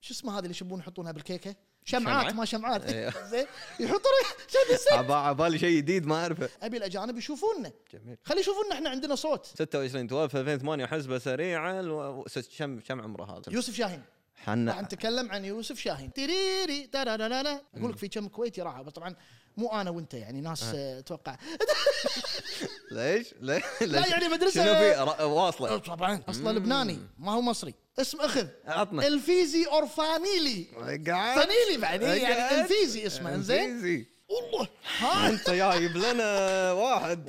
شو اسمها هذه اللي يشبون يحطونها بالكيكه شمعة؟ شمعات ما شمعات أيوه. زين يحطون عشان يصير. عبا- عبالي شيء جديد ما اعرفه ابي الاجانب يشوفونا جميل خلي يشوفونا احنا عندنا صوت 26 12 2008 حسبه سريعه الو... س- كم كم عمره هذا؟ يوسف شاهين راح حنا نتكلم عن يوسف شاهين تريري ترارارارا. اقول لك في كم كويتي راح بس طبعا مو انا وانت يعني ناس أه. آه، اتوقع ليش؟ ليش؟ لا يعني مدرسة- شنو في را- واصله طبعا اصلا لبناني ما هو مصري اسم اخذ عطنا الفيزي اورفانيلي قاعد فانيلي بعد إيه، قاعد. يعني الفيزي اسمه انزين إنجليزي. والله ها انت جايب لنا واحد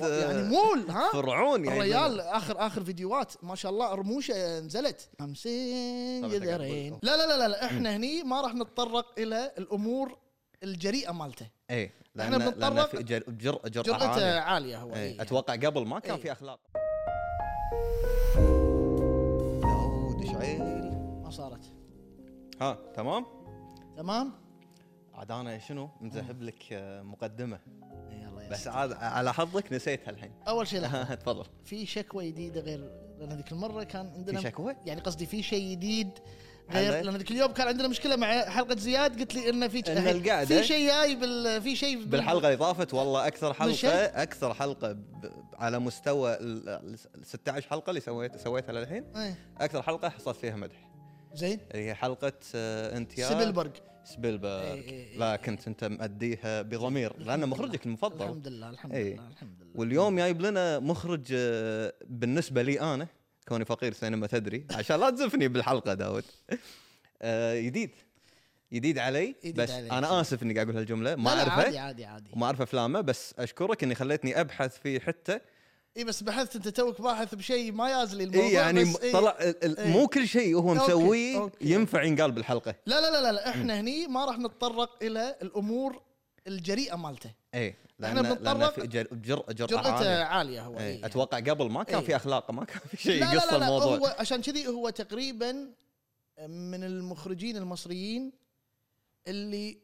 يعني آه، مول ها فرعون يعني الريال اخر اخر فيديوهات ما شاء الله رموشه نزلت 50 طب أنت قاعد جذرين تقول. لا لا لا لا لا احنا هني ما راح نتطرق الى الامور الجريئه مالته ايه إحنا لان لان بنتطرق- في جر... جر... جرأة جرأته عالية. عاليه هو إيه. إيه. اتوقع قبل ما كان إيه. في اخلاق داود شعيل ما صارت ها تمام تمام عاد انا شنو مذهب لك آه، مقدمه يلا بس بس عاد على حظك نسيتها الحين اول شيء لحظة. تفضل في شكوى جديده غير لان هذيك المره كان عندنا في شكوى؟ يعني قصدي في شيء جديد غير عليك. لان ذيك اليوم كان عندنا مشكله مع حلقه زياد قلت لي انه في إن القعدة- في شيء جاي بال في شيء بال- بالحلقه اللي طافت والله اكثر مش حلقه هيك؟ اكثر حلقه ب... على مستوى ال ال 16 حلقه اللي سويت سويتها للحين إيه. اكثر حلقه حصلت فيها مدح زين اللي هي حلقه آه، انت يا سبيلبرغ إيه، سبيلبرغ إي إي إي. لا كنت انت مأديها بضمير لانه مخرجك المفضل الحمد لله الحمد إيه. لله الحمد لله واليوم جايب لنا مخرج آه، بالنسبه لي انا كوني فقير سينما تدري عشان لا تزفني بالحلقه داود آه، جديد جديد علي جديد بس عليك. انا اسف اني قاعد اقول هالجمله ما لا، لا، عادي اعرفه عادي عادي وما اعرف افلامه بس اشكرك اني خليتني ابحث فيه حتى اي إيه، بس بحثت انت توك باحث بشيء ما يازلي الموضوع اي يعني بس إيه. طلع ال- ال- إي. مو كل شيء هو أوكي، مسويه أوكي. ينفع ينقال بالحلقه لا لا لا لا, لا. احنا هني ما راح نتطرق الى الامور الجريئه مالته اي إحنا لان لان بنتطرق- إيه، في جر- جرأة جرأة جرأته عالية. عاليه هو إي، إيه. اتوقع قبل ما كان إي. في اخلاق ما كان في لا شيء لا, يقص لا, لا هو الموضوع عشان كذي هو تقريبا من المخرجين المصريين اللي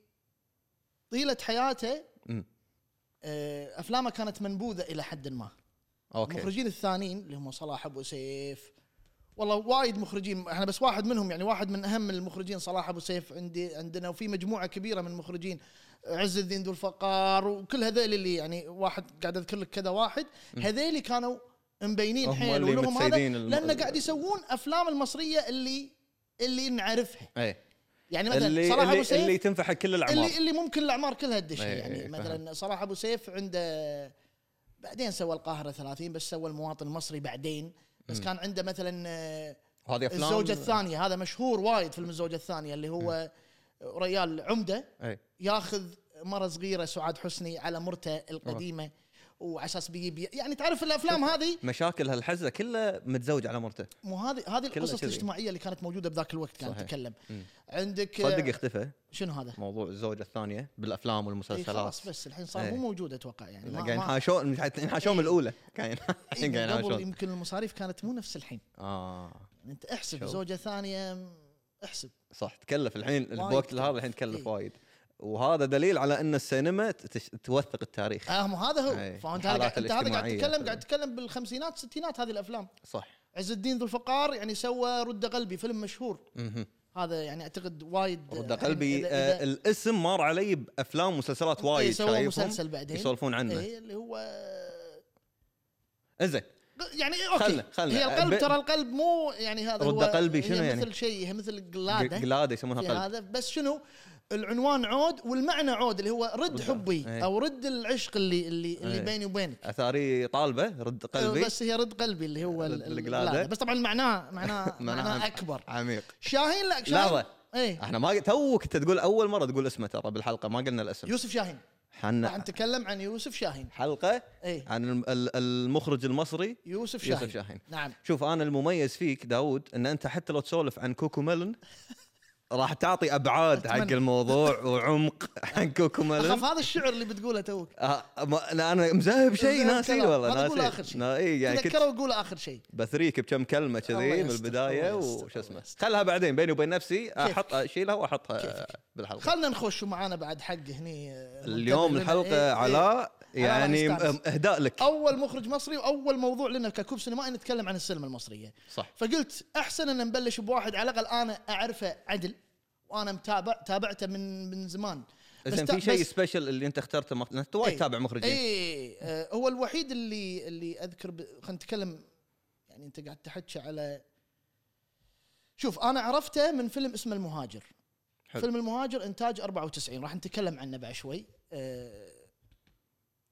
طيله حياته أمم. آه، افلامه كانت منبوذه الى حد ما اوكي المخرجين الثانيين اللي هم صلاح ابو سيف والله وايد مخرجين احنا بس واحد منهم يعني واحد من اهم المخرجين صلاح ابو سيف عندي عندنا وفي مجموعه كبيره من المخرجين عز الدين ذو الفقار وكل هذيل اللي يعني واحد قاعد اذكر لك كذا واحد هذيلي كانوا مبينين هم حيل اللي ولهم هذا متسيدين الم- لان قاعد يسوون افلام المصريه اللي اللي نعرفها اي يعني مثلا اللي صلاح ابو اللي, سيف اللي تنفع كل الاعمار اللي اللي ممكن الاعمار كلها تدش إيه، يعني إيه، مثلا صلاح ابو سيف عنده بعدين سوى القاهره 30 بس سوى المواطن المصري بعدين بس كان عنده مثلا آه، وهذه افلام الزوجه الثانيه هذا مشهور وايد فيلم الزوجه الثانيه اللي هو ريال عمده اي ياخذ مره صغيره سعاد حسني على مرته القديمه وعلى اساس بيجيب يعني تعرف الافلام هذه مشاكل هالحزه كله متزوج على مرته مو هذه هذه القصص كذي. الاجتماعيه اللي كانت موجوده بذاك الوقت كانت صحيح. تتكلم عندك آه، صدق اختفى شنو هذا؟ موضوع الزوجه الثانيه بالافلام إيه والمسلسلات خلاص بس الحين صار إيه. مو موجود اتوقع يعني ما- قاعد ما- ينحاشون ينحاشون من الاولى قاعد إيه، قاعد قبل ينحاشون يمكن المصاريف كانت مو نفس الحين اه يعني انت احسب شوف. زوجه ثانيه م، احسب صح تكلف الحين بوقت هذا الحين تكلف إيه. وايد وهذا دليل على ان السينما تتش- توثق التاريخ آه مو هذا أي. هو فانت هذا إيه، الحالات قاعد- انت هذا قاعد الاجتماعية. تتكلم قاعد تتكلم بالخمسينات الستينات هذه الافلام صح عز الدين ذو الفقار يعني سوى رد قلبي فيلم مشهور مهم. هذا يعني اعتقد وايد رد الحين قلبي آه، الاسم مر علي بافلام ومسلسلات إيه، وايد سووا شايفهم مسلسل بعدين يسولفون عنه إيه، اللي هو انزين يعني إيه، اوكي خلنا- خلنا. هي القلب ب- ترى القلب مو يعني هذا رد هو قلبي هي شنو يعني؟ مثل شيء هي مثل قلاده قلاده يسمونها في قلب هذا بس شنو العنوان عود والمعنى عود اللي هو رد, حبي إيه. او رد العشق اللي اللي اللي إيه. بيني وبينك آه، اثاري طالبه رد قلبي أيوة، بس هي رد قلبي اللي هو رد ال- ال- القلادة. القلادة. بس طبعا معناه معناه عم- معناه اكبر عميق شاهين لا شاهين لحظه ايه احنا ما توك انت تقول اول مره تقول اسمه ترى بالحلقه ما قلنا الاسم يوسف شاهين راح حنا نتكلم عن يوسف شاهين حلقه ايه عن الم- ال- المخرج المصري يوسف شاهين يوسف شاهين. نعم شوف انا المميز فيك داود ان انت حتى لو تسولف عن كوكو ميلون راح تعطي ابعاد حق أتمنى. الموضوع وعمق عن كوكو اخاف ميلون هذا الشعر اللي بتقوله توك آه، ما- انا أنا مزهب شيء مزهب ناسي كلام. والله ما تقول ناسي آخر شيء. نا- إي، يعني كنت تذكره وقول اخر شيء بثريك بكم كلمه الله كذي من يستر، البدايه الله يستر، وش اسمه الله يستر. خلها بعدين بيني وبين نفسي احط كيفك. اشيلها واحطها كيفك. بالحلقه خلنا نخش معانا بعد حق هني آه، اليوم منتبه لنا. إيه، الحلقه إيه. علاء يعني راح نستانس. اهداء لك اول مخرج مصري واول موضوع لنا ككوب سينمائي نتكلم عن السينما المصرية صح فقلت احسن ان نبلش بواحد على الاقل انا اعرفه عدل وانا متابع تابعته من من زمان بس زين تا- في شيء بس- إيه. سبيشل اللي انت اخترته مخ... انت وايد إي. تابع مخرجين اي آه، هو الوحيد اللي اللي اذكر ب... خلينا نتكلم يعني انت قاعد تحكي على شوف انا عرفته من فيلم اسمه المهاجر حلو. فيلم المهاجر انتاج 94 راح نتكلم عنه بعد شوي آه،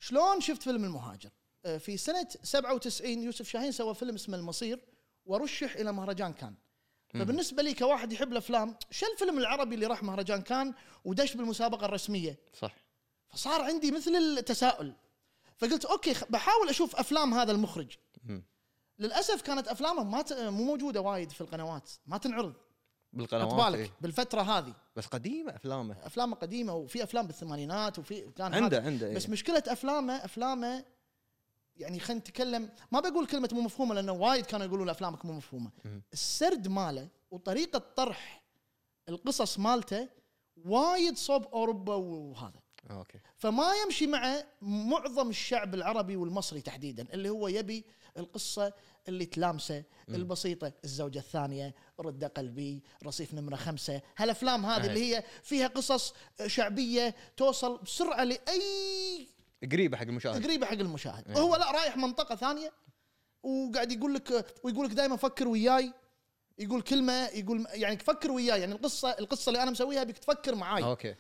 شلون شفت فيلم المهاجر آه، في سنه 97 يوسف شاهين سوى فيلم اسمه المصير ورشح الى مهرجان كان مم. فبالنسبه لي كواحد يحب الافلام شو الفيلم العربي اللي راح مهرجان كان ودش بالمسابقه الرسميه صح فصار عندي مثل التساؤل فقلت اوكي خ- بحاول اشوف افلام هذا المخرج مم. للاسف كانت افلامه ما ت... مو موجوده وايد في القنوات ما تنعرض حط بالقنوات بالك إي. بالفتره هذه بس قديمه افلامه افلامه قديمه وفي افلام بالثمانينات وفي كان عنده هذا. عنده إيه. بس بس مشكله افلامه افلامه يعني خلينا نتكلم ما بقول كلمه مو مفهومه لانه وايد كانوا يقولون افلامك مو مفهومه مم. السرد ماله وطريقه طرح القصص مالته وايد صوب اوروبا وهذا اوكي فما يمشي مع معظم الشعب العربي والمصري تحديدا اللي هو يبي القصه اللي تلامسه البسيطه الزوجه الثانيه رده قلبي رصيف نمره خمسة هالافلام هذه أهي. اللي هي فيها قصص شعبيه توصل بسرعه لاي قريبه حق المشاهد قريبه حق المشاهد أيه. هو لا رايح منطقه ثانيه وقاعد يقول لك ويقول لك دائما فكر وياي يقول كلمه يقول يعني فكر وياي يعني القصه القصه اللي انا مسويها بيك تفكر معاي اوكي اي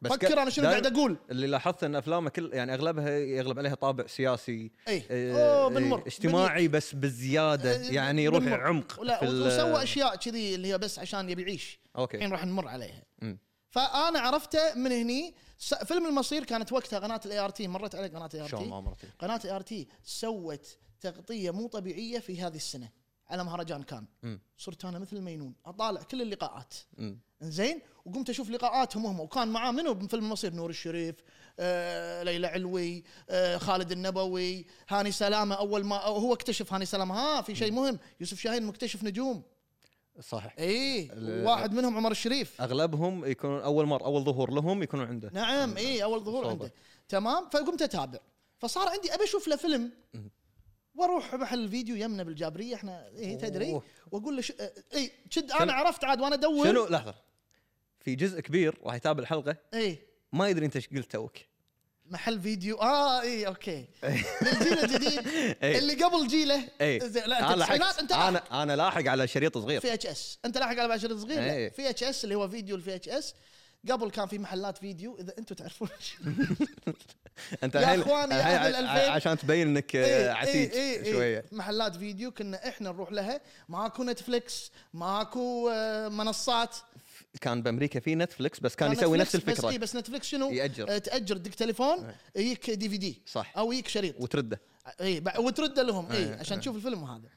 طيب. فكر انا شنو إيه. دايم- قاعد اقول اللي لاحظت ان افلامه كل يعني اغلبها يغلب عليها طابع سياسي اي آه، اوه بالمر إيه، اجتماعي بس بزياده آه، يعني يروح بالمر. عمق ولا في ال- وسوى اشياء كذي اللي هي بس عشان يبي يعيش اوكي الحين راح نمر عليها مم. فانا عرفته من هني س- فيلم المصير كانت وقتها قناه الاي ار تي مرت علي قناه الاي ار شلون ما تي مرتي قناه الاي ار تي سوت تغطيه مو طبيعيه في هذه السنه على مهرجان كان مم. صرت انا مثل المينون اطالع كل اللقاءات مم. زين وقمت اشوف لقاءاتهم هم وكان معاه منو بفيلم المصير نور الشريف آه ليلى علوي آه خالد النبوي هاني سلامه اول ما أو هو اكتشف هاني سلامه ها في شيء مهم يوسف شاهين مكتشف نجوم صحيح اي ال- آه. واحد منهم عمر الشريف اغلبهم يكونون اول مره اول ظهور لهم يكونون عنده نعم اي اول ظهور صوبة. عنده تمام فقمت اتابع فصار عندي ابي اشوف له فيلم واروح محل الفيديو يمنا بالجابريه احنا اي تدري أوه. واقول له اي شد انا عرفت عاد وانا ادور شنو لحظه في جزء كبير راح يتابع الحلقه اي ما يدري انت ايش قلت توك محل فيديو اه اي اوكي إيه. للجيل الجديد إي. اللي قبل جيله إيه. اي زين، لا انت التسعينات انت لاحق انا انا لاحق على شريط صغير في اتش اس انت لاحق على باشر صغير لا إي. في اتش اس اللي هو فيديو الفي اتش اس قبل كان في محلات فيديو اذا انتم تعرفون إيه، انت يا الحين- إخواني، يا الحين أهل ع- الألفين. إيه، عشان تبين انك آه، عتيج شويه محلات فيديو كنا احنا نروح لها ماكو نتفلكس ماكو آه، منصات كان بامريكا في نتفلكس بس كان آه، يسوي نفس نتفلكس بس إي، الفكره بس نتفلكس شنو؟ يأجر. إيه. آه، تاجر دق تليفون يجيك دي في دي صح او يجيك شريط وترده اي إيه، بع- وترد لهم اي إيه، عشان إيه. تشوف الفيلم هذا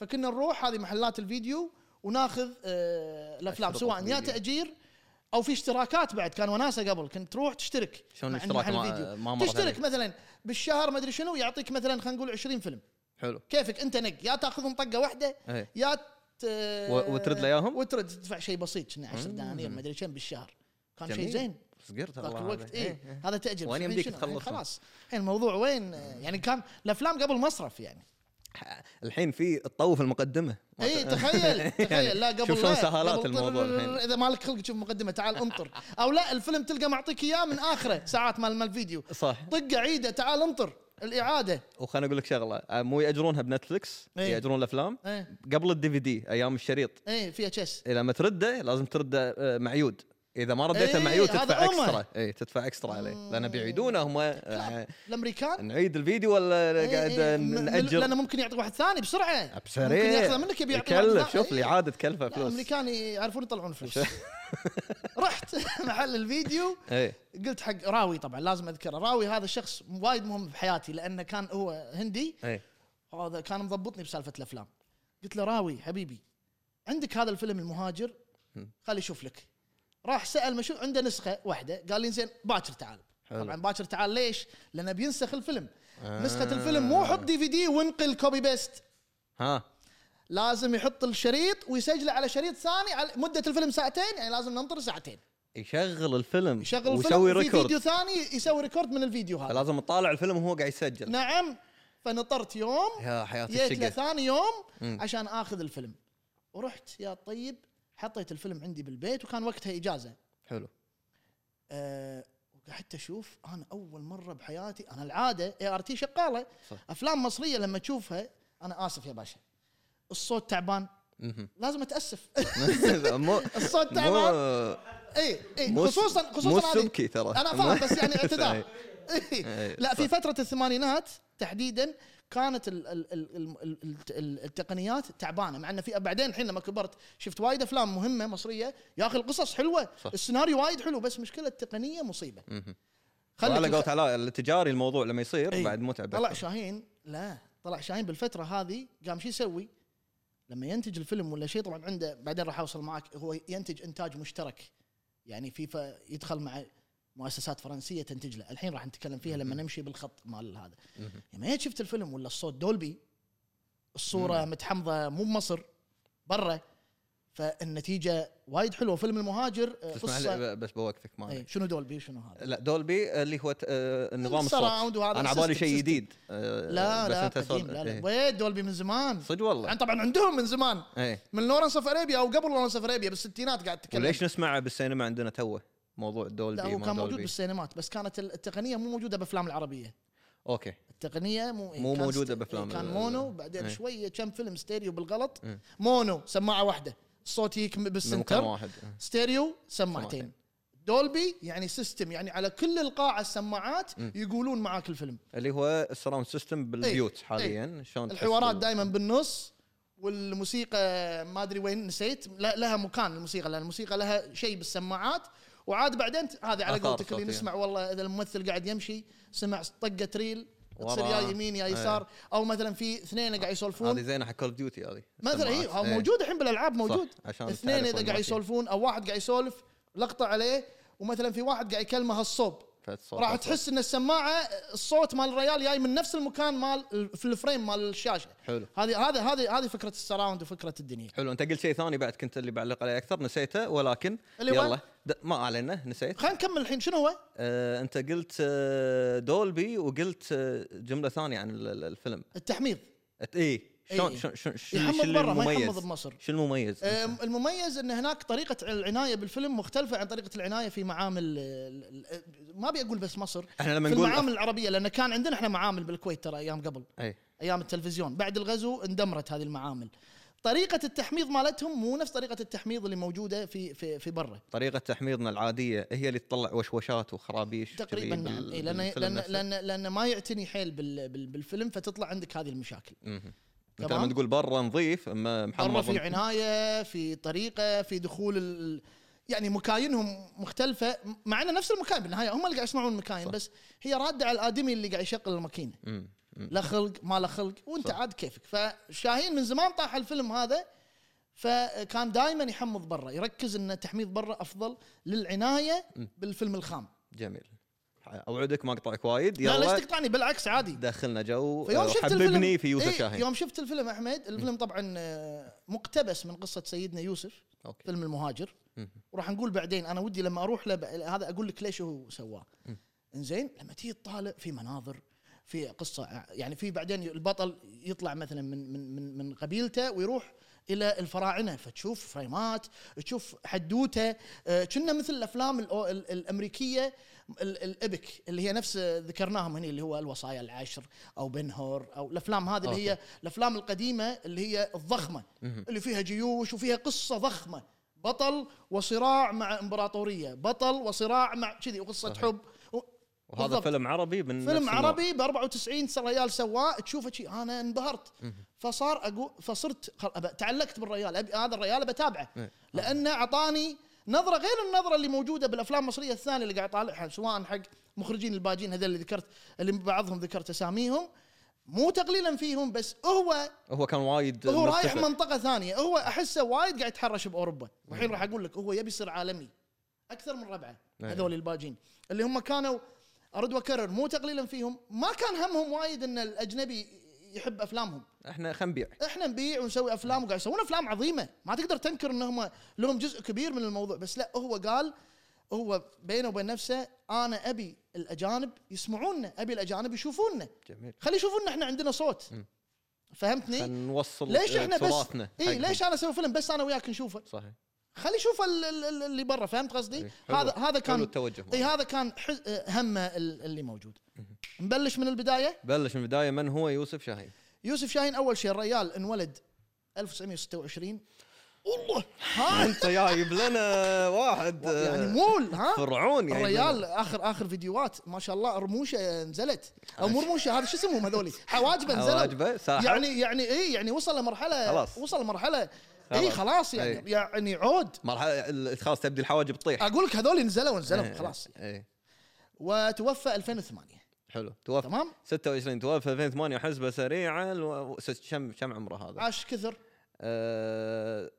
فكنا نروح هذه محلات الفيديو وناخذ آه الافلام أشتراك سواء يا فيديو. تاجير او في اشتراكات بعد كان وناسه قبل كنت تروح تشترك شلون مع الاشتراك محل ما- الفيديو. ما مرت تشترك عليك؟ مثلا بالشهر ما ادري شنو يعطيك مثلا خلينا نقول 20 فيلم حلو كيفك انت نق يا تاخذهم طقه واحده اي يا ت... إيه. و- وترد له إياهم؟ وترد تدفع شيء بسيط شنو 10 دنانير ما ادري كم بالشهر كان شيء جميل. زين صغير ترى ذاك هذا. الوقت إيه، اي إيه. هذا تاجر وين الحين يمديك شنو؟ الحين تخلصهم؟ خلاص الحين الموضوع وين آه، يعني كان الافلام قبل مصرف يعني الحين في تطوف المقدمه اي تخيل تخيل لا قبل يعني شوف شلون لا، سهالات قبل الموضوع طر- الحين. اذا مالك خلق تشوف مقدمه تعال انطر او لا الفيلم تلقى معطيك اياه من اخره ساعات مال مال الفيديو صح طقه عيده تعال انطر الاعاده وخليني اقول لك شغله آه، مو ياجرونها بنتفلكس إيه. ياجرون الافلام ايه قبل الدي في دي ايام الشريط ايه في اتش اس إيه، لما ترده لازم ترده آه، معيود اذا ما رديته إيه، معيود هذا تدفع أمه. اكسترا اي تدفع اكسترا عليه لان بيعيدونه هم آه، الامريكان نعيد الفيديو ولا إيه، قاعد إيه، م- م- لانه ناجل ممكن يعطي واحد ثاني بسرعه ممكن بسريع ياخذه منك يبي يعطي واحد يكلف ثاني. شوف إيه. الاعاده تكلفه لا، فلوس الامريكان يعرفون يطلعون فلوس رحت محل الفيديو اي قلت حق راوي طبعا لازم اذكره راوي هذا الشخص وايد مهم بحياتي لانه كان هو هندي اي هذا كان مضبطني بسالفه الافلام قلت له راوي حبيبي عندك هذا الفيلم المهاجر خلي اشوف لك راح سال مشو عنده نسخه واحده قال لي زين باكر تعال حلو. طبعا باكر تعال ليش؟ لانه بينسخ الفيلم آه. نسخه الفيلم مو حط دي في دي وانقل كوبي بيست ها لازم يحط الشريط ويسجله على شريط ثاني على مده الفيلم ساعتين يعني لازم ننطر ساعتين يشغل الفيلم يشغل ويسوي الفيلم في ريكورد فيديو ثاني يسوي ريكورد من الفيديو هذا فلازم تطالع الفيلم وهو قاعد يسجل نعم فنطرت يوم يا حياه جيت له الشقه ثاني يوم مم. عشان اخذ الفيلم ورحت يا طيب حطيت الفيلم عندي بالبيت وكان وقتها اجازه حلو أه وقعدت اشوف انا اول مره بحياتي انا العاده اي ار تي شغاله صح. افلام مصريه لما تشوفها انا اسف يا باشا الصوت تعبان مهم. لازم اتاسف مو الصوت تعبان مو اي اي مو خصوصا مو خصوصا إيه، هذه السبكي ترى انا فاهم بس يعني اعتذار صحيح. إيه. إيه، لا في صح. فتره الثمانينات تحديدا كانت ال ال ال ال- ال- ال- ال- التقنيات تعبانه مع انه في بعدين الحين لما كبرت شفت وايد افلام مهمه مصريه يا اخي القصص حلوه صح. السيناريو وايد حلو بس مشكله التقنيه مصيبه مهم. خليك على قولة علاء التجاري الموضوع لما إيه. يصير بعد متعب طلع أكثر. شاهين لا طلع شاهين بالفتره هذه قام شو يسوي؟ لما ينتج الفيلم ولا شيء طبعا عنده بعدين راح اوصل معك هو ينتج انتاج مشترك يعني فيفا يدخل مع مؤسسات فرنسيه تنتج له الحين راح نتكلم فيها لما نمشي بالخط مال هذا مهم. لما جيت شفت الفيلم ولا الصوت دولبي الصوره مم. متحمضه مو بمصر برا فالنتيجه وايد حلوه فيلم المهاجر آه، تسمح قصه لي ب- بس بوقفك ما إيه، عليك. شنو دولبي شنو هذا لا دولبي اللي هو ت- آه، النظام الصوت السراوند وهذا انا على بالي السيستم- شيء سيستم. جديد آه، لا بس لا أنت صوت- قديم لا لا إيه. وين دولبي من زمان صدق والله يعني طبعا عندهم من زمان ايه من لورنس اوف اريبيا او قبل لورنس اوف اريبيا بالستينات قاعد تتكلم وليش نسمعه بالسينما عندنا توه موضوع دولبي لا هو ما كان موجود دولبي. بالسينمات بس كانت التقنيه مو موجوده بافلام العربيه اوكي التقنيه مو إيه، مو كان موجودة ست- بأفلام إيه، كان ال- مونو بعدين إيه. شويه كم فيلم ستيريو بالغلط مم. مونو سماعه واحده الصوت يجيك من مكان بالسنتر واحد آه. ستيريو سماعتين سماعتين. دولبي يعني سيستم يعني على كل القاعه السماعات مم. يقولون معاك الفيلم اللي هو السراوند سيستم بالبيوت حاليا شلون تحس إيه. الحوارات بال- دائما بالنص والموسيقى ما ادري وين نسيت لا لها مكان الموسيقى لان الموسيقى لها شيء بالسماعات وعاد بعدين ت- هذا على آثار قولتك اللي صوتية. نسمع والله اذا الممثل قاعد يمشي سمع طقه ريل تصير ورا. يا يمين يا يسار او مثلا في اثنين قاعد إيه. هذه يسولفون زينه حق كول اوف ديوتي هذه مثلا السماعات. اي إيه. موجود الحين بالالعاب موجود صح، عشان اثنين تعرف اذا وين قاعد ماشي. يسولفون او واحد قاعد يسولف لقطه عليه ومثلا في واحد قاعد يكلمه الصوب فالصوت- راح الصوت. تحس ان السماعه الصوت مال الريال جاي من نفس المكان مال في الفريم مال الشاشه حلو هذه هذه هذه هذه فكره السراوند وفكره الدنيا حلو انت قلت شيء ثاني بعد كنت اللي بعلق عليه اكثر نسيته ولكن اللي هو؟ يلا د- ما اعلنه نسيت خلينا نكمل الحين شنو هو؟ آه انت قلت آه دولبي وقلت آه جمله ثانيه عن ال- ال- الفيلم التحميض أت- اي شلون إيه. شلون شلون شو يحمض شو برا ما يحمض المميز بمصر شو المميز آه، المميز ان هناك طريقه العنايه بالفيلم مختلفه عن طريقه العنايه في معامل ال- ال- ال- ما ابي اقول بس مصر احنا لما في المعامل نقول العربيه لان كان عندنا احنا معامل بالكويت ترى ايام قبل اي ايام التلفزيون بعد الغزو اندمرت هذه المعامل طريقه التحميض مالتهم مو نفس طريقه التحميض اللي موجوده في في في برا طريقه تحميضنا العاديه هي اللي تطلع وشوشات وخرابيش تقريبا كذي نعم بال- إيه لان بالفيلم لان نفسه. لان لان ما يعتني حيل بال- بال- بالفيلم فتطلع عندك هذه المشاكل مهم. انت تمام؟ لما تقول برا نظيف اما برا محمد في عنايه في طريقه في دخول ال... يعني مكاينهم مختلفه مع انه نفس المكاين بالنهايه هم اللي قاعد يصنعون المكاين صح. بس هي راده على الادمي اللي قاعد يشغل الماكينه مم. مم. لا خلق ما لا خلق وانت صح. عاد كيفك فشاهين من زمان طاح الفيلم هذا فكان دائما يحمض برا يركز ان تحميض برا افضل للعنايه مم. بالفيلم الخام جميل اوعدك ما اقطعك وايد لا ليش يلا تقطعني بالعكس عادي دخلنا جو فيوم شفت حببني الفيلم أه، في يوسف إيه، شاهين يوم شفت الفيلم احمد الفيلم طبعا آه، مقتبس من قصه سيدنا يوسف اوكي فيلم المهاجر مهم. وراح نقول بعدين انا ودي لما اروح له ب- هذا اقول لك ليش هو سواه مم. انزين لما تيجي تطالع في مناظر في قصه يعني في بعدين البطل يطلع مثلا من من من, من قبيلته ويروح الى الفراعنه فتشوف فريمات تشوف حدوته آه، كنا مثل الافلام الأو- ال- الامريكيه ال- الابك اللي هي نفس آه، ذكرناهم هنا اللي هو الوصايا العشر او بنهور او الافلام هذه اللي هي الافلام القديمه اللي هي الضخمه مهم. اللي فيها جيوش وفيها قصه ضخمه بطل وصراع مع امبراطوريه بطل وصراع مع كذي وقصه صحيح. حب و- وهذا بالضبط. فيلم عربي من نفس فيلم النوع. عربي ب 94 ريال سواه تشوفه شي انا انبهرت مهم. فصار اقول فصرت خل- أب- تعلقت بالريال أبي هذا الريال بتابعه إيه. لانه اعطاني نظره غير النظره اللي موجوده بالافلام المصريه الثانيه اللي قاعد اطالعها سواء حق مخرجين الباجين هذول اللي ذكرت اللي بعضهم ذكرت اساميهم مو تقليلا فيهم بس هو هو كان وايد هو رايح مرتفع. منطقه ثانيه هو احسه وايد قاعد يتحرش باوروبا والحين راح اقول لك هو يبي يصير عالمي اكثر من ربعه أيوة. هذول الباجين اللي هم كانوا ارد واكرر مو تقليلا فيهم ما كان همهم وايد ان الاجنبي يحب افلامهم احنا خلينا نبيع احنا نبيع ونسوي افلام وقاعد يسوون افلام عظيمه ما تقدر تنكر انهم لهم جزء كبير من الموضوع بس لا هو قال هو بينه وبين نفسه انا ابي الاجانب يسمعونا ابي الاجانب يشوفونا جميل خلي يشوفونا احنا عندنا صوت مم. فهمتني خلينا نوصل إيه. ليش آه، احنا بس إيه، تراثنا اي حقهم. ليش انا اسوي فيلم بس انا وياك نشوفه صحيح خلي يشوف ال- ال- ال- اللي برا فهمت قصدي؟ إيه، حلو. هذا هذا حلو كان إيه. التوجه اي معه. هذا كان حز- آه، همه ال- اللي موجود نبلش من البدايه بلش من البدايه من هو يوسف شاهين يوسف شاهين اول شيء الريال انولد 1926 والله ها انت جايب لنا واحد يعني آه، مول ها فرعون يعني الريال اخر اخر فيديوهات ما شاء الله رموشه نزلت او مو رموشه هذا شو اسمهم هذولي حواجبه نزلت واجبه ساحر يعني يعني يعني اي يعني وصل لمرحله خلاص. وصل لمرحله اي خلاص. إيه. خلاص يعني إي. يعني عود مرحله ال- خلاص تبدي الحواجب تطيح اقول لك هذول نزلوا نزلوا إيه، آه، خلاص ايه وتوفى 2008 حلو توفى تمام 26 توفى 2008 حسبه سريعه الو- س- كم كم عمره هذا؟ عاش كثر آه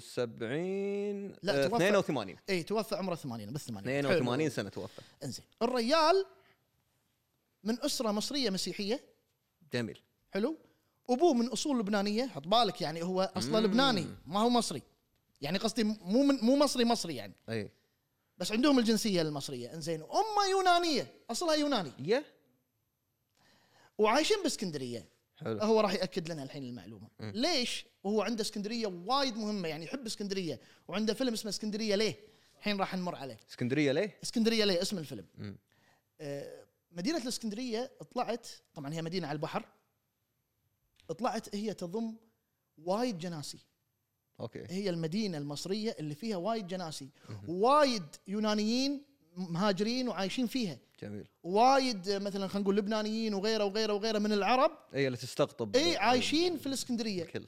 74 لا، آه، توفى. 82 اي توفى عمره 80 بس 80 82 حلو. سنه توفى انزين الريال من اسره مصريه مسيحيه جميل حلو ابوه من اصول لبنانيه حط بالك يعني هو اصلا مم. لبناني ما هو مصري يعني قصدي مو من مو مصري مصري يعني اي بس عندهم الجنسيه المصريه انزين امه يونانيه اصلها يوناني يا وعايشين باسكندريه حلو هو راح ياكد لنا الحين المعلومه ليش وهو عنده اسكندريه وايد مهمه يعني يحب اسكندريه وعنده فيلم اسمه اسكندريه ليه الحين راح نمر عليه اسكندريه ليه؟ اسكندريه ليه اسم الفيلم مم. آه، مدينه الاسكندريه طلعت طبعا هي مدينه على البحر طلعت هي تضم وايد جناسي اوكي هي المدينه المصريه اللي فيها وايد جناسي وايد يونانيين مهاجرين وعايشين فيها جميل وايد آه، مثلا خلينا نقول لبنانيين وغيره وغيره وغيره من العرب اي إيه، اللي تستقطب اي عايشين في الاسكندريه الكل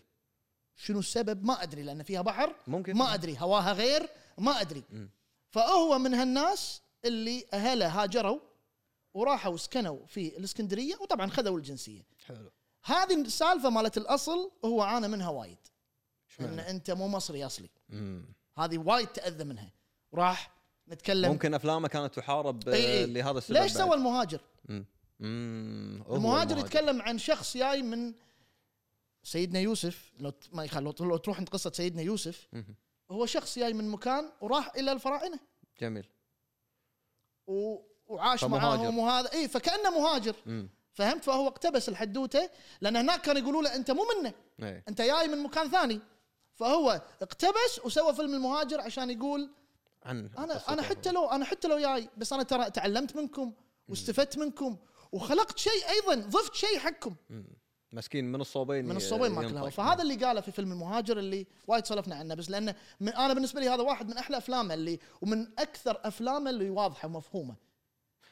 شنو السبب ما ادري لان فيها بحر ممكن ما ادري هواها غير ما ادري يعني؟ مم. فهو من هالناس اللي اهله هاجروا وراحوا سكنوا في الاسكندريه وطبعا خذوا الجنسيه حلو هذه السالفه مالت الاصل هو عانى منها وايد ان اشمعنى؟ انت مو مصري اصلي مم. هذه وايد تاذى منها وراح نتكلم ممكن افلامه كانت تحارب آه، إي إي. لهذا السبب إيه، ليش سوى بعد. المهاجر؟ مم. مم. هو المهاجر يتكلم عن شخص جاي من سيدنا يوسف لو ت- ما يخل... لو ت- لو تروح عند قصه سيدنا يوسف مهم. هو شخص جاي من مكان وراح الى الفراعنه جميل و... وعاش فمهاجر. معاهم وهذا اي فكانه مهاجر مم. فهمت فهو اقتبس الحدوته لان هناك كانوا يقولوا له انت مو منه اي انت جاي من مكان ثاني فهو اقتبس وسوى فيلم المهاجر عشان يقول عن انا قصته انا هو. حتى لو انا حتى لو جاي بس انا ترى تعلمت منكم واستفدت منكم وخلقت شيء ايضا ضفت شيء حقكم مم. مسكين من الصوبين من الصوبين ي- ماكل هوا يعني ينطق. فهذا اللي قاله في فيلم المهاجر اللي وايد سولفنا عنه بس لانه من انا بالنسبه لي هذا واحد من احلى افلامه اللي ومن اكثر افلامه اللي واضحه ومفهومه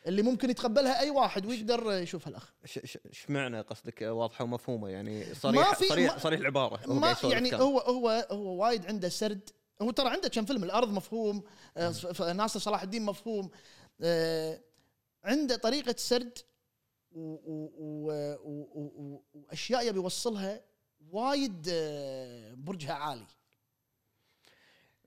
اللي ممكن يتقبلها اي واحد ويقدر يشوفها الاخ ش- ش- ش معنى قصدك واضحه ومفهومه يعني صريح في- صريح ما- صريح العباره هو ما قاعد يسولف يعني كان. هو هو هو وايد عنده سرد هو ترى عنده كم فيلم الارض مفهوم آه، ف- ف- ناصر صلاح الدين مفهوم آه، عنده طريقه سرد و- و- و- و- و- و- واشياء يبي يوصلها وايد آه، برجها عالي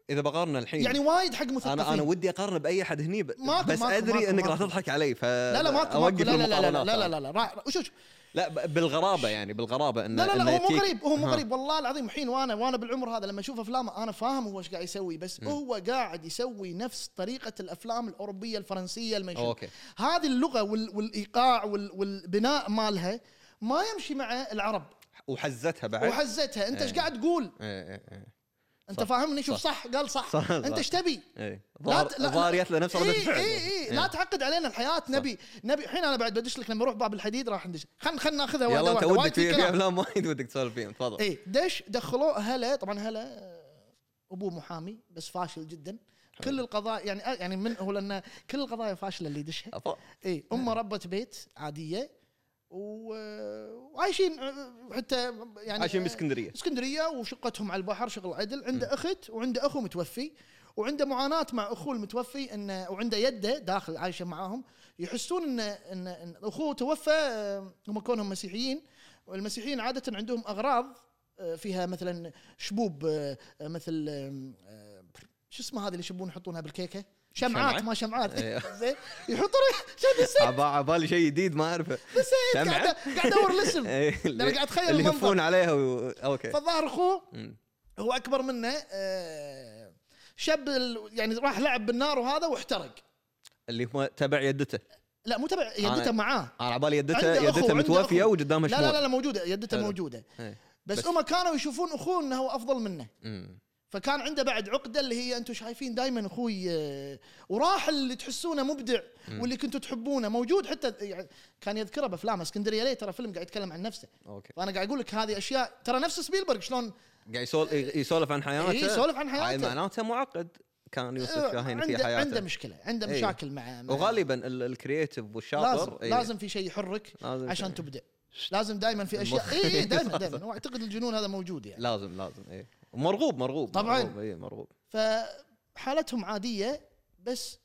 اذا بقارنا الحين يعني وايد حق مثقفين انا انا إيه. ودي اقارن باي احد هني ب... ماكو- بس ماكو- ادري ماكو- انك راح ماكو. تضحك علي ف لا لا ماكو ماكو اوقف لا لا لا لا المقارنات. لا لا لا لا راح- شوف شوف لا ب- بالغرابه يعني بالغرابه ان لا لا إن لا هو مو يتيك- غريب هو مو ها. غريب والله العظيم الحين وانا وانا بالعمر هذا لما اشوف افلامه انا فاهم هو ايش قاعد يسوي بس هو قاعد يسوي نفس طريقه الافلام الاوروبيه الفرنسيه الميشن اوكي هذه اللغه وال والايقاع وال والبناء مالها ما يمشي مع العرب وحزتها بعد وحزتها انت ايش قاعد تقول ايه ايه ايه انت فاهمني شوف صح قال صح صح، صح. انت ايش تبي ايه لا ظهر ت- لا- ظهر جت له نفس رده اي الفعل إيه. اي اي إيه، لا تعقد علينا الحياه نبي نبي الحين انا بعد بدش لك لما اروح باب الحديد راح ندش خلنا خلنا ناخذها واحده يلا انت واحده ودك في في كلام. إيه. افلام وايد ودك تسولف فيهم تفضل اي دش دخلوه هلا طبعا هلا آه، ابوه محامي بس فاشل جدا كل القضايا يعني آه، يعني من هو لان كل القضايا فاشله اللي يدشها أفا. اي إيه. امه ربت بيت عاديه و- آه، وعايشين آه، حتى يعني عايشين آه، باسكندريه اسكندريه وشقتهم على البحر شغل عدل عنده اخت وعنده اخو متوفي وعنده معاناه مع اخوه المتوفي انه وعنده يده داخل عايشه معاهم يحسون ان ان, إن اخوه توفى آه، هم كونهم مسيحيين والمسيحيين عاده عندهم اغراض آه، فيها مثلا شبوب آه، آه، مثل آم، آه، شو اسمه هذه اللي يشبون يحطونها بالكيكه شمعات شمعة؟ ما شمعات أيوه. زين يحطون شو نسيت عبا- عبالي شيء جديد ما اعرفه نسيت شمعة؟ قاعد قاعد ادور الاسم إيه، لأن قاعد أتخيل اللي المنظر. يهفون عليها و... اوكي فالظاهر اخوه مم. هو اكبر منه آه، شاب ال- يعني راح لعب بالنار وهذا واحترق اللي هو تبع يدته لا مو تبع يدته أنا- معاه انا على بالي عنده يدته أخو، يدته عنده متوفيه أخو. وقدامها لا شموع لا لا, لا موجوده يدته حلو. موجوده إيه. بس, بس- هم كانوا يشوفون اخوه انه هو افضل منه مم. فكان عنده بعد عقده اللي هي انتم شايفين دائما اخوي آه، وراح اللي تحسونه مبدع واللي كنتوا تحبونه موجود حتى يعني كان يذكره بافلامه اسكندريه ليه ترى فيلم قاعد يتكلم عن نفسه اوكي فانا قاعد اقول لك هذه اشياء ترى نفس سبيلبرغ شلون آه، قاعد يسول يسولف عن حياته إيه، يسولف عن حياته. إيه، هاي معناته معقد كان يوسف شاهين في عنده حياته عنده مشكله عنده إيه. مشاكل مع مع- وغالبا ال- الكرييتيف والشاطر لازم إيه، لازم في شيء يحرك لازم عشان شيء. تبدع لازم دائما في إيه، اشياء اي اي دائما دائما لازم. واعتقد الجنون هذا موجود يعني لازم لازم اي مرغوب مرغوب طبعاً. مرغوب اي مرغوب فحالتهم عاديه بس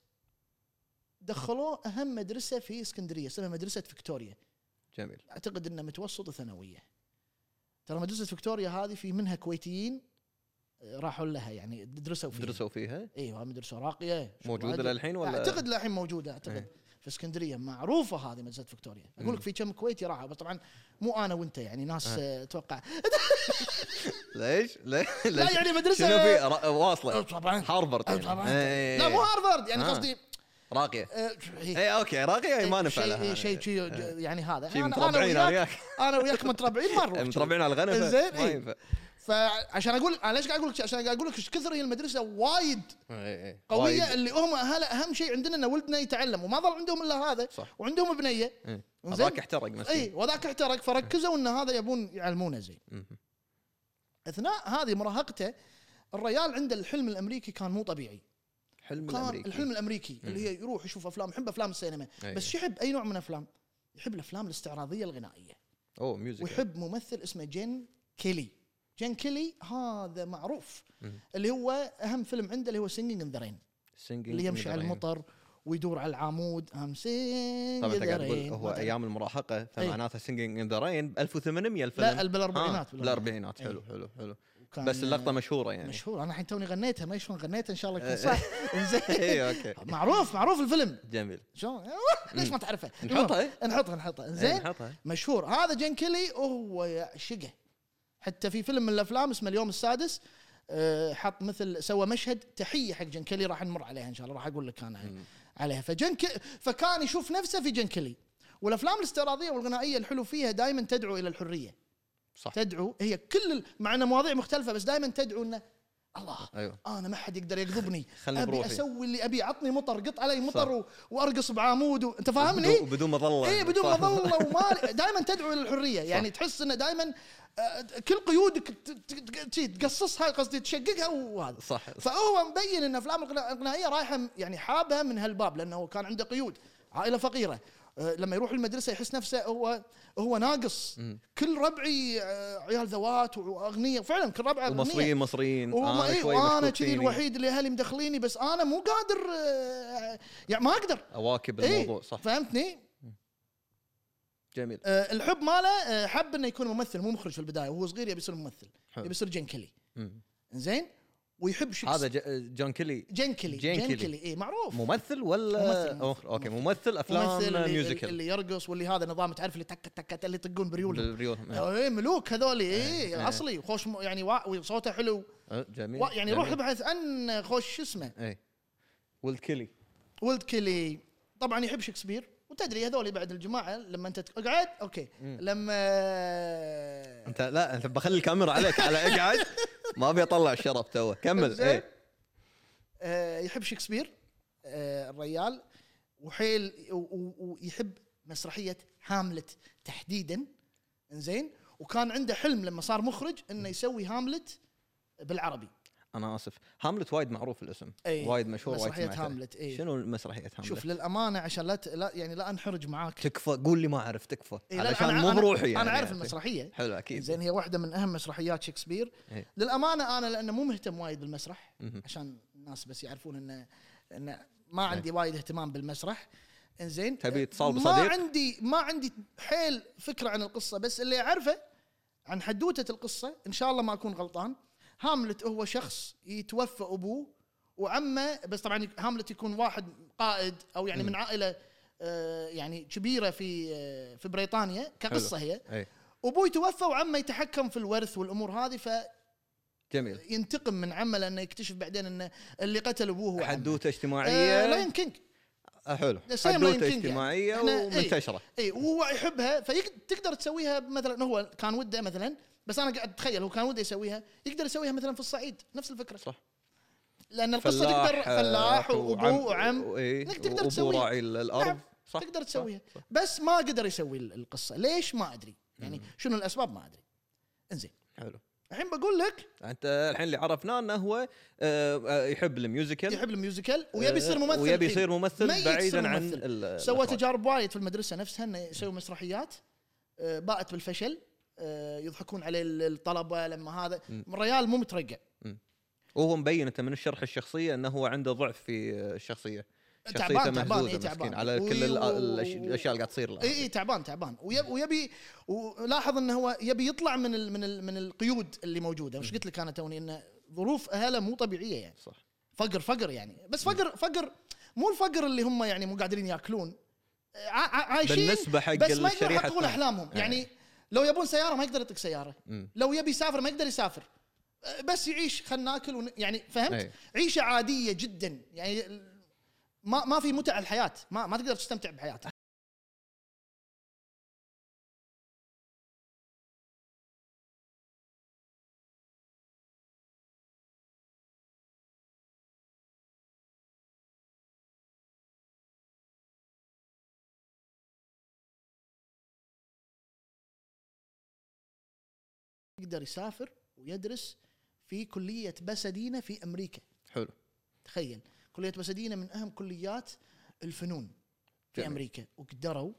دخلوه اهم مدرسه في اسكندريه اسمها مدرسه فيكتوريا جميل اعتقد انها متوسط وثانويه ترى مدرسه فيكتوريا هذه في منها كويتيين آه، راحوا لها يعني درسوا فيها درسوا فيها ايوه مدرسه راقيه شغل موجوده عدل. للحين ولا اعتقد للحين موجوده اعتقد إيه. في اسكندريه معروفه هذه مدرسه فيكتوريا اقول لك مم. في كم كويتي راحوا بس طبعا مو انا وانت يعني ناس إيه. آه، اتوقع ليش؟ ليش؟ لا يعني مدرسه شنو في را- آه، واصله طبعا هارفرد يعني. طبعا إيه. لا مو هارفارد يعني آه. قصدي راقيه آه، إيه. اي اوكي راقيه إي، ما نفع لها شيء إيه، شيء شيء يعني هذا شيء أنا- متربعين انا انا وياك وياك انا وياك متربعين ما نروح متربعين إيه، على الغنم زين، ما إي. ينفع فعشان اقول انا ليش قاعد اقول لك عشان قاعد اقول لك ايش كثر هي المدرسه وايد إي، إي. قويه وايد. اللي هم اهلها اهم شيء عندنا ان ولدنا يتعلم وما ظل عندهم الا هذا صح. وعندهم ابنيه إي. إنزين. إيه. هذاك احترق اي مسكين وذاك احترق فركزوا ان هذا يبون يعلمونه زين مهم. اثناء هذه مراهقته الريال عنده الحلم الامريكي كان مو طبيعي حلم كان الامريكي الحلم الامريكي اللي هي يروح يشوف افلام يحب افلام السينما أي. بس شو يحب اي نوع من الافلام يحب الافلام الاستعراضيه الغنائيه اوه ميوزك ويحب ممثل اسمه جين كيلي جين كيلي هذا معروف مم. اللي هو اهم فيلم عنده اللي هو سينجينج ان ذا رين اللي يمشي على المطر ويدور على العمود ام سينج طبعا انت قاعد تقول هو ايام المراهقه فمعناته سنجينج ان ذا رين ب 1800 الفيلم إيه. لا ال- بالاربعينات آه بالاربعينات حلو إي. حلو حلو كان بس اللقطه مشهوره يعني مشهور انا الحين توني غنيتها ما شلون غنيتها ان شاء الله يكون صح زين اي اوكي معروف معروف الفيلم إيه، جميل شلون ليش ما تعرفه نحطها إيه. إي. نحطها نحطها إي، زين نحطها مشهور هذا جين كيلي وهو يعشقه حتى في فيلم من الافلام اسمه اليوم السادس آه، حط مثل سوى مشهد تحيه حق جين كيلي راح نمر عليها ان شاء الله راح اقول لك انا مم. عليها فجين كي- فكان يشوف نفسه في جين كيلي والافلام الاستعراضيه والغنائيه الحلو فيها دائما تدعو الى الحريه صح تدعو هي كل ال- مع ان مواضيع مختلفه بس دائما تدعو انه الله ايوه انا آه، ما حد يقدر يقضبني خلني ابي بروحي. اسوي اللي ابي عطني مطر قط علي مطر صح. و- وارقص بعامود و... انت فاهمني؟ بدون- بدون مظله اي بدون صح. مظله وما دائما تدعو الى الحريه يعني تحس انه دائما آه، كل قيودك ت- ت- ت- شي تقصصها قصدي تشققها وهذا صح فهو مبين ان افلام الغنا- الغنائيه رايحه م- يعني حابها من هالباب لانه كان عنده قيود عائله فقيره آه، لما يروح المدرسه يحس نفسه هو هو ناقص كل ربعي آه، عيال ذوات واغنياء فعلا كل ربعه اغنياء المصريين مصريين آه، وما إيه، شوي وانا مشكوك كذي فيني. الوحيد اللي اهلي مدخليني بس انا مو قادر آه، يعني ما اقدر اواكب إيه، الموضوع صح فهمتني؟ جميل آه، الحب ماله آه، حب انه يكون ممثل مو مخرج في البدايه وهو صغير يبي يصير ممثل حلو. يبي يصير جين كيلي مم. زين ويحب شكس هذا ج- جون كيلي جين كيلي جين جين كيلي. كيلي اي معروف ممثل ولا ممثل، أوه، اوكي ممثل افلام ممثل اللي, ميوزيكال اللي يرقص واللي هذا نظام تعرف اللي تك تك اللي يطقون بريولهم بالريولهم. إيه. اي ملوك هذول اي إيه. اصلي خوش م- يعني وا- وصوته حلو أه، جميل وا- يعني جميل. روح ابحث عن خوش شو اسمه اي ولد كيلي ولد كيلي طبعا يحب شكسبير وتدري هذول بعد الجماعه لما انت تقعد آه، اوكي لما انت لا انت بخلي الكاميرا عليك على اقعد ما ابي اطلع الشرف توه كمل إيه. زين. اي آه، يحب شكسبير آه، الريال وحيل و- و- ويحب مسرحيه هاملت تحديدا زين وكان عنده حلم لما صار مخرج انه يسوي هاملت بالعربي انا اسف هاملت وايد معروف الاسم إي. وايد مشهور وايد مسرحيه سمعت عنه. إيه. هاملت اي شنو مسرحيه هاملت؟ شوف للامانه عشان لا ت- لا يعني لا انحرج معاك تكفى قول لي ما اعرف تكفى إي، إيه، لا، لا، علشان أنا- مو أنا- بروحي يعني انا اعرف أوكي. المسرحيه حلو إيه. اكيد زين هي واحده من اهم مسرحيات شكسبير إي. للامانه انا لانه مو مهتم وايد بالمسرح مهم. نعم. عشان الناس بس يعرفون انه انه ما عندي وايد اهتمام بالمسرح انزين تبي تصال ما بصديق؟ عندي ما عندي حيل فكره عن القصه بس اللي اعرفه عن حدوته القصه ان شاء الله ما اكون غلطان هاملت هو شخص يتوفى ابوه وعمه بس طبعا هاملت يكون واحد قائد او يعني من عائله آه، يعني كبيره في آه، في بريطانيا كقصه هي اي ابوه يتوفى وعمه يتحكم في الورث والامور هذه جميل فينتقم من عمه لانه يكتشف بعدين انه اللي قتل ابوه هو عمه. حدوته آه، اجتماعيه لاين كينج آه، حلو The same Lion King حدوته يعني. اجتماعيه إحنا- يعني إي. ومنتشره اي وهو يحبها فتقدر تسويها مثلا هو كان وده مثلا بس انا قاعد اتخيل هو كان وده يسويها يقدر يسويها مثلا في الصعيد نفس الفكره صح. لان القصه تقدر آه، فلاح وابوه وعم إنك تقدر تقدر تسويها. تسوي إيه. راعي ال- الارض نعم، صح تقدر صح، تسويها صح. بس ما قدر يسوي ال- القصه ليش ما ادري يعني شنو الاسباب ما ادري انزين حلو الحين بقول لك انت الحين اللي عرفناه انه هو آه، آه، يحب الميوزيكال يحب الميوزيكال ويبي يصير آه، ممثل ويبي الحين. يصير ممثل ميت بعيدا يصير عن ممثل. ال- سوى الإخراج. تجارب وايد في المدرسه نفسها انه يسوي مسرحيات آه، باءت بالفشل آه، يضحكون عليه ال- الطلبه لما هذا مم. الريال مو مترقع وهو مبين انت من الشرح الشخصيه انه هو عنده ضعف في الشخصيه شخصيته تعبان تعبان مهزوزة، اي مسكين، تعبان إيه، على كل ال- ال- الأش- الاشياء اللي قاعد تصير له اي اي تعبان تعبان ويب- ويبي ولاحظ انه هو يبي يطلع من ال من ال من القيود اللي موجوده وش قلت لك انا توني انه ظروف اهله مو طبيعيه يعني صح فقر فقر يعني بس فقر فقر مو الفقر اللي هم يعني مو قادرين ياكلون ع- ع- عايشين بالنسبه حق بس ما يقدرون الشريحة يحققون الثانية. احلامهم إيه. يعني لو يبون سياره ما يقدر يعطيك سياره مم. لو يبي يسافر ما يقدر يسافر أه، بس يعيش خلنا ناكل ون... يعني فهمت أي. عيشه عاديه جدا يعني ال- ما ما في متع الحياه ما ما تقدر تستمتع بحياتك يقدر يسافر ويدرس في كليه بسدينه في امريكا حلو تخيل كليه بسدينه من اهم كليات الفنون في جميل. امريكا وقدروا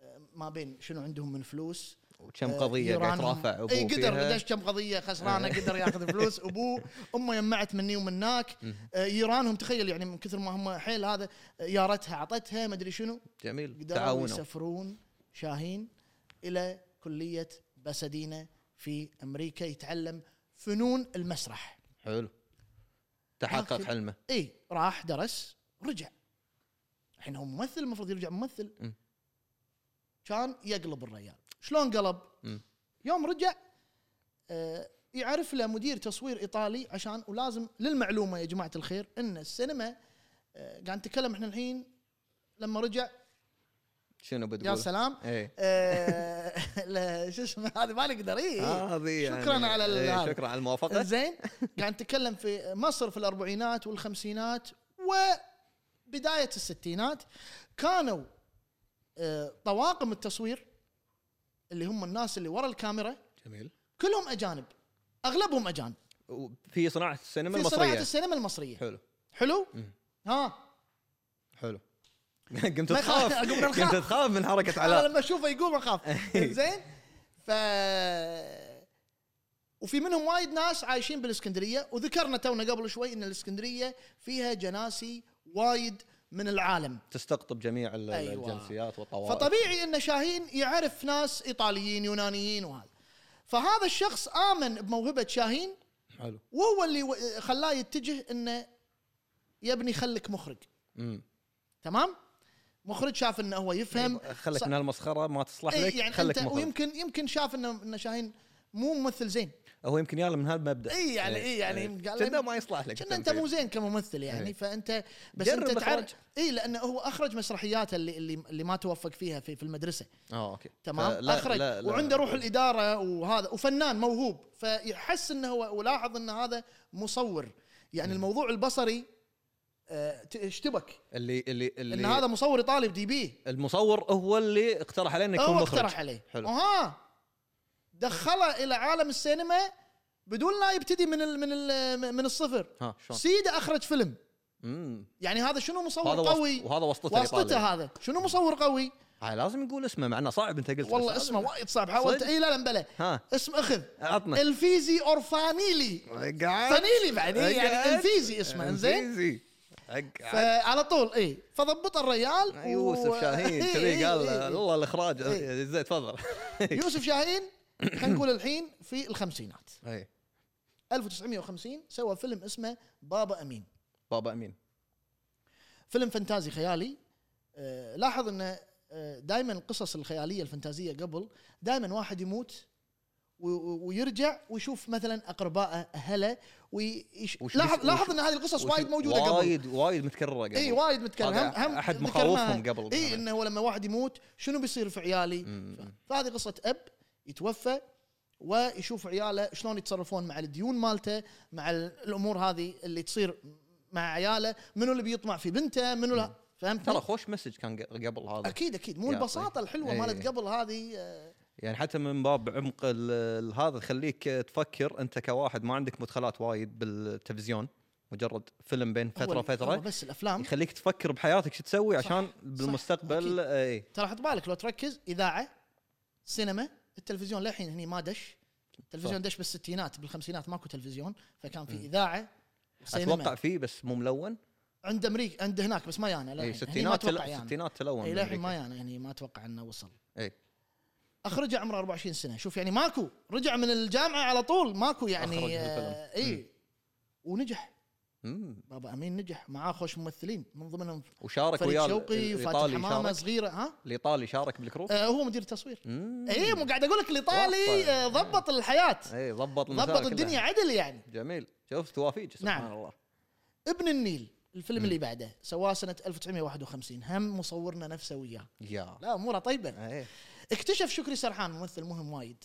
آه، ما بين شنو عندهم من فلوس وكم قضيه قاعد ترافع ابوه ابوه اي آه، إيه، قدر فيها. إيه. قداش كم قضيه خسرانه قدر ياخذ فلوس ابوه امه يمعت مني ومناك آه، يرانهم تخيل يعني من كثر ما هم حيل هذا آه، يارتها عطتها ما ادري شنو جميل قدروا تعاونوا يسافرون شاهين الى كليه بسدينه في امريكا يتعلم فنون المسرح حلو تحقق آخر. حلمه اي راح درس رجع الحين هو ممثل المفروض يرجع ممثل م. كان يقلب الريال شلون قلب م. يوم رجع آه، يعرف له مدير تصوير ايطالي عشان ولازم للمعلومه يا جماعه الخير ان السينما آه، قاعد نتكلم احنا الحين لما رجع شنو بتقول؟ يا سلام ايه آه، لا، شو اسمه هذه ما نقدر اي هذه إيه. شكراً على ال- إيه، هذا. شكرا على الموافقه زين قاعد نتكلم يعني في مصر في الاربعينات والخمسينات وبدايه الستينات كانوا آه، طواقم التصوير اللي هم الناس اللي ورا الكاميرا جميل كلهم اجانب اغلبهم اجانب في صناعه السينما في صناعه المصريه السينما المصريه حلو حلو مم. ها حلو قمت ما تخاف يخاف، قمنا نخاف. قمت تخاف من حركه انا علاء لما اشوفه يقوم اخاف زين ف وفي منهم وايد ناس عايشين بالاسكندريه وذكرنا تونا قبل شوي ان الاسكندريه فيها جناسي وايد من العالم تستقطب جميع ال- أيوة. الجنسيات والطوائف فطبيعي ان شاهين يعرف ناس ايطاليين يونانيين وهذا فهذا الشخص امن بموهبه شاهين حلو وهو اللي و- خلاه يتجه انه يبني خلك مخرج امم تمام مخرج شاف انه هو يفهم أيوة، خلك نعم. ص- من هالمسخره ما تصلح لك إيه يعني خلك انت مخرج ويمكن يمكن شاف انه ان شاهين مو ممثل زين هو يمكن ياله من هالمبدا إي يعني- إي يعني يمكن قال- إيه. كنا ما يصلح لك كنا انت مو زين كممثل يعني إيه. فانت بس جرب انت تعرف إخراج. اي لانه هو اخرج مسرحياته اللي اللي اللي ما توفق فيها في في المدرسه اه اوكي تمام فلا- اخرج لا- لا. وعنده روح الاداره وهذا وفنان موهوب فيحس انه هو ولاحظ ان هذا مصور يعني الموضوع البصري آه، ت- اشتبك اللي اللي ان اللي هذا مصور ايطالي بدي بيه المصور هو اللي اقترح علينا يكون هو مخرج اقترح عليه حلو. اها دخله الى عالم السينما بدون لا يبتدي من ال من ال من الصفر ها شلون سيده اخرج فيلم امم يعني هذا شنو هذا مصور واسط- قوي وهذا واسطته واسطته واسطته هذا شنو مصور قوي لازم نقول اسمه مع انه صعب انت قلت والله بس- اسمه وايد صعب حاولت صدق؟ اي لا لا بلا ها اسم اخذ عطنا الفيزي اورفانيلي قاعد فانيلي بعد إيه يعني أقعد. انفيزي اسمه انزين انجليزي اقعد فعلى طول اي فضبط الريال و- يعني آه، يوسف شاهين إي كذي إي قال إي إي. والله الاخراج إيه. زين تفضل يوسف شاهين خلينا نقول الحين في الخمسينات إي. 1950 سوى فيلم اسمه بابا امين بابا امين فيلم فانتازي خيالي آه، لاحظ انه دائما القصص الخياليه الفانتازيه قبل دائما واحد يموت و- و- ويرجع ويشوف مثلا اقربائه اهله ويش... وش- لاحظ وش- لاحظ ان هذه القصص وايد موجوده قبل وايد وايد متكرره قبل اي وايد متكلم هذا هم إيه، هم أحد ذكرناها. مخاوفهم قبل اي كمان. انه هو لما واحد يموت شنو بيصير في عيالي مم. فهذه قصه اب يتوفى ويشوف عياله شلون يتصرفون مع الديون مالته مع ال- الامور هذه اللي تصير مع عياله منو اللي بيطمع في بنته منو لا فهمت ترى خوش مسج كان ق- قبل هذا اكيد اكيد مو يعطيك. البساطه الحلوه أي. مالت قبل هذه آه، يعني حتى من باب عمق ال- ال- هذا تخليك تفكر انت كواحد ما عندك مدخلات وايد بالتلفزيون مجرد فيلم بين فتره هو- هو فتره بس الافلام يخليك تفكر بحياتك شو تسوي صح، عشان أكيد. بالمستقبل إيه، اي ترى حط بالك لو تركز اذاعه سينما التلفزيون للحين هني ما دش التلفزيون دش بالستينات بالخمسينات ماكو تلفزيون فكان في اذاعه اتوقع سينما فيه بس مو ملون عند امريكا عند هناك بس ما يانا اي للحين هني يعني ما إيه، ستينات تل- اتوقع يانا ستينات تلون اي للحين ما يعني. بأمريكا. يانا يعني ما اتوقع انه وصل إي. اخرجه عمره 24 سنه شوف يعني ماكو رجع من الجامعه على طول ماكو أخرج يعني الفيلم. آه، اي ونجح مم. بابا امين نجح معاه خوش ممثلين من ضمنهم وشارك فريد وياه شوقي وفاتح الايطالي حمامه شارك صغيره ها الايطالي شارك بالكروب آه هو مدير تصوير مم. يعني اي إيه، مو قاعد اقول لك الايطالي وافق. آه، ضبط الحياه اي إيه، ضبط المسار ضبط كلها. الدنيا عدل يعني جميل شوف توافيج سبحان نعم. الله ابن النيل الفيلم اللي بعده سواه سنه 1951 هم مصورنا نفسه وياه يا لا اموره طيبه إيه. اكتشف شكري سرحان ممثل مهم وايد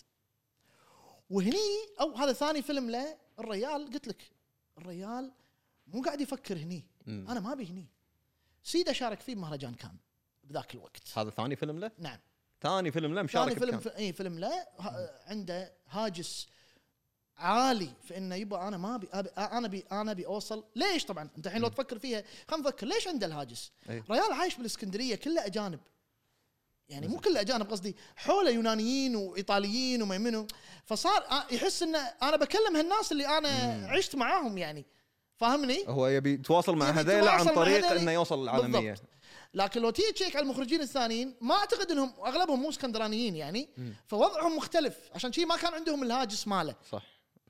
وهني او هذا ثاني فيلم له الريال قلت لك الريال مو قاعد يفكر هني مم. انا ما ابي هني سيدا شارك فيه بمهرجان كان بذاك الوقت هذا ثاني فيلم له نعم ثاني فيلم له مشارك ثاني فيلم بكم. في اي فيلم لا ه- عنده هاجس عالي في انه يبا انا ما ابي أبي- انا ابي انا ابي اوصل ليش طبعا انت الحين لو تفكر فيها خلينا نفكر ليش عنده الهاجس؟ إيه. ريال عايش بالاسكندريه كله اجانب يعني مو كله اجانب قصدي حوله يونانيين وايطاليين وما منو فصار آ- يحس انه انا بكلم هالناس اللي انا عشت معاهم يعني فاهمني؟ هو يبي يتواصل مع يبي هذيلا عن يتواصل مع طريق هذيلا. انه يوصل العالميه بالضبط. لكن لو تيجي تشيك على المخرجين الثانيين ما اعتقد انهم اغلبهم مو اسكندرانيين يعني فوضعهم مختلف عشان شي ما كان عندهم الهاجس ماله صح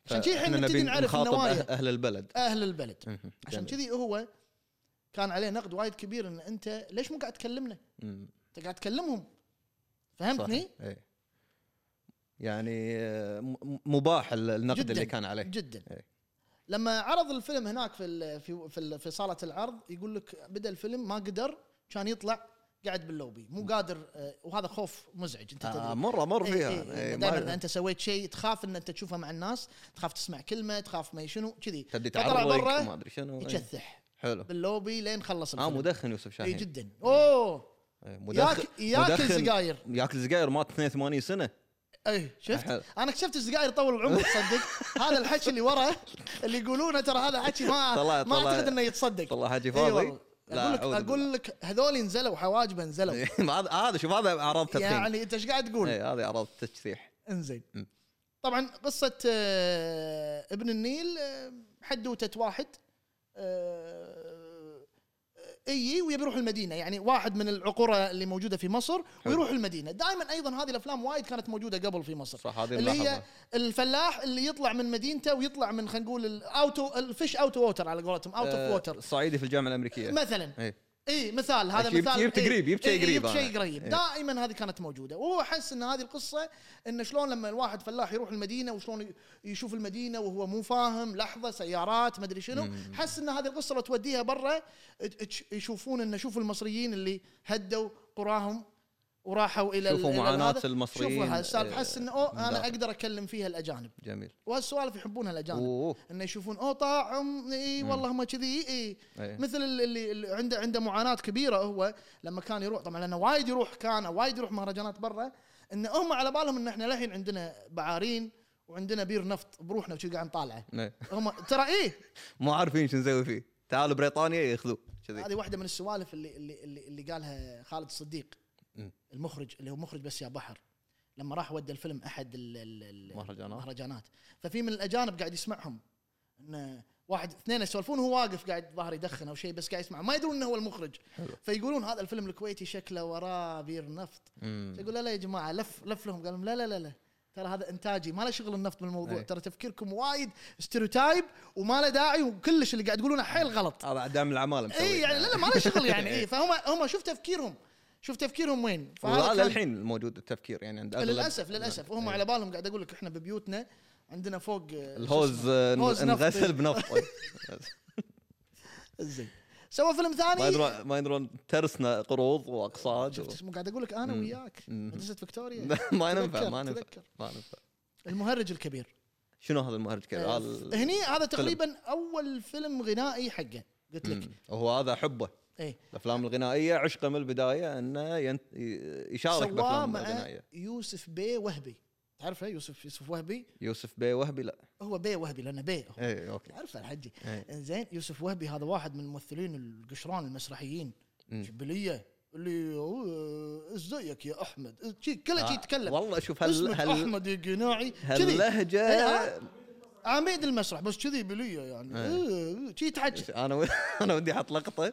عشان شي الحين فإحنا نبتدي نبي نعرف نخاطب النوايا. أه- اهل البلد اهل البلد مهم. عشان جميل. كذي هو كان عليه نقد وايد كبير ان انت ليش مو قاعد تكلمنا؟ مم. انت قاعد تكلمهم صح. فهمتني؟ إيه. يعني آه، م- م- مباح ال- النقد جداً. اللي كان عليه جدا إيه. لما عرض الفيلم هناك في ال- في في, ال- في صاله العرض يقول لك بدا الفيلم ما قدر كان يطلع قاعد باللوبي مو قادر آه، وهذا خوف مزعج انت تدري آه، مره مر إيه، فيها إيه، إيه، إيه ما- دائما اذا انت سويت شيء تخاف ان انت تشوفه مع الناس تخاف تسمع كلمه تخاف ما شنو كذي تبدي فطلع تعرض برا ما ادري شنو إيه. يكثح حلو باللوبي لين خلص اه الفيلم مدخن يوسف اي شاهين جدا اوه إيه، ياكل مدخن إيه، ياكل مدخن- سجاير ياكل سجاير مات 82 سنه اي إيه، شفت حلو. انا اكتشفت السجاير طول العمر تصدق هذا الحكي اللي وراه اللي يقولونه ترى هذا حكي ما طلع- ما طلع- اعتقد انه يتصدق والله حاجي إي إيه، والله. فاضي اقول لك أعوذ اقول لك هذول نزلوا حواجبه نزلوا بالله. ما هذا هذا شوف هذا اعراض تدخين يعني انت ايش قاعد تقول؟ إيه، هذا اعراض تجريح انزين م. طبعا قصه آه، ابن النيل آه، حدوته واحد آه، اي ويبي يروح المدينه يعني واحد من العقوره اللي موجوده في مصر ويروح المدينه دائما ايضا هذه الافلام وايد كانت موجوده قبل في مصر صح هذه اللي هي الملاحظة. الفلاح اللي يطلع من مدينته ويطلع من خلينا نقول الاوتو الفيش اوت ووتر على قولتهم اوت اوف آه، ووتر الصعيدي في الجامعه الامريكيه مثلا إيه. اي مثال هذا يبت- مثال يبت إيه، قريب، يبت شيء إيه، قريب يبت أنا. شيء قريب إيه. دائما هذه كانت موجوده وهو حس ان هذه القصه ان شلون لما الواحد فلاح يروح المدينه وشلون ي- يشوف المدينه وهو مو فاهم لحظه سيارات مدري شنو حس ان هذه القصه لو توديها برا ت- تش- يشوفون ان شوفوا المصريين اللي هدوا قراهم وراحوا الى ال- شوفوا إلى معاناة هذا. المصريين. شوفوا هالسالفه إيه، حس انه اوه انا مدافع. اقدر اكلم فيها الاجانب جميل وهالسوالف يحبونها الاجانب اوه انه يشوفون اوه طاعم اي والله ما كذي اي إيه. مثل ال- اللي, اللي عنده عنده معاناه كبيره هو لما كان يروح طبعا لانه وايد يروح كان وايد يروح مهرجانات برا ان هم على بالهم ان احنا للحين عندنا بعارين وعندنا بير نفط بروحنا وشي قاعد نطالعه إيه. هم ترى ايه مو عارفين شو نسوي فيه تعالوا بريطانيا ياخذوه كذي هذه واحده من السوالف اللي اللي اللي, اللي قالها خالد الصديق م. المخرج اللي هو مخرج بس يا بحر لما راح ودى الفيلم احد ال- ال- ال- مهرجانات. المهرجانات ففي من الاجانب قاعد يسمعهم ان واحد اثنين يسولفون وهو واقف قاعد ظهر يدخن او شيء بس قاعد يسمع ما يدرون انه هو المخرج حلو. فيقولون هذا الفيلم الكويتي شكله وراه بير نفط مم. يقول لا لا يا جماعه لف لف لهم قال لهم لا لا لا لا ترى هذا انتاجي ما له شغل النفط بالموضوع أي. ترى تفكيركم وايد ستيريوتايب وما له داعي وكلش اللي قاعد تقولونه حيل غلط هذا دام العماله مسوي إيه. اي يعني لا لا ما له شغل يعني اي فهم هم شوف تفكيرهم شوف تفكيرهم وين وهذا كان- الحين موجود التفكير يعني عند أغلب- إيه. للاسف للاسف وهم على بالهم قاعد اقول لك احنا ببيوتنا عندنا فوق آه، شو الهوز اسمه؟ آه، هوز نفط. يعني انغسل بنفط زين سوى فيلم ما ثاني يدرون ما يدرون ترسنا قروض واقساط و- شفت مو قاعد اقول لك انا وياك مدرسه فيكتوريا ما ينفع تذكر- ما ينفع تذكر. ما ينفع المهرج الكبير شنو هذا المهرج كذا آه، هذا ال- هني هذا تقريبا اول فيلم غنائي حقه قلت لك إيه. مم. وهو هذا حبه اي الافلام الغنائيه عشقه من البدايه انه ينت... ي- يشارك سواه بالافلام مع الغنائيه يوسف بي وهبي تعرفه يوسف يوسف وهبي يوسف بي وهبي لا هو بي وهبي لانه بي هو اي اوكي تعرفه الحجي إيه. زين يوسف وهبي هذا واحد من الممثلين القشران المسرحيين مم. جبليه اللي هو ازيك يا احمد شي- كله شي آه، يتكلم والله شوف هل اسمك هل احمد القناعي كذي هاللهجه إيه، عميد المسرح بس كذي بليه يعني إيه، شي يتحجى انا و... انا ودي احط لقطه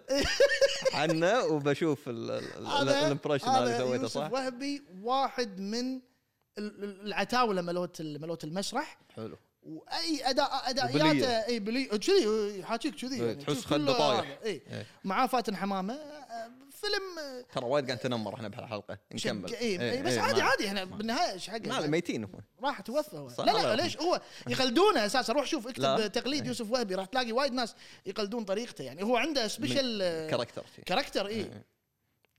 عنه وبشوف ال- ال- ال- هذا- الامبريشن هذا هذا سويته يوسف صح وهبي واحد من ال- ال- العتاوله ملوت ال- ملوت المسرح حلو واي اداء وبلية. ادائياته اي بلي كذي يحاكيك كذي إيه، يعني، كله تحس خده طايح. هذا، اي إيه. معاه فاتن حمامه آه، فيلم آه، ترى وايد قاعد تنمر احنا بهالحلقه نكمل شق- إيه، إيه، إيه، بس إيه، عادي ما- عادي احنا بالنهايه ايش ما حقه ميتين هم راح توفى هو صح لا لا ولا ليش هو يقلدونه اساسا روح شوف لا. إيه. اكتب تقليد يوسف وهبي راح تلاقي وايد ناس يقلدون طريقته يعني هو عنده سبيشل آه، كاركتر شي. كاركتر اي إيه.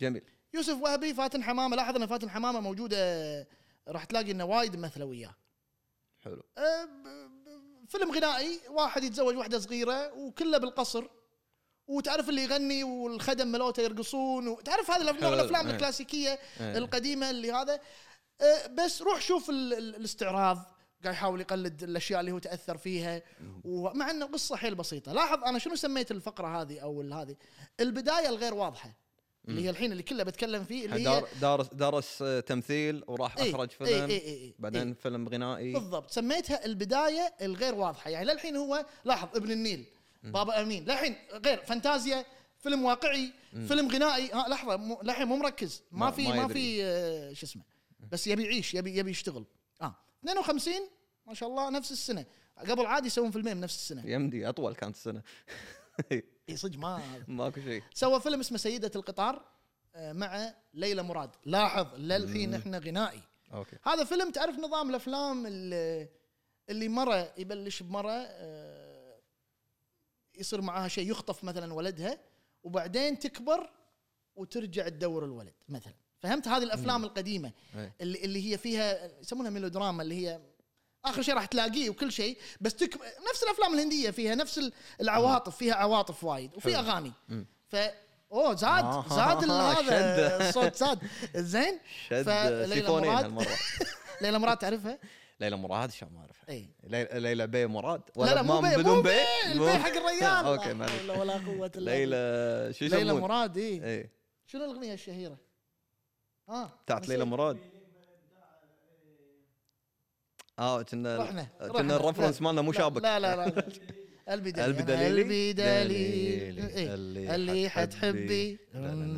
جميل يوسف وهبي فاتن حمامه لاحظ ان فاتن حمامه موجوده راح تلاقي انه وايد مثله وياه حلو أه، ب- ب- فيلم غنائي واحد يتزوج واحده صغيره وكله بالقصر وتعرف اللي يغني والخدم ملوته يرقصون وتعرف هذا الأف- نوع حلو، الافلام إيه. الكلاسيكيه إيه. القديمه اللي هذا أه، بس روح شوف ال- ال- الاستعراض قاعد يحاول يقلد الاشياء اللي هو تاثر فيها ومع ان القصه حيل بسيطه لاحظ انا شنو سميت الفقره هذه او ال- هذه البدايه الغير واضحه اللي هي الحين اللي كله بتكلم فيه اللي هي دار درس درس آه، تمثيل وراح إيه، اخرج إيه، إيه، فيلم إيه، إيه. بعدين فيلم غنائي بالضبط سميتها البدايه الغير واضحه يعني للحين هو لاحظ ابن النيل بابا امين للحين غير فانتازيا فيلم واقعي فيلم غنائي ها لحظه مو- للحين مو مركز ما, ما- في ما ما, يدري. في آه، شو اسمه بس يبي يعيش يبي يبي يشتغل اه 52 ما شاء الله نفس السنه قبل عادي يسوون فيلمين بنفس السنه يمدي اطول كانت السنه اي صدق ما هذا ماكو شيء سوى فيلم اسمه سيده القطار آه، مع ليلى مراد لاحظ للحين احنا غنائي اوكي هذا فيلم تعرف نظام الافلام اللي, اللي مره يبلش بمره آه، يصير معاها شيء يخطف مثلا ولدها وبعدين تكبر وترجع تدور الولد مثلا فهمت هذه الافلام القديمه إيه. اللي, اللي هي فيها يسمونها ميلودراما اللي هي اخر شيء راح تلاقيه وكل شيء بس تكبر نفس الافلام الهنديه فيها نفس ال- العواطف فيها عواطف وايد وفي حلو. اغاني مم. ف اوه زاد آه، زاد ال- شد. هذا الصوت زاد زين شد فليلى سيفونين مراد. هالمره ليلى مراد تعرفها؟ ليلى مراد شو ما اعرفها اي ليلى ليلى بي مراد إيه. لا لا مو إيه. ما- بي مو بي مو- البي حق الريال آه، اوكي لا معلش حول ولا قوة الا بالله. ليلى شو إيه. ليلى يسمون؟ مراد اي اي شنو الاغنية الشهيرة؟ اه بتاعت ليلى نسيت. مراد اه كنا رحنا، كنا رحنا. الرفرنس لا، مالنا مو لا، شابك لا لا لا قلبي دليل قلبي قلبي دليلي دليل قلبي دليل إيه. اللي حتحبي اي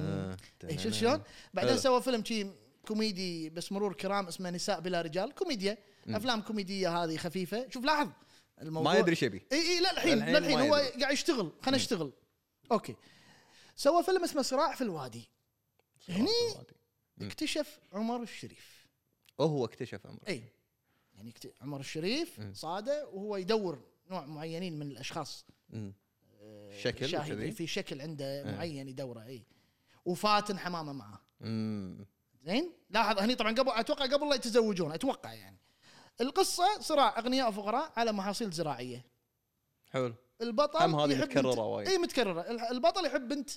شوف إيه، شلون؟ بعدين حلو. سوى فيلم شي كوميدي بس مرور كرام اسمه نساء بلا رجال كوميديا افلام كوميديه هذه خفيفه شوف لاحظ الموضوع ما يدري شو يبي اي اي لا الحين للحين لا الحين ما هو يدري. قاعد يشتغل خلينا نشتغل اوكي سوى فيلم اسمه صراع في الوادي إيه، هني- اكتشف عمر الشريف هو اكتشف امره اي يعني اكت- عمر الشريف مم. صاده وهو يدور نوع معينين من الاشخاص مم. آه، شكل شاهدين وكذي؟ في شكل عنده معين يدوره اي وفاتن حمامه معاه مم. زين لاحظ هني طبعا قبل اتوقع قبل لا يتزوجون اتوقع يعني القصه صراع اغنياء وفقراء على محاصيل زراعيه حلو البطل هم هذه يحب متكررة بنت- وايد. اي متكرره ال- البطل يحب بنت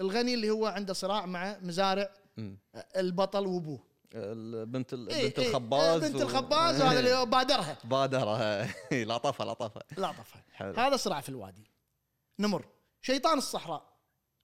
الغني اللي هو عنده صراع مع مزارع أه، مم. البطل وابوه البنت ال- إي- بنت إي، الخباز إيه، بنت و- إيه. الخباز وهذا اللي هو بادرها بادرة إي، إيه، لطفها لطفها لطفها حلو. هذا صراع في الوادي نمر شيطان الصحراء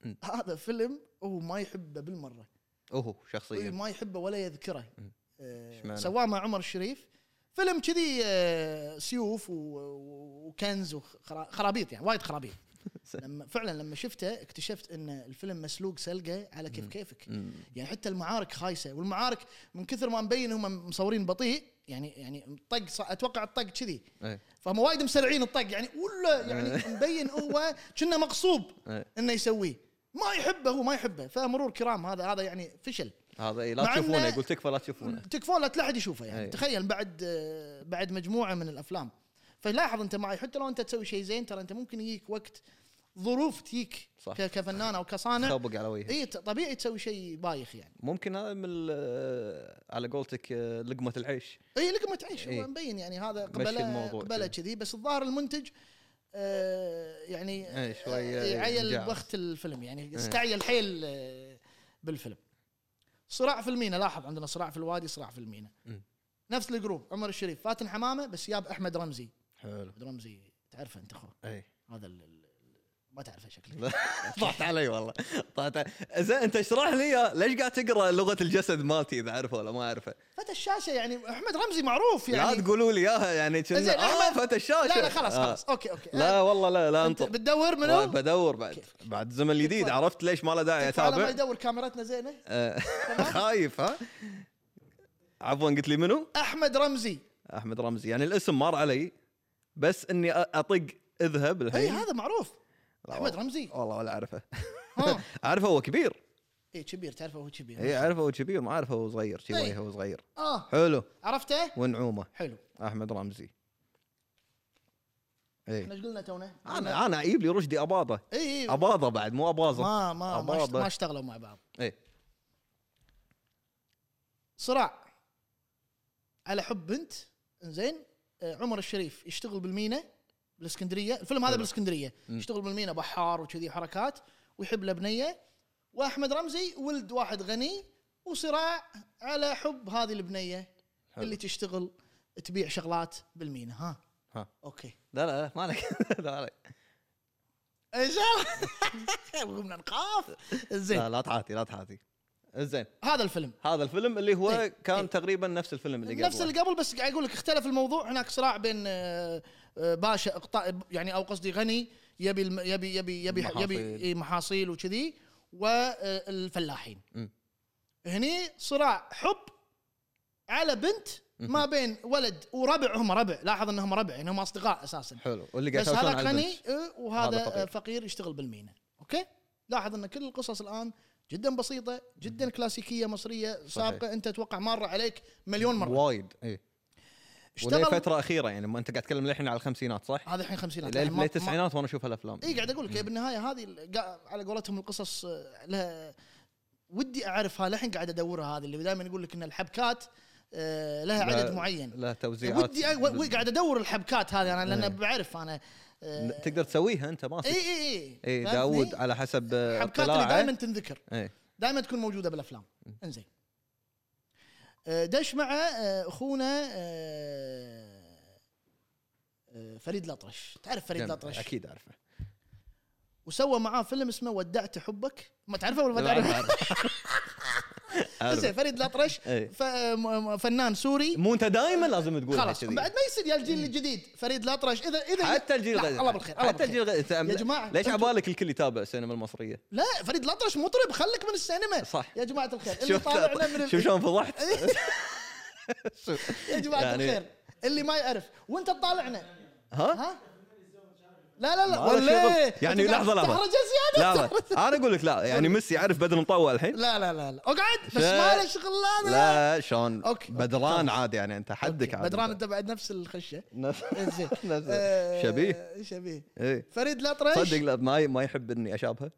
م. هذا فيلم هو ما يحبه بالمره اوه إيه، شخصيا ما يحبه ولا يذكره م. آه، إشمعنى؟ سواه مع عمر الشريف فيلم كذي آه، سيوف و- و- وكنز وخرابيط يعني وايد خرابيط لما فعلا لما شفته اكتشفت ان الفيلم مسلوق سلقه على كيف كيفك مم. يعني حتى المعارك خايسه والمعارك من كثر ما مبين هم مصورين بطيء يعني يعني طق ص- اتوقع الطق كذي إي، فهم وايد مسرعين الطق يعني ولا يعني مبين هو كنا مغصوب إي. انه يسويه ما يحبه هو ما يحبه فمرور كرام هذا هذا يعني فشل هذا إي، لا مع إنه- تشوفونه يقول تكفى لا تشوفونه تكفون لا لا احد يشوفه يعني أي. تخيل بعد آه، بعد مجموعه من الافلام فلاحظ انت معي حتى لو انت تسوي شيء زين ترى انت ممكن يجيك وقت ظروف تجيك صح. ك- كفنان او كصانع خبق على وجهي اي ت- طبيعي تسوي شيء بايخ يعني ممكن هذا من ال- على قولتك آه، لقمه العيش اي لقمه عيش إي. هو مبين يعني هذا إيه. مشي قبله الموضوع قبله كذي. كذي بس الظاهر المنتج آه، يعني إي، شوية آه، عيل جعل. وقت الفيلم إيه. يعني استعيل حيل آه، بالفيلم صراع في المينا لاحظ عندنا صراع في الوادي صراع في المينا مم. نفس الجروب عمر الشريف فاتن حمامه بس ياب احمد رمزي حلو احمد رمزي تعرفه انت اخوه اي هذا ال- ال- ما تعرفه شكله طحت علي والله طحت علي. زين انت اشرح لي يا- ليش قاعد تقرا لغه الجسد مالتي اذا اعرفه ولا ما اعرفه فتى الشاشه يعني احمد رمزي معروف يعني لا يعني تقولوا لي اياها يعني زين، كنا اه أحمد- فتى الشاشه لا لا خلاص آه. خلاص اوكي اوكي لا والله لا لا انت انطر بتدور لا، منو؟ بدور بعد كيف؟ بعد زمن جديد كيف؟ عرفت ليش ما له داعي على ما اتابع يدور كاميرتنا زينه آه، تمام؟ خايف ها عفوا قلت لي منو؟ احمد رمزي احمد رمزي يعني الاسم مر علي بس اني أ- اطق اذهب اي الحين إيه، هذا معروف لا احمد رمزي والله ولا اعرفه ها اعرفه هو كبير اي إيه، كبير تعرفه هو كبير اي اعرفه هو كبير ما اعرفه هو صغير شي إي. وجهه هو صغير اه حلو عرفته؟ ونعومه حلو احمد رمزي اي احنا ايش قلنا تونا؟ انا انا اجيب لي رشدي اباضه اي اي اباضه بعد مو اباظه ما ما ما, اشت- أباضة. ما اشتغلوا مع بعض اي صراع على حب بنت زين آه، عمر الشريف يشتغل بالمينا بالاسكندريه الفيلم هذا حلو. بالاسكندريه مم. يشتغل بالمينا بحار وكذي حركات ويحب البنيه واحمد رمزي ولد واحد غني وصراع على حب هذه البنيه حلو. اللي تشتغل تبيع شغلات بالمينا ها ها. اوكي لا لا لا، ما عليك لا عليك إن شاء الله. قمنا نخاف زين لا لا تعاتي لا تعاتي زين هذا الفيلم هذا الفيلم اللي هو إي، كان إي. تقريبا نفس الفيلم اللي قبله نفس اللي قبل بس قاعد اقول لك اختلف الموضوع هناك صراع بين آه، آه، باشا اقطاع يعني او قصدي غني يبي الم- يبي يبي يبي محاصيل. يبي إي، محاصيل وكذي والفلاحين مم. هني صراع حب على بنت ما بين ولد وربع هم ربع لاحظ انهم ربع يعني هم اصدقاء اساسا حلو واللي قاعد بس يسولفون هذا عن غني البنت. آه، وهذا هذا فقير. فقير. فقير يشتغل بالمينا اوكي لاحظ ان كل القصص الان جدا بسيطه جدا كلاسيكيه مصريه سابقه انت اتوقع مر عليك مليون مره وايد اي وليه اشتغل فتره اخيره يعني ما انت قاعد تتكلم للحين على الخمسينات صح؟ هذا الحين 50 ليه ليه التسعينات وانا اشوف هالافلام اي يعني إيه، قاعد اقول لك هي بالنهايه هذه ال- قا- على قولتهم القصص آه، لها ودي اعرفها للحين قاعد ادورها هذه اللي دائما يقول لك ان الحبكات آه، لها لا- عدد معين لا توزيعات إيه، ودي أ- و- و- قاعد ادور الحبكات هذه انا إيه. لان بعرف انا آه، تقدر تسويها انت اي ماسك اي اي اي فهمتني؟ إيه، داوود على حسب آه، إيه، الحبكات إيه، اللي دائما اطلاعه تنذكر اي دائما تكون موجوده بالافلام انزين آه، دش مع آه، اخونا آه، آه، فريد الاطرش تعرف فريد جميل. الاطرش اكيد اعرفه وسوى معاه فيلم اسمه ودعت حبك ما تعرفه ولا ما لا، أعرف- تعرفه؟ أعرف. زين، أعرف. فريد الاطرش إيه. ف- م- م- فنان سوري مو انت دائما لازم تقول خلاص بعد ما يصير يا الجيل الجديد فريد الاطرش اذا اذا حتى الجيل لا، الغد- الله بالخير الله حتى بالخير الجيل الغد- يا جماعة، ليش أنتوا- عبالك الكل يتابع السينما المصريه؟ لا فريد الاطرش مطرب خلك من السينما صح. يا جماعه الخير اللي شوف طالعنا من إيه. ال- شوف شلون فضحت يا جماعه يعني- الخير اللي ما يعرف وانت تطالعنا ها؟ ها لا لا لا ما له ولا شغل. يعني لحظة، لحظة. تحرج زياده لا لا تحرج. انا اقول لك لا يعني ميسي عارف بدر مطوع الحين لا لا لا لا اقعد بس شا- ما له شغل لا لا لا شلون أوكي. بدران عادي يعني انت حدك أوكي، عادي بدران انت بعد نفس الخشه نفس انزين نفس- آه، شبيه شبيه ايه فريد الاطرش صدق لا ما ما يحب اني اشابهه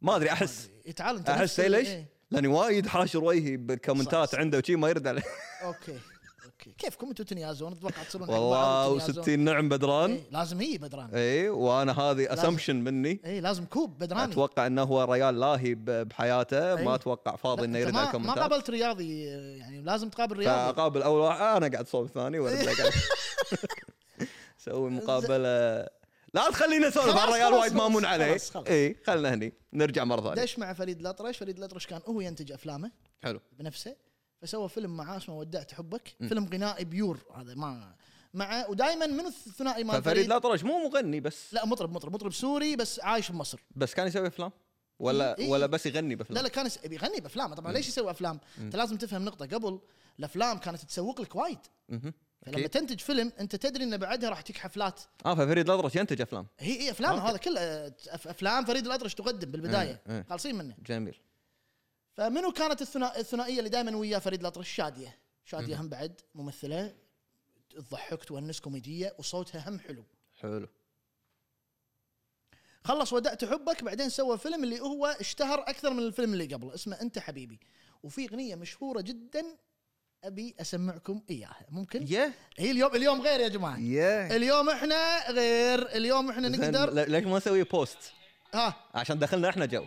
ما ادري احس إيه، تعال انت احس نفس تدري ال- ليش؟ إيه. لاني وايد حاشر وجهي صح، بالكومنتات صح. عنده وشي ما يرد عليه اوكي اوكي كيفكم انتم تنيازون اتوقع تصيرون حق بعض والله وتنيازون. و60 نعم بدران إيه، لازم هي بدران اي وانا هذه لازم. اسامبشن مني اي لازم كوب بدراني اتوقع انه هو ريال لاهي ب- بحياته إيه. ما اتوقع لا، فاضي انه أنت يرد على ما, ما الكومنتات قابلت رياضي آه، يعني لازم تقابل رياضي فاقابل اول واحد آه، انا قاعد صوب الثاني وارد لك عليه. سوي مقابله لا تخلينا نسولف خلاص، على الريال خلاص، وايد مامون خلاص، عليه خلاص، خلاص. اي خلنا هني نرجع مره ثانيه دش مع فريد الاطرش فريد الاطرش كان هو ينتج افلامه حلو بنفسه فسوى فيلم معاه اسمه ودعت حبك فيلم غنائي بيور هذا ما مع ودائما من الثنائي مال ففريد الاطرش مو مغني بس لا مطرب مطرب مطرب سوري بس عايش بمصر بس كان يسوي افلام ولا إي. ولا بس يغني لا بافلام لا كان يس- بيغني بافلام طبعا ليش يسوي افلام؟ انت لازم تفهم نقطه قبل الافلام كانت تسوق لك وايد مهم. فلما أكيد. تنتج فيلم انت تدري ان بعدها راح تجيك حفلات اه ففريد الاطرش ينتج افلام هي هي افلام أوكي. إيه، هذا كله أف- افلام فريد الاطرش تقدم مم، مم. بالبدايه خالصين منه جميل فمنو كانت الثنا- الثنائيه اللي دائما وياه فريد الاطرش شاديه شاديه هم بعد ممثله تضحك تونس كوميديه وصوتها هم حلو حلو خلص ودعت حبك بعدين سوى فيلم اللي هو اشتهر اكثر من الفيلم اللي قبله اسمه انت حبيبي وفي اغنيه مشهوره جدا ابي اسمعكم اياها ممكن يا هي اليوم اليوم غير يا جماعه يا اليوم احنا غير اليوم احنا زين، نقدر ل- ليش ما نسوي بوست ها عشان دخلنا احنا جو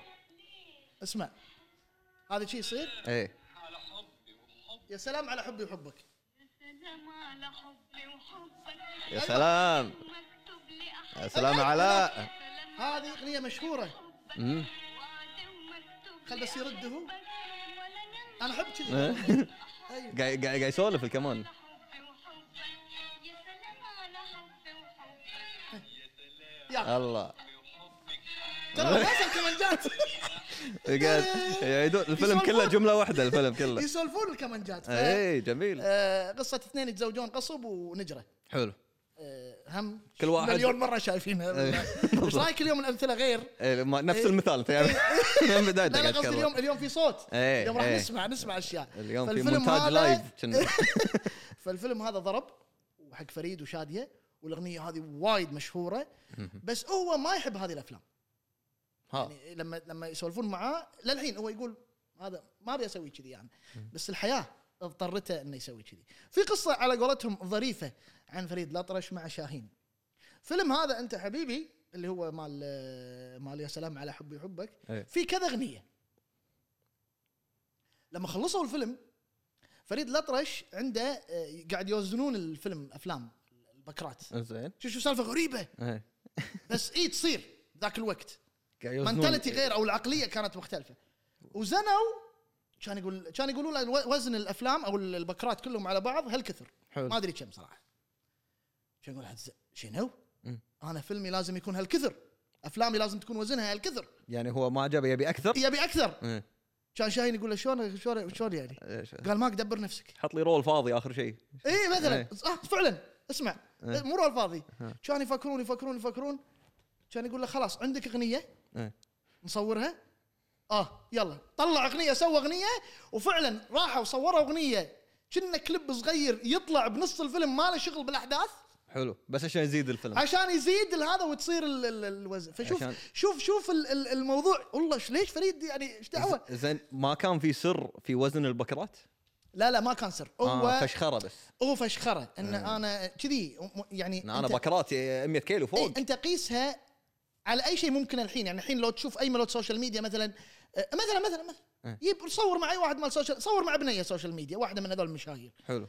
اسمع هذا شيء يصير ايه يا سلام على حبي وحبك سلام على حبي وحبك يا سلام مكتوب لأحبك يا سلام علاء أيوه. سلام هذه اغنيه مشهوره مم. وعد ومكتوب خل بس يرد هو لأحبك ولا نم انا احب كذي إيه. أيوة. قاعد قاعد قاعد يسولف الكمان على حبي وحبك يا سلام على حبي وحبك يا الله ترى لازم كمانجات قاعد يعيدون الفيلم كله جمله واحده الفيلم كله يسولفون الكمانجات ف- اي جميل آه، قصه اثنين يتزوجون قصب ونجره حلو آه، هم كل واحد- مليون مره شايفينها ايش رايك اليوم الامثله غير إيه، ما- نفس المثال انت يعني من إيه. بدايته لا لا قاعد قصدي اليوم تكرر اليوم في صوت إيه، اليوم راح إيه. نسمع نسمع اشياء اليوم في فالفيلم هذا- يعني مونتاج لايف كنا- فالفيلم هذا ضرب وحق فريد وشاديه والاغنيه هذه وايد مشهوره بس هو ما يحب هذه الافلام ها يعني لما لما يسولفون معاه للحين هو يقول هذا ما ابي اسوي كذي يعني بس الحياه اضطرته انه يسوي كذي. في قصه على قولتهم ظريفه عن فريد الاطرش مع شاهين. فيلم هذا انت حبيبي اللي هو مال مال يا سلام على حبي وحبك إيه. في كذا اغنيه. لما خلصوا الفيلم فريد الاطرش عنده آه، قاعد يوزنون الفيلم افلام البكرات. زين شوف شو سالفه غريبه إيه. بس اي تصير ذاك الوقت. قاعد إيه. يوزنون. منتاليتي غير او العقليه كانت مختلفه وزنوا كان يقول كان يقولوا له الو- وزن الافلام او البكرات كلهم على بعض هالكثر حلو. ما ادري كم صراحه كان يقول حد ز- شنو؟ مم. انا فيلمي لازم يكون هالكثر افلامي لازم تكون وزنها هالكثر يعني هو ما عجبه يبي اكثر يبي اكثر إيه. كان شاهين يقول له شلون شلون شلون يعني؟ إيش. قال ماك دبر نفسك حط لي رول فاضي اخر شيء اي مثلا إيه. آه فعلا اسمع إيه. مو رول فاضي ها. كان يفكرون يفكرون يفكرون كان يقول له خلاص عندك اغنيه إيه. نصورها اه يلا طلع اغنيه سوى اغنيه وفعلا راحوا صوروا اغنيه كنا كلب صغير يطلع بنص الفيلم ما له شغل بالاحداث حلو بس عشان يزيد الفيلم عشان يزيد هذا وتصير ال- ال- الوزن فشوف عشان- شوف شوف ال- ال- الموضوع والله إيش- ليش فريد يعني ايش دعوه ز- زين ما كان في سر في وزن البكرات لا لا ما كان سر هو آه إيه. آه فشخره بس هو فشخره ان انا كذي م- يعني انا أنت- بكرات 100 كيلو فوق إيه انت قيسها على اي شيء ممكن الحين يعني الحين لو تشوف اي ملود سوشيال ميديا مثلا آه، مثلا مثلا مثلا إيه. يب صور مع اي واحد مال سوشيال صور مع بنيه سوشيال ميديا واحده من هذول المشاهير حلو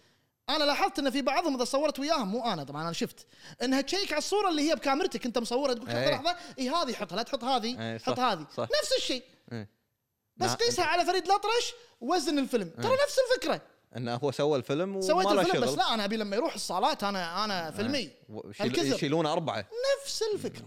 انا لاحظت ان في بعضهم اذا صورت وياهم مو انا طبعا انا شفت انها تشيك على الصوره اللي هي بكاميرتك انت مصورها تقول لحظه إيه. لحظه اي هذه حطها لا تحط هذه إيه، حط صح، هذه صح. نفس الشيء إيه. بس نعم. قيسها على فريد الاطرش وزن الفيلم ترى نفس الفكره انه هو سوى الفيلم وما سويت له الفيلم إيه. شغل إيه. بس لا انا ابي لما يروح الصالات انا انا فيلمي و- شيل- هالكثر يشيلون اربعه نفس الفكره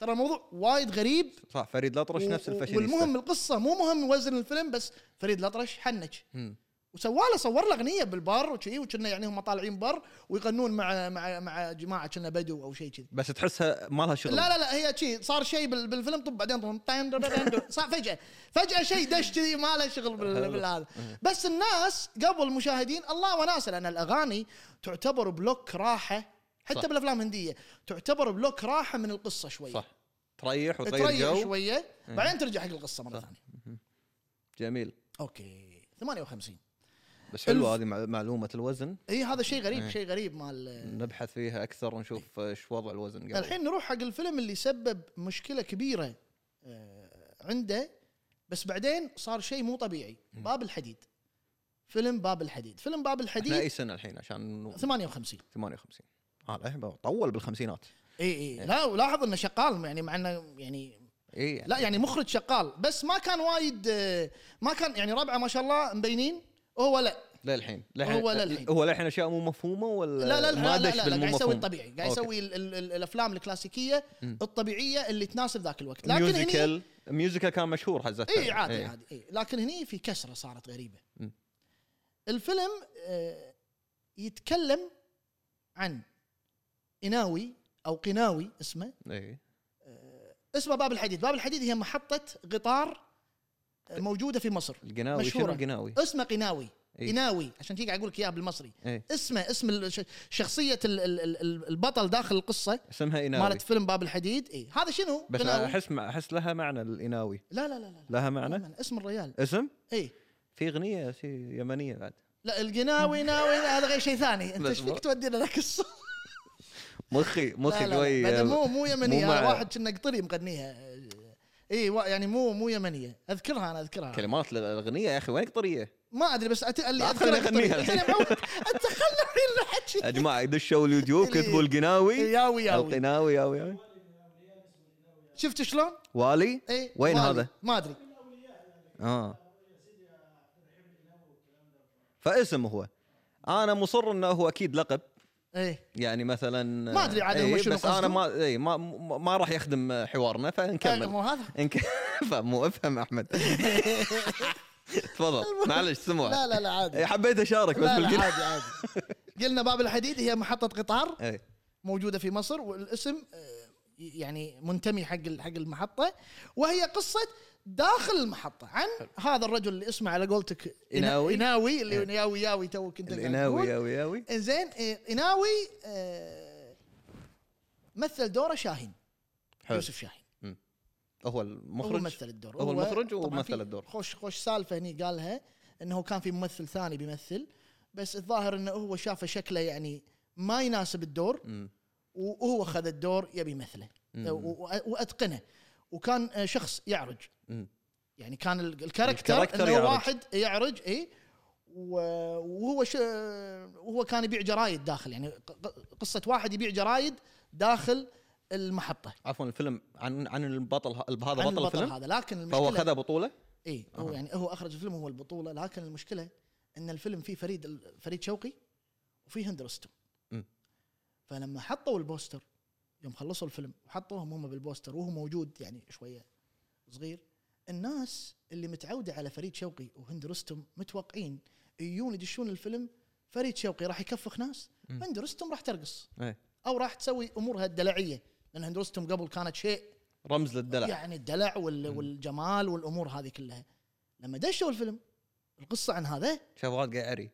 ترى الموضوع وايد غريب صح فريد الاطرش و- نفس الفشل والمهم القصه مو مهم وزن الفيلم بس فريد الاطرش حنج مم. وسوى له صور له اغنيه بالبر وشي وكنا يعني هم طالعين بر ويغنون مع مع مع جماعه كنا بدو او شيء كذي بس تحسها ما لها شغل لا لا لا هي شي صار شيء بال- بالفيلم طب بعدين طن- طن- طن- طن- طن. صار فجاه فجاه شيء دش كذي ما له شغل بال- بالهذا أه. بس الناس قبل المشاهدين الله وناسه لان الاغاني تعتبر بلوك راحه حتى صح. بالافلام الهنديه تعتبر بلوك راحه من القصه شويه صح أه. تريح وتغير تريح جو شويه بعدين ترجع حق القصه مره ثانيه جميل اوكي 58 بس حلوه الف- هذه مع- معلومه الوزن اي هذا شيء أه. غريب شيء غريب مال نبحث فيها اكثر ونشوف ايش وضع الوزن قبل. الحين نروح حق الفيلم اللي سبب مشكله كبيره آه، عنده بس بعدين صار شيء مو طبيعي باب الحديد فيلم باب الحديد فيلم باب احنا اي الحديد سنه الحين عشان نو- 58 58 اه الحين طول بالخمسينات اي اي إيه، لا ولاحظ انه شقال يعني مع انه يعني اي لا يعني مخرج شقال بس ما كان وايد آه، ما كان يعني ربعه ما شاء الله مبينين هو لا للحين هو للحين. هو للحين اشياء مو مفهومه ولا لا لا ما لا لا, لا, لا دش قاعد بالمو يسوي مفهوم؟ الطبيعي قاعد أوكي. يسوي ال- ال- ال- الافلام الكلاسيكيه الطبيعيه اللي تناسب ذاك الوقت لكن هني ميوزيكال ميوزيكال كان مشهور حزتها اي عادي عادي إيه. لكن هني في كسره صارت غريبه مم. الفيلم آه، يتكلم عن قناوي او قناوي اسمه اي اسمه باب الحديد باب الحديد هي محطه قطار آه، موجوده في مصر القناوي شنو مشهورة. القناوي؟ اسمه قناوي إي. إناوي عشان كذا قاعد اقول لك اياها بالمصري إي. اسمه اسم الش- شخصيه ال- ال- ال- ال- البطل داخل القصه اسمها ايناوي مالت فيلم باب الحديد اي هذا شنو؟ بس قناوي. احس احس لها معنى الاناوي لا لا لا لا لها لا. معنى اسم الريال إيه. اسم اي في اغنيه شي يمنيه بعد لا القناوي ناوي هذا غير شيء ثاني انت بس ايش فيك مو- تودينا ذاك الصوت مخي لا مخي لا لا شوي آه، بعد مو مو يمنيه مع- هذا واحد كنا قطري مغنيها اي وا- يعني مو مو يمنيه اذكرها انا اذكرها كلمات الاغنيه يا اخي وين اقطريه؟ ما ادري بس أت... اللي يعني لا، اذكره خليني أغنيها قطري. انا معود انت خلنا الحين نحكي يا جماعه دشوا اليوتيوب اللي- كتبوا القناوي إيه، ياوي ياوي القناوي ياوي ياوي شفت شلون؟ والي اي وين إيه، والي. هذا؟ ما ادري اه فاسم هو انا مصر انه هو اكيد لقب اي يعني مثلا ما أدري عاد هو إيه شنو بس انا قصده. ما اي ما ما- ما راح يخدم حوارنا آه، مو فنكمل هذا إنك... فمو افهم احمد تفضل معلش سموا لا لا لا عادي إيه، حبيت اشارك بس لا لا بالقناة عادي عادي قلنا باب الحديد هي محطه قطار إيه. موجوده في مصر والاسم آه، يعني منتمي حق ال- حق المحطه وهي قصه داخل المحطه عن هذا الرجل اللي اسمه على قولتك إنا- إناوي. إيه. إناوي اللي ياوي ياوي تو كنت قاعد الاناوي تقول. ياوي ياوي انزين آه، إناوي آه، مثل دوره شاهين حلو يوسف شاهين هو هو المخرج مثل الدور هو المخرج طبعاً ومثل في الدور. خوش خوش سالفه هني قالها انه كان في ممثل ثاني بيمثل بس الظاهر انه هو شافه شكله يعني ما يناسب الدور مم. وهو خذ الدور يبي يمثله و- و- واتقنه وكان آه، شخص يعرج مم. يعني كان ال- الكاركتر الكاركتر انه يعرج. واحد يعرج اي و- وهو ش... وهو كان يبيع جرايد داخل يعني ق- ق- قصه واحد يبيع جرايد داخل المحطه عفوا الفيلم عن عن البطل ه- هذا عن بطل الفيلم هذا لكن فهو المشكله خذ بطوله اي هو أها. يعني هو اخرج الفيلم هو البطوله لكن المشكله ان الفيلم فيه فريد فريد شوقي وفيه هند رستم مم. فلما حطوا البوستر يوم خلصوا الفيلم وحطوهم هم بالبوستر وهو موجود يعني شويه صغير الناس اللي متعوده على فريد شوقي وهند رستم متوقعين يجون يدشون الفيلم فريد شوقي راح يكفخ ناس مم. هند رستم راح ترقص إيه. او راح تسوي امورها الدلعيه لان هند رستم قبل كانت شيء رمز للدلع يعني الدلع وال- والجمال والامور هذه كلها لما دشوا الفيلم القصه عن هذا شاف واحد قاعد يعري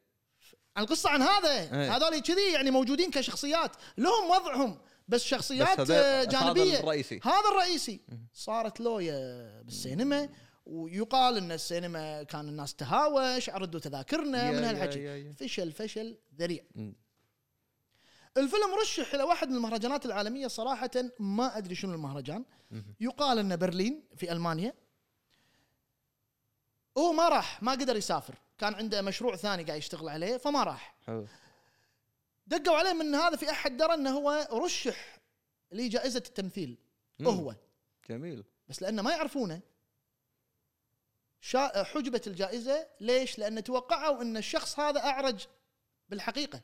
القصه عن هذا إيه. هذول كذي يعني موجودين كشخصيات لهم وضعهم بس شخصيات بس آه، هذا- جانبيه هذا الرئيسي. هذا الرئيسي صارت لويا بالسينما ويقال ان السينما كان الناس تهاوش عرضوا تذاكرنا يا- من يا- هالحكي يا- يا. فشل فشل ذريع مم. الفيلم رشح الى واحد من المهرجانات العالميه صراحه ما ادري شنو المهرجان يقال انه برلين في المانيا هو ما راح ما قدر يسافر كان عنده مشروع ثاني قاعد يشتغل عليه فما راح حلو دقوا عليه من هذا في احد درى انه هو رشح لجائزه التمثيل مم. هو جميل بس لانه ما يعرفونه شا... حجبت الجائزه ليش؟ لان توقعوا ان الشخص هذا اعرج بالحقيقه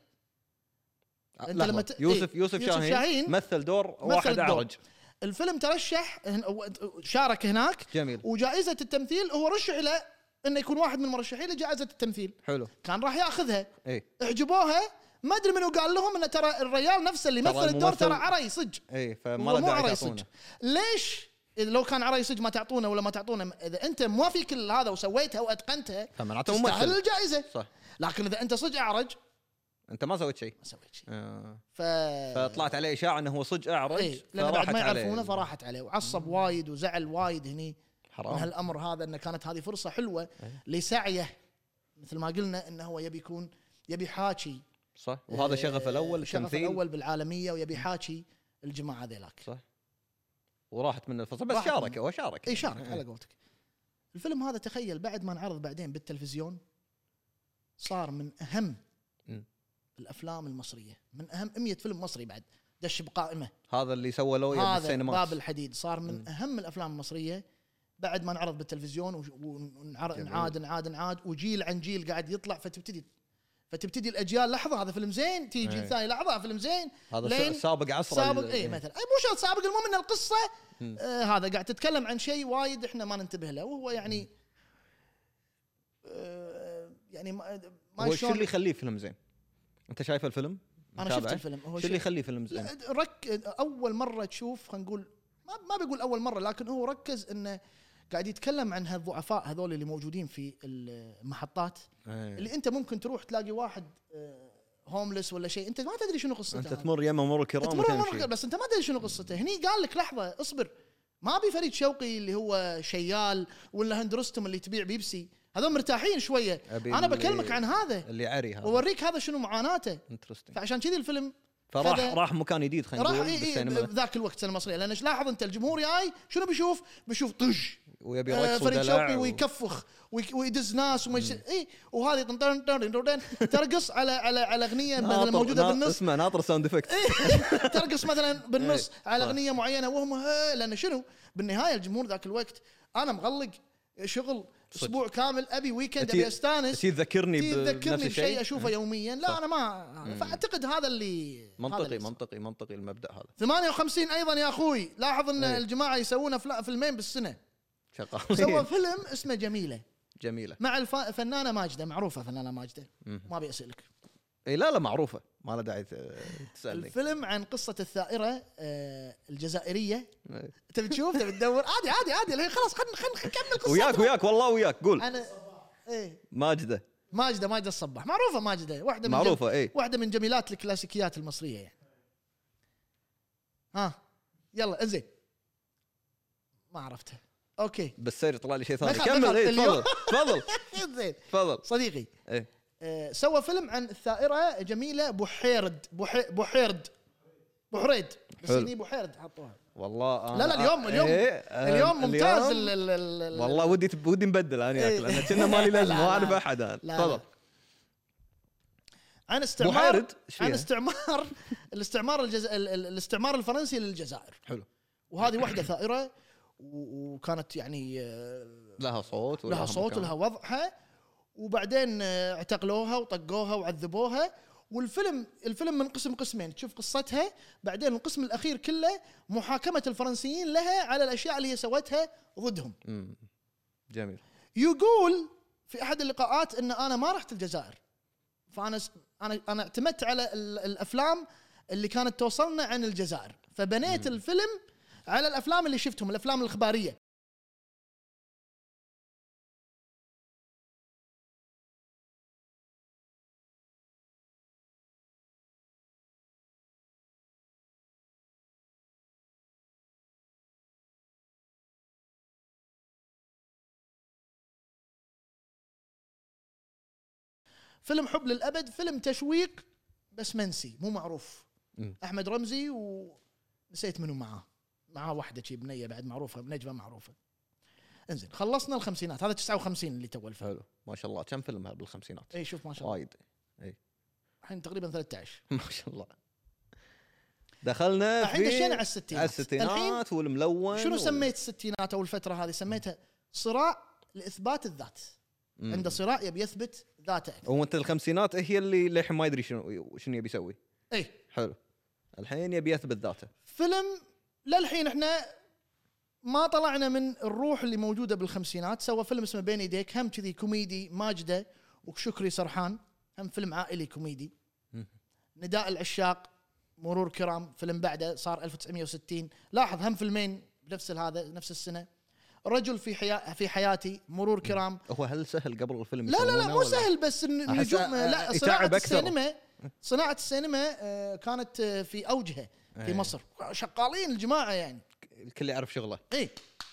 أنت لحظة. لما ت- يوسف إيه. يوسف يوسف شاهين, شاهين مثل دور واحد دور. اعرج الفيلم ترشح هن- أو- شارك هناك جميل وجائزه التمثيل هو رشح الى انه يكون واحد من المرشحين لجائزه التمثيل حلو إيه، كان راح ياخذها اي اعجبوها ما ادري منو قال لهم انه ترى الريال نفسه اللي ترى مثل الدور الممثل- ترى عري صج اي إيه، فما هو له مو داعي عري صج تعطونه ليش إذا لو كان عري صج ما تعطونه ولا ما تعطونه اذا انت موافق هذا وسويتها واتقنتها فمعناته تستاهل ممثل الجائزه صح لكن اذا انت صج اعرج انت ما سويت شيء ما سويت شيء آه. ف فطلعت عليه اشاعه انه هو صج اعرج اي لان إيه، بعد فراحت ما عليه. يعرفونه فراحت عليه وعصب وايد وزعل وايد هني من حرام هالامر هذا انه كانت هذه فرصه حلوه إيه. لسعيه مثل ما قلنا انه هو يبي يكون يبي حاكي آه، صح وهذا شغفه الاول إيه، شغف التمثيل الاول بالعالميه ويبي حاكي الجماعه ذيلاك صح وراحت من الفصل بس راحت شارك من- هو شارك اي شارك على قولتك الفيلم هذا تخيل بعد ما انعرض بعدين بالتلفزيون صار من اهم مم. الافلام المصريه من اهم 100 فيلم مصري بعد دش بقائمه هذا اللي سوى لويا هذا بالسينمات باب الحديد صار من مم. اهم الافلام المصريه بعد ما انعرض بالتلفزيون وش- ونعر- جميل. نعاد نعاد نعاد وجيل عن جيل قاعد يطلع فتبتدي فتبتدي الاجيال لحظه هذا فيلم زين تيجي جيل أي. ثاني لحظه فيلم زين هذا لين الس- سابق عصره سابق لل- اي مثلا أي مو شرط سابق المهم ان القصه إيه. مم. آه هذا قاعد تتكلم عن شيء وايد احنا ما ننتبه له وهو يعني آه يعني ما ما هو شو شلون- اللي يخليه فيلم زين؟ انت شايف الفيلم؟ انا متابعه؟ شفت الفيلم هو شو اللي شيء- يخليه فيلم زين؟ لا، رك اول مره تشوف خلينا نقول ما ما بقول اول مره لكن هو ركز انه قاعد يتكلم عن هالضعفاء هذول اللي موجودين في المحطات إيه. اللي انت ممكن تروح تلاقي واحد آه، هوملس ولا شيء انت ما تدري شنو قصته انت هذا. تمر يمه مرور كرام تمر مرة وتمشي كثير، بس انت ما تدري شنو قصته هني قال لك لحظه اصبر ما ابي فريد شوقي اللي هو شيال ولا هندرستم اللي تبيع بيبسي هذول مرتاحين شويه أبي انا اللي- بكلمك عن هذا اللي عري هذا واوريك هذا شنو معاناته انترستنج فعشان كذي الفيلم فراح كذا- راح مكان جديد خلينا راح إيه، نقول اي اي بالسينما ذاك الوقت السينما المصريه لان إيش لاحظ انت الجمهور جاي شنو بيشوف؟ بيشوف طش ويبي آه، رقص فريد شوقي ودلع و- ويكفخ ويك- ويدز ناس وما يصير اي وهذه طن- طن- طن- طن- طن- ترقص على على على اغنيه مثلا ناطر- موجوده نا- بالنص إيه، اسمه ناطر ساوند افكت ترقص مثلا بالنص إيه. على صح. اغنيه معينه وهم ها- لان شنو؟ بالنهايه الجمهور ذاك الوقت انا مغلق شغل صدق. اسبوع كامل ابي ويكند تي- ابي استانس شي يذكرني تي- بنفس تذكرني بشيء الشيء اشوفه يوميا لا انا ما فاعتقد هذا اللي هذا منطقي اللي منطقي منطقي المبدا هذا 58 ايضا يا اخوي لاحظ ان إيه. الجماعه يسوون أفلا- فيلمين بالسنه سوى شغال فيلم اسمه جميله جميله مع الفنانه ماجده معروفه فنانه ماجده مم. ما ابي اسالك اي إيه، لا لا معروفه ما له داعي ت- تسالني الفيلم عن قصه الثائره آه، الجزائريه إي. تبي تشوف تبي تدور عادي عادي عادي الحين خلاص خلينا خلينا نكمل قصتنا وياك وياك والله وياك قول انا ايه ماجده ماجده ماجده الصباح معروفه ماجده واحده من معروفة، جم- إيه. واحده من جميلات الكلاسيكيات المصريه يعني ها يلا انزين ما عرفتها اوكي بالسير طلع لي شيء ثاني دخل- كمل دخل اي اليوم. تفضل تفضل انزين تفضل صديقي إيه. آه، سوى فيلم عن الثائره جميله بحيرد بحي- بحيرد بحريد بس حلو. هني بحيرد حطوها والله إيه، لا لا اليوم اليوم اليوم ممتاز ال- ال- ال- ال- والله ودي تب- ودي نبدل انا إيه. وياك لان كنا مالي لازم لا، ما اعرف لا. احد أنا. لا، تفضل لا. عن استعمار بحيرد؟ إيش فيها؟ عن استعمار الاستعمار الجز... ال- ال- الاستعمار الفرنسي للجزائر حلو وهذه واحده ثائره و- وكانت يعني آه، لها صوت لها صوت مكان. ولها وضعها وبعدين آه، اعتقلوها وطقوها وعذبوها والفيلم الفيلم منقسم قسمين تشوف قصتها بعدين القسم الاخير كله محاكمه الفرنسيين لها على الاشياء اللي هي سوتها ضدهم أمم. جميل يقول في احد اللقاءات ان انا ما رحت الجزائر فانا س- انا انا اعتمدت على ال- الافلام اللي كانت توصلنا عن الجزائر فبنيت الفيلم على الافلام اللي شفتهم الافلام الاخباريه فيلم حب للابد فيلم تشويق بس منسي مو معروف مم. احمد رمزي ونسيت منو معاه معاه واحده شي بنيه بعد معروفه نجمه معروفه انزين خلصنا الخمسينات هذا 59 اللي تو الفيلم حلو ما شاء الله كم فيلم بالخمسينات اي شوف إيه، ما شاء الله وايد الحين تقريبا 13 ما شاء الله دخلنا الحين في- دشينا على على الستينات الحين الستينات والملون شنو وال- سميت الستينات او الفتره هذه سميتها صراع لاثبات الذات مم. عنده صراع يبي يثبت ذاته أكثر. هو انت الخمسينات هي اللي للحين ما يدري شنو شنو يبي يسوي اي حلو الحين يبي يثبت ذاته فيلم للحين احنا ما طلعنا من الروح اللي موجوده بالخمسينات سوى فيلم اسمه بين يديك هم كذي كوميدي ماجده وشكري سرحان هم فيلم عائلي كوميدي مم. نداء العشاق مرور كرام فيلم بعده صار 1960 لاحظ هم فيلمين بنفس هذا نفس السنه رجل في حيا في حياتي مرور كرام هو هل سهل قبل الفيلم لا لا لا يسوونه مو ولا؟ سهل بس إن- أحس- النجوم آه، لا يتعب صناعه أكثر. السينما صناعه السينما آه، كانت آه، في اوجها في إيه. مصر شغالين الجماعه يعني إيه. آه، الكل يعرف شغله اي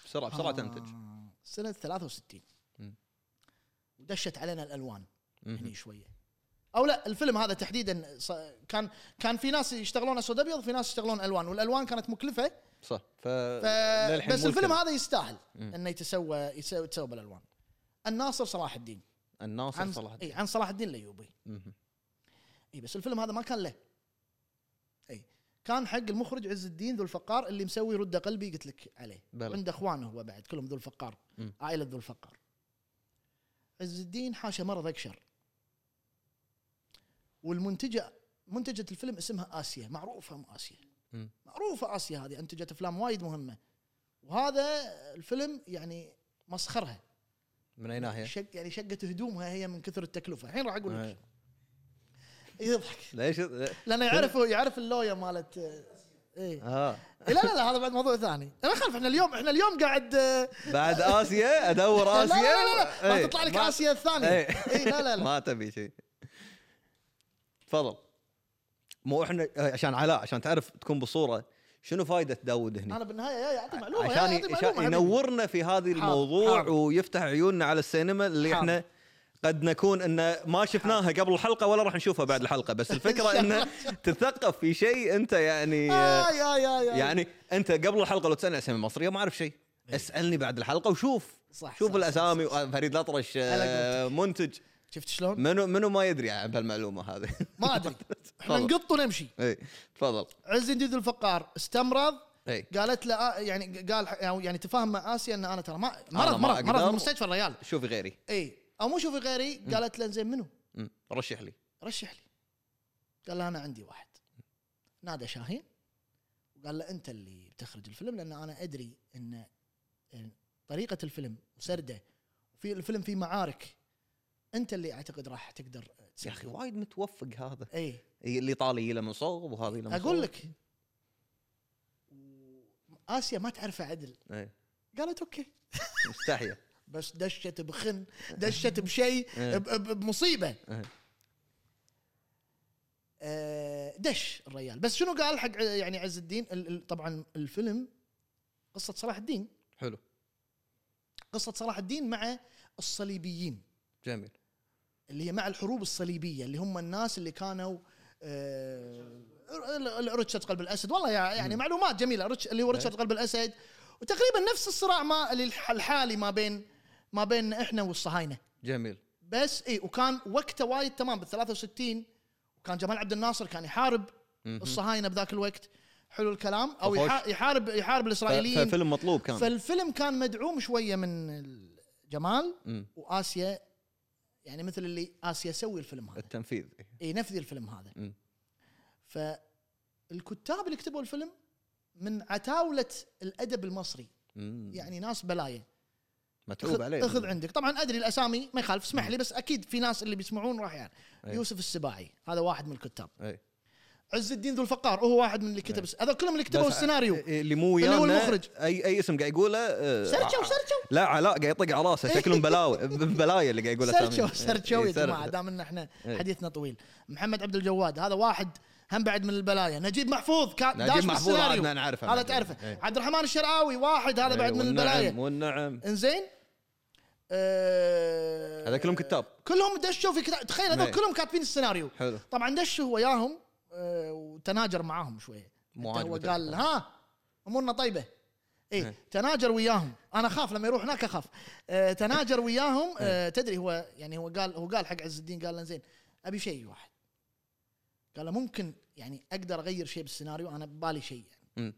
بسرعه بسرعه تنتج سنه 63 مم. ودشت علينا الالوان هني مهم. شويه او لا الفيلم هذا تحديدا ص- كان كان في ناس يشتغلون اسود ابيض في ناس يشتغلون الوان والالوان كانت مكلفه صح ف... ف... للحين بس مو الفيلم الكل. هذا يستاهل مم. انه يتسوى يتسوى, يتسوى بالالوان الناصر صلاح الدين الناصر عن إيه. صلاح الدين إي، عن صلاح الدين الايوبي مهم. اي إيه، بس الفيلم هذا ما كان له اي كان حق المخرج عز الدين ذو الفقار اللي مسوي رد قلبي قلت لك عليه بلى. عنده اخوان هو بعد كلهم ذو الفقار مم. عائله ذو الفقار عز الدين حاشا مرض اكشر والمنتجه منتجه الفيلم اسمها اسيا معروفه ام اسيا مم. معروفه اسيا هذه انتجت افلام وايد مهمه وهذا الفيلم يعني مسخرها من اي ناحيه؟ شق يعني شقت هدومها هي من كثر التكلفه الحين راح اقول إيه. لك يضحك ليش لانه يعرف يعرف اللويا مالت ايه اه إيه، لا لا لا هذا بعد موضوع ثاني ما يخالف احنا اليوم احنا اليوم قاعد آه، بعد اسيا ادور لا اسيا لا لا لا إيه، ما تطلع لك ما- اسيا الثانيه إيه. اي لا لا لا ما تبي شيء تفضل مو احنا عشان علاء عشان تعرف تكون بالصوره شنو فائده داود هنا انا بالنهايه يا يعطي معلومه يا عشان يعطي ي- معلومه عشان حبيبي. ينورنا في هذا الموضوع حاضر. ويفتح عيوننا على السينما اللي حاضر. احنا قد نكون ان ما شفناها قبل الحلقه ولا راح نشوفها بعد الحلقه بس الفكره انه تثقف في شيء انت يعني آه، يا يا يا يعني انت قبل الحلقه لو تسالني اسامي مصريه ما اعرف شيء اسالني بعد الحلقه وشوف إيه. صح، شوف صح، الاسامي فريد الاطرش على آه، منتج شفت شلون؟ منو منو ما يدري عن هالمعلومه هذه ما ادري احنا تفضل. نقط ونمشي اي تفضل إيه، عز الدين ذو الفقار استمرض اي قالت له آه، يعني قال يعني تفاهم مع اسيا ان انا ترى ما أنا مرض ما مرض مرض أقدر. في مستشفى الريال شوفي غيري اي او مو شوفي غيري قالت له زين منو؟ مم. رشح لي رشح لي قال له انا عندي واحد نادى شاهين وقال له انت اللي بتخرج الفيلم لان انا ادري ان إن طريقه الفيلم وسرده وفي الفيلم فيه معارك انت اللي اعتقد راح تقدر يا اخي وايد متوفق هذا اي إي، إيه، اللي طالي له من صوب وهذه له من اقول صوب. لك اسيا ما تعرفه عدل إي، قالت اوكي مستحيه بس دشت بخن دشت بشيء إيه. ب- ب- بمصيبه إيه. آه، دش الريال بس شنو قال حق يعني عز الدين ال- ال- طبعا الفيلم قصه صلاح الدين حلو قصه صلاح الدين مع الصليبيين جميل اللي هي مع الحروب الصليبيه اللي هم الناس اللي كانوا آه، ال- ال- رتشة قلب الاسد والله يع- يعني معلومات جميله رتش اللي هو إيه. رتشة قلب الاسد وتقريبا نفس الصراع ما اللي الح- الحالي ما بين ما بين احنا والصهاينه جميل بس اي وكان وقته وايد تمام بال 63 وكان جمال عبد الناصر كان يحارب مهم. الصهاينه بذاك الوقت حلو الكلام او فخوش. يحا- يحارب يحارب الاسرائيليين فيلم مطلوب كان فالفيلم كان مدعوم شويه من جمال مم. واسيا يعني مثل اللي اسيا سوي الفيلم هذا التنفيذ إيه. اي نفذي الفيلم هذا مم. فالكتاب اللي كتبوا الفيلم من عتاوله الادب المصري مم. يعني ناس بلايه متعوب خذ, عليه خذ عندك طبعا ادري الاسامي ما يخالف اسمح لي بس اكيد في ناس اللي بيسمعون راح يعني أي. يوسف السباعي هذا واحد من الكتاب إي. عز الدين ذو الفقار هو واحد من اللي كتب هذا كلهم اللي كتبوا إيه. بس إيه، السيناريو إي، اللي مو اللي ويانا هو المخرج. اي اي اسم قاعد يقوله آه، سرجوا آه، سرجوا لا علاء قاعد يطق على راسه شكلهم بلاوي بلايا اللي قاعد يقوله سرجوا سامي. إيه، سرجوا إي، يا سر- جماعه دام ان احنا إي. حديثنا طويل محمد عبد الجواد هذا واحد هم بعد من البلايا نجيب محفوظ كان نجيب داش محفوظ بالسيناريو عاد نعرفه. هذا نجيب. إيه. تعرفه إي. عبد الرحمن الشرعاوي واحد هذا إي، بعد من إيه، والنعم، البلايا والنعم انزين آه، هذا كلهم كتاب كلهم دشوا في كتاب تخيل هذول إي. كلهم كاتبين السيناريو حلو طبعا دش هو وياهم آه، وتناجر معاهم شويه مو حتى هو عاجبته. قال ها امورنا طيبه اي إيه. تناجر وياهم انا اخاف لما يروح هناك اخاف آه، تناجر وياهم إيه. آه، تدري هو يعني هو قال هو قال حق عز الدين قال له زين ابي شيء واحد قال له ممكن يعني اقدر اغير شيء بالسيناريو انا ببالي شيء يعني مم.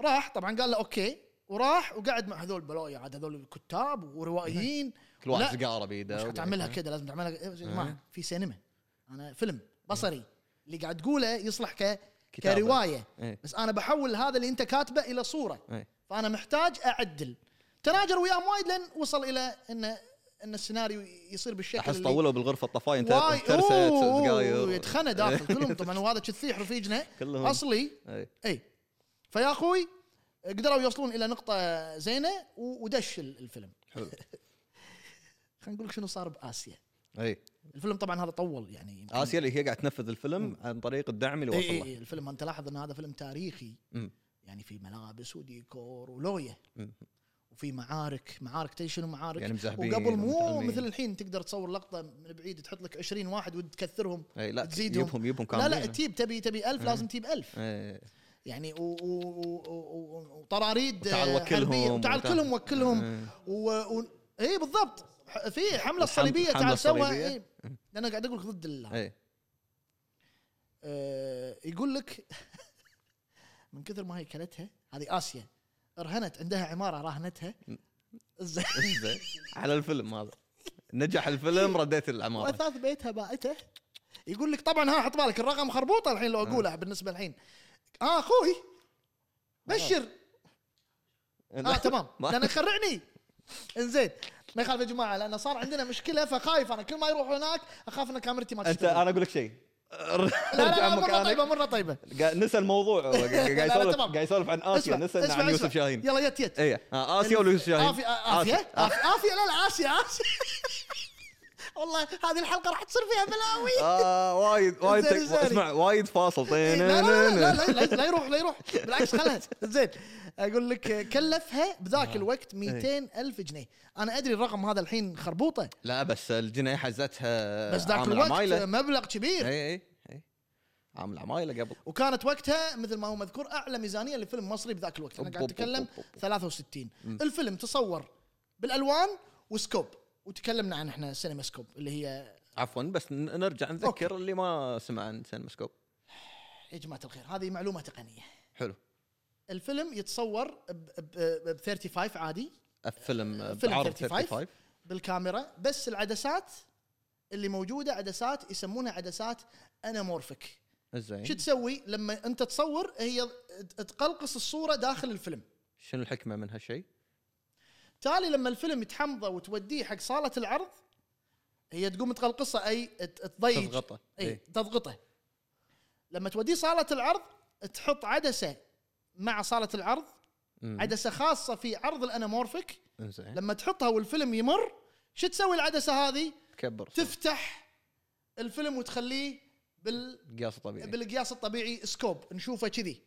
راح طبعا قال له اوكي وراح وقعد مع هذول بلويا عاد هذول الكتاب وروائيين كل لا. واحد سيجاره مش بيده حتعملها كذا لازم تعملها إيه يا جماعه في سينما انا فيلم بصري اللي قاعد تقوله يصلح ك كتابة. كروايه إيه. بس انا بحول هذا اللي انت كاتبه الى صوره إيه. فانا محتاج اعدل تناجر وياهم وايد لين وصل الى ان ان السيناريو يصير بالشكل احس اللي- طولوا بالغرفه الطفاين وايد ترست دقايق يتخنى داخل كلهم طبعا وهذا تشثيح رفيجنا كلهم. اصلي إي. اي إيه. فيا اخوي قدروا يوصلون الى نقطه زينه و- ودش ال- الفيلم حلو خلينا نقول لك شنو صار باسيا اي الفيلم طبعا هذا طول يعني يمكن- اسيا إيه. اللي هي قاعد تنفذ الفيلم عن طريق الدعم اللي اي وصل اي له اي الفيلم انت لاحظ ان هذا فيلم تاريخي مم. يعني في ملابس وديكور ولويه مم. وفي معارك معارك تدري شنو معارك يعني مزاحبين وقبل مو ومتعلمين. مثل الحين تقدر تصور لقطه من بعيد تحط لك 20 واحد وتكثرهم اي إيه، لا تزيدهم. يبهم يبهم لا كاملين إيه. لا تجيب تبي تبي 1000 لازم تجيب 1000 إي. يعني و- و- و- و- وطراريد وتعال آه، وكلهم حربية. وتعال وتعال- كلهم وكلهم إيه. و... و... اي بالضبط ح- في حمله الحملة صليبيه تعال سوها الصليبية. اي انا قاعد اقول لك ضد ال- اي آه، يقول لك من كثر ما هي كلتها هذه اسيا رهنت عندها عماره راهنتها زين زين. على الفيلم هذا نجح الفيلم رديت العماره واثاث بيتها باعته يقول لك طبعا ها حط بالك الرقم خربوطه الحين لو آه. اقوله بالنسبه الحين اه اخوي بشر اه تمام آه. ما- لان خرعني انزين ما يخالف يا جماعه لان صار عندنا مشكله فخايف انا كل ما يروح هناك اخاف ان كاميرتي ما انت تشتغل انا اقول لك شيء لا لا ارجع لا مره طيبه مكانك مره طيبه قا- نسى الموضوع هو قا- قاعد لا، لا، يسولف تمام. قاعد يسولف عن اسيا اسمع نسى إنه اسمع عن اسمع. يوسف شاهين يلا يت يت اي آه، اسيا ولا يوسف شاهين؟ آفية آفية آفية آفية لا لا آسيا آسيا والله هذه الحلقة راح تصير فيها بلاوي اه وايد وايد زين، زين. اسمع وايد فاصل إيه، لا لا لا لا لا- لا يروح لا يروح بالعكس خلها زين اقول لك آه، إيه. كلفها بذاك الوقت 200 الف جنيه انا ادري الرقم هذا الحين خربوطه لا بس الجنيه حزتها بس ذاك عامل الوقت عمايلة. إيه، آه، مبلغ كبير اي اي اي عامل عمايله قبل وكانت وقتها مثل ما هو مذكور اعلى ميزانيه لفيلم مصري بذاك الوقت انا أب- قاعد أب- اتكلم أب- أب- 63 الفيلم تصور بالالوان وسكوب وتكلمنا عن احنا سينما سكوب اللي هي عفوا بس ن- نرجع نذكر اللي ما سمع عن سينما سكوب يا جماعه الخير هذه معلومه تقنيه حلو الفيلم يتصور ب ب- ب 35 عادي الفيلم فيلم بعرض 35. 35 بالكاميرا بس العدسات اللي موجوده عدسات يسمونها عدسات انامورفيك زين شو تسوي لما انت تصور هي ت- تقلقص الصوره داخل الفيلم شنو الحكمه من هالشيء؟ تالي لما الفيلم يتحمضه وتوديه حق صاله العرض هي تقوم تقلقصه اي ت- تضيج تضغطه، اي إيه. تضغطه لما توديه صاله العرض تحط عدسه مع صاله العرض مم. عدسه خاصه في عرض الانامورفيك زين لما تحطها والفيلم يمر شو تسوي العدسه هذه؟ تكبر تفتح الفيلم وتخليه بال قياس طبيعي بالقياس الطبيعي سكوب نشوفه كذي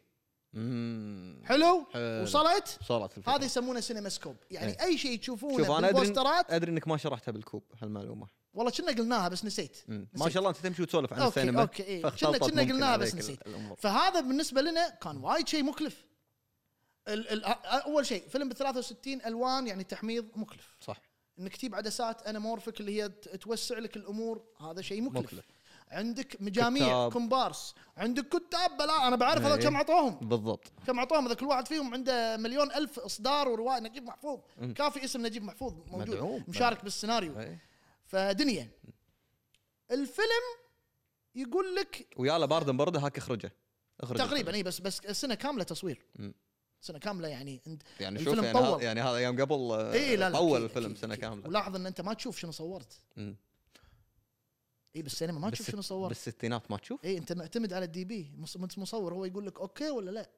مم. حلو حلو. وصلت وصلت الفكره هذا يسمونه سينما سكوب يعني إيه. اي شيء تشوفونه شوف انا ادري بالبوسترات ادري انك ما شرحتها بالكوب هالمعلومه والله كنا قلناها بس نسيت مم. يعني ما شاء الله انت تمشي وتسولف عن أوكي، السينما أوكي، إيه. فاختلطت كنا- كنا ممكن قلناها بس عليك ال- نسيت. الامور فهذا بالنسبه لنا كان وايد شيء مكلف ال ال اول شيء فيلم ب 63 الوان يعني تحميض مكلف صح انك تجيب عدسات انامورفيك اللي هي ت- توسع لك الامور هذا شيء مكلف, مكلف. عندك مجاميع كتاب. كومبارس عندك كتاب بلا انا بعرف هذا إيه. كم عطوهم بالضبط كم عطوهم هذا كل واحد فيهم عنده مليون الف اصدار وروايه نجيب محفوظ كافي اسم نجيب محفوظ موجود مدعوم. مشارك بالسيناريو إيه. فدنيا الفيلم يقول لك ويالا باردا برده هاك اخرجه اخرجه تقريبا اي بس بس سنه كامله تصوير مم. سنه كامله يعني انت يعني شوف الفيلم يعني, هذا طول. يعني هذا ايام قبل آه، اي لا لا طول أكيد، الفيلم أكيد، سنه أكيد. كامله ولاحظ ان انت ما تشوف شنو صورت مم. اي بالسينما ما تشوف بالست- شنو صورت بالستينات ما تشوف اي انت معتمد على الدي بي مص- انت مصور هو يقول لك اوكي ولا لا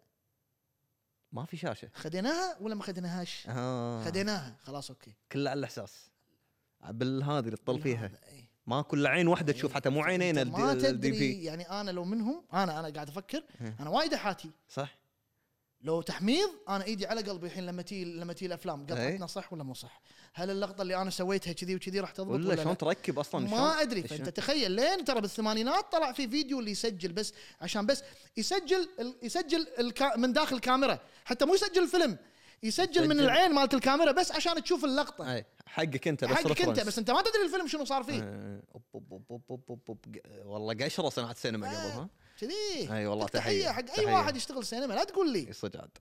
ما في شاشه خديناها ولا ما خديناهاش آه. خديناها خلاص اوكي كله على الاحساس بالهذه اللي تطل فيها هذا، إي. ما كل عين واحده تشوف حتى مو عينين أنت ما الدي, الدي تدري بي يعني انا لو منهم انا انا قاعد افكر انا وايد احاتي صح لو تحميض انا ايدي على قلبي الحين لما تي لما تي الافلام قطعتنا إيه. صح ولا مو صح؟ هل اللقطه اللي انا سويتها كذي وكذي راح تضبط ولا, ولا شلون لا؟ تركب اصلا شلون- ما ادري شلون- فانت تخيل لين ترى بالثمانينات طلع في فيديو اللي يسجل بس عشان بس يسجل ال- يسجل الكا من داخل الكاميرا حتى مو يسجل الفيلم يسجل, من يسجل. العين مالت الكاميرا بس عشان تشوف اللقطه أي، إيه، حقك انت بس حقك انت reference. بس انت ما تدري الفيلم شنو صار فيه آه، أوب، أوب، أوب، أوب، أوب، أوب، أوب. ق- والله قشره صناعه سينما إيه. قبل ها كذي أي والله، تحيه تحية، حق اي تحية. واحد يشتغل سينما لا تقول لي اي إيه، صدق عاد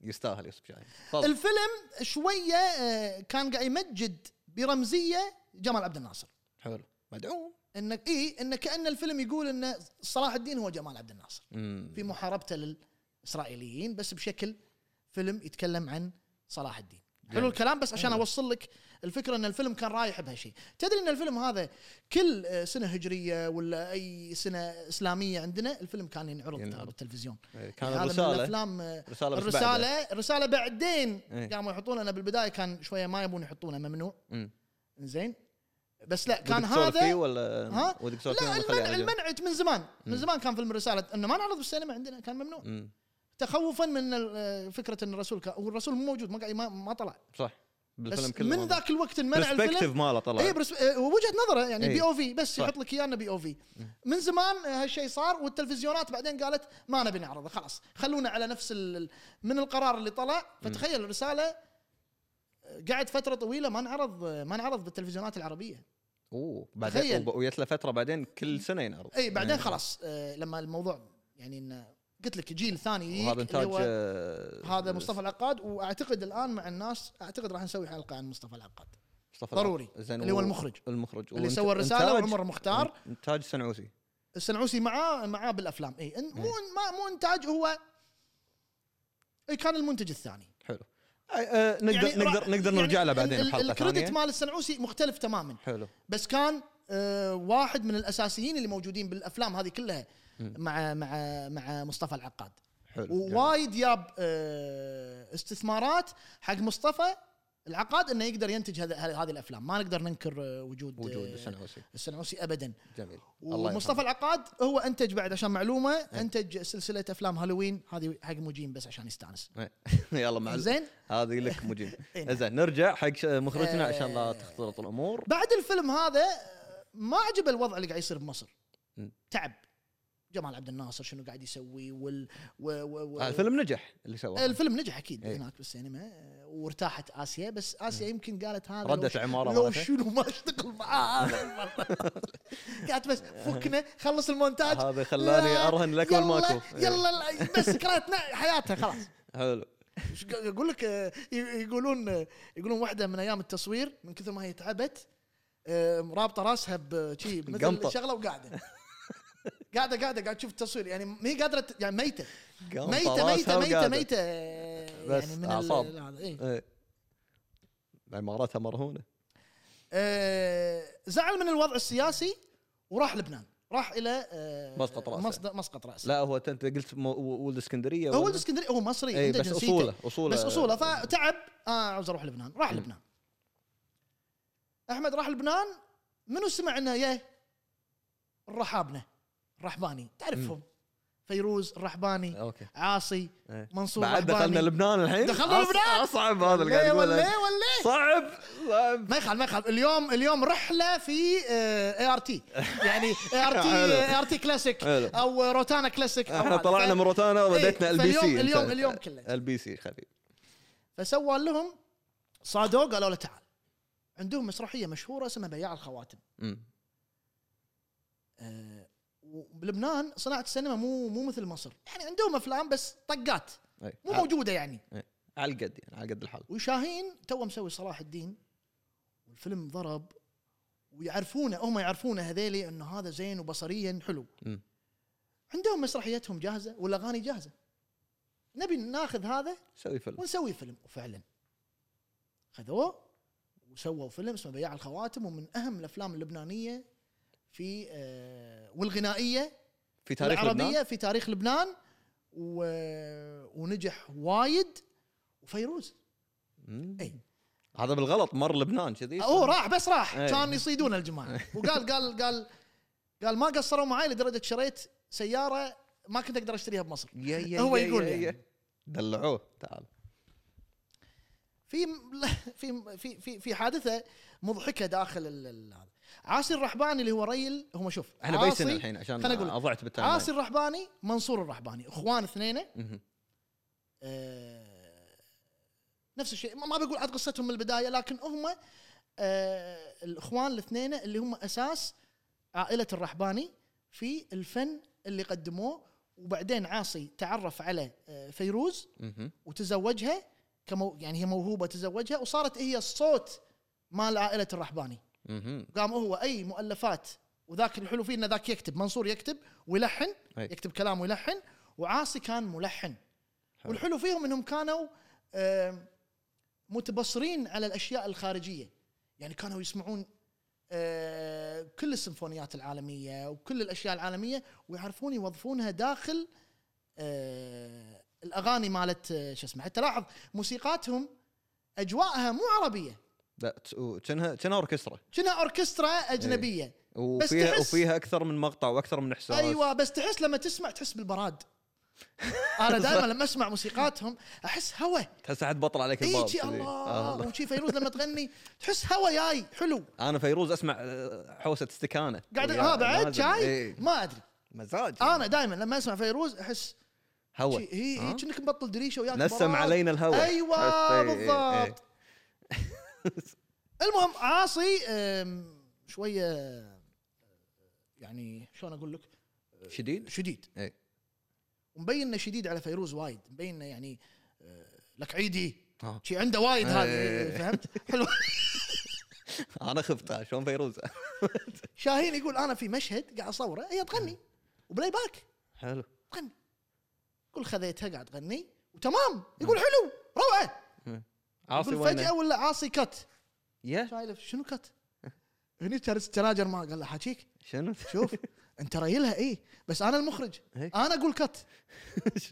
يستاهل يوسف شاهين تفضل الفيلم شويه آه، كان قاعد يمجد برمزيه جمال عبد الناصر حلو مدعوم انك اي ان كان الفيلم يقول ان صلاح الدين هو جمال عبد الناصر مم. في محاربته للاسرائيليين بس بشكل فيلم يتكلم عن صلاح الدين حلو الكلام بس عشان اوصل لك الفكره ان الفيلم كان رايح بهالشيء تدري ان الفيلم هذا كل آه، سنه هجريه ولا اي سنه اسلاميه عندنا الفيلم كان ينعرض ترى ينعرض. بالتلفزيون إيه، كان يعني هذا من الرساله الافلام آه، رسالة بس بعدها. الرساله الرساله بعدين إيه. قاموا يحطون انا بالبدايه كان شويه ما يبون يحطونه ممنوع مم. زين بس لا كان ودك تسولف فيه هذا ولا ها؟ ودك تسولف فيه لا ولا خليه المنع على جنب؟ المنع من زمان من زمان كان فيلم الرساله انه ما نعرض بالسينما عندنا كان ممنوع مم. تخوفا من ال- آه، فكره ان الرسول كان والرسول مو موجود ما قاعد- ما, ما طلع صح بالفيلم بس كله من ذاك الوقت انمنع برسبكتيف الفيلم ماله طلع اي برس... آه، وجهه نظره يعني إيه. بي او في بس صح. يحط لك ايانا بي او في من زمان آه، هالشيء صار والتلفزيونات بعدين قالت ما نبي نعرضه خلاص خلونا على نفس ال... ال- من القرار اللي طلع فتخيل الرساله آه، قعد فتره طويله ما انعرض آه، ما انعرض بالتلفزيونات العربيه اوه تخيل. بعدين وب- ويت له فتره بعدين كل سنه ينعرض اي إيه، بعدين خلاص آه، لما الموضوع يعني إنه قلت لك جيل ثاني يجيك وهذا اللي انتاج هو- آه، هذا مصطفى العقاد واعتقد الان مع الناس اعتقد راح نسوي حلقه عن مصطفى العقاد مصطفى ضروري، العقاد. زين، اللي هو و- المخرج. المخرج اللي وإنت- سوى الرسالة إنتاج- وعمر مختار. انتاج سنعوسي السنعوسي معاه معاه بالافلام اي إن- إيه. مو ما مو انتاج هو اي كان المنتج الثاني حلو آه، آه، نقدر يعني نقدر راح- نقدر نرجع له يعني بعدين ال- ال- بحلقه الكريدت ثانيه مال السنعوسي مختلف تماما حلو بس كان آه، واحد من الاساسيين اللي موجودين بالافلام هذه كلها مع مع مع مصطفى العقاد حلو ووايد جاب آه، استثمارات حق مصطفى العقاد انه يقدر ينتج هذا- هذه هذه الافلام ما نقدر ننكر آه، وجود وجود آه، السنعوسي السنعوسي ابدا جميل الله ومصطفى يرحمه. إيه. العقاد هو انتج بعد عشان معلومه انتج سلسله افلام هالوين هذه حق مجيم بس عشان يستانس يلا مع زين هذه لك مجيب إي نعم. زين نرجع حق ش- مخرجنا عشان لا آه. تختلط الامور بعد الفيلم هذا آه، ما عجب الوضع اللي قاعد يصير بمصر مم. تعب جمال عبد الناصر شنو قاعد يسوي وال و... و... و... آه، الفيلم نجح اللي سواه الفيلم نجح اكيد إيه. هناك بالسينما آه، وارتاحت اسيا بس اسيا يمكن قالت هذا لو ردت العماره لو مالته شنو ما اشتغل معاه هذا المرة. قالت بس فكنا خلص المونتاج هذا خلاني لا، ارهن لك آه، يلا- والماكو إيه. إي. يلا لا، بس كرهت نا- حياتها خلاص حلو إيش ق- اقول لك آه، ي- يقولون آه، يقولون واحده من ايام التصوير من كثر ما هي تعبت آه، مرابطه راسها بشي قمطة. مثل شغله وقاعده قاعده قاعده قاعد تشوف التصوير يعني ما هي قادره ت- يعني ميته قام ميته طلعتها ميته ميته ميته وقعدت. آه، بس يعني من ال- أعصاب. هذا، إيه. إي. عمارتها مرهونه آه، زعل من الوضع السياسي وراح لبنان راح الى آه، مسقط رأسه. مصد- مسقط راسه لا هو أنت- انت قلت مو- ولد اسكندريه هو ولا؟ أه، ولد اسكندريه هو مصري إي، عنده إيه، بس جنسيته. اصوله اصوله بس اصوله فتعب آه عاوز اروح لبنان راح مم. لبنان احمد راح لبنان منو سمع انه ياه الرحابنه الرحباني تعرفهم فيروز الرحباني اوكي عاصي إيه. منصور بعد دخلنا الرحباني لبنان الحين دخلنا أص- لبنان. إيه اصعب هذا اللي ليه قاعد ولا يقوله ليه ولا صعب صعب ما يخالف ما يخالف اليوم اليوم رحله في اي ار تي يعني اي ار تي حلو. اي ار تي كلاسيك حلو. او روتانا كلاسيك أو احنا هذا. طلعنا ف- من روتانا وبديتنا إيه، ال بي فاليوم- سي اليوم- اليوم كله. ال بي سي خفيف فسوى لهم صادوه قالوا له تعال عندهم مسرحيه مشهوره اسمها بياع الخواتم أمم. آه، وبلبنان صناعه السينما مو مو مثل مصر يعني عندهم افلام بس طقات إي. مو إيه، على- موجوده يعني على القد يعني على قد الحال وشاهين تو مسوي صلاح الدين والفيلم ضرب ويعرفونه هم يعرفونه هذيلي انه هذا زين وبصريا حلو أمم. عندهم مسرحيتهم جاهزه والاغاني جاهزه نبي ناخذ هذا سوي فيلم ونسوي فيلم وفعلا خذوه وسووا فيلم اسمه بياع الخواتم ومن اهم الافلام اللبنانيه في آه، والغنائيه في تاريخ العربية لبنان في تاريخ لبنان و... ونجح وايد وفيروز أمم. إي. هذا بالغلط مر لبنان كذي هو راح بس راح إيه. كان يصيدون الجماعة وقال قال قال قال ما قصروا معي لدرجة شريت سيارة ما كنت اقدر اشتريها بمصر يا يا هو يا يقول يا يعني. يا. دلعوه تعال في في في في, في حادثة مضحكة داخل ال- ال- هذا عاصي الرحباني اللي هو ريل هم شوف احنا بيسنا عاصي- الحين عشان خليني أقول لك. اضعت بالتايم عاصي الرحباني منصور الرحباني اخوان اثنين لاين. آه، نفس الشيء ما- ما بقول عاد قصتهم من البدايه لكن هم آه، الاخوان الاثنين اللي هم اساس عائله الرحباني في الفن اللي قدموه وبعدين عاصي تعرف على آه، فيروز مهم. مهم. وتزوجها كمو يعني هي موهوبه تزوجها وصارت هي الصوت مال عائله الرحباني مهم. قام هو اي مؤلفات وذاك الحلو فيه انه ذاك يكتب منصور يكتب ويلحن أي. يكتب كلام ويلحن وعاصي كان ملحن حلو. والحلو فيهم انهم كانوا آم، متبصرين على الاشياء الخارجيه يعني كانوا يسمعون آه، كل السيمفونيات العالميه وكل الاشياء العالميه ويعرفون يوظفونها داخل آه، الاغاني مالت آه، شو اسمه حتى لاحظ موسيقاتهم اجواءها مو عربيه لا تس- و- كأنها كأنها اوركسترا كأنها اوركسترا اجنبيه وفيها تحس- وفيها اكثر من مقطع واكثر من احساس ايوه بس تحس لما تسمع تحس بالبراد انا دائما لما اسمع موسيقاتهم احس هواء تحس احد بطل عليك الباب اي شي كذي. آه، الله وشي فيروز لما تغني تحس هواء جاي حلو انا فيروز اسمع آه، حوسه استكانه قاعد يا ها بعد لازم. شاي إيه. ما ادري مزاج انا دائما لما اسمع فيروز احس هوا شي- هي ها؟ هي كأنك مبطل دريشه وياك آه. نسم براد. علينا الهوا ايوه تحس- إيه، إيه، إيه. بالضبط المهم عاصي أم، شويه يعني شلون اقول لك شديد شديد إيه. ومبين انه شديد على فيروز وايد مبين انه يعني آه، لك عيدي آه. شي عنده وايد إيه. هذا يعني، فهمت حلو انا خفت آه، شلون فيروز شاهين يقول انا في مشهد قاعد اصوره هي تغني وبلاي باك حلو تغني يقول خذيتها قاعد تغني وتمام يقول حلو روعه عاصي يقول فجاه وين ولا عاصي كت يا شايله شنو كت هني كان استناجر ما قال له حاكيك شنو؟ شوف انت رايلها اي بس انا المخرج إيه. انا اقول كت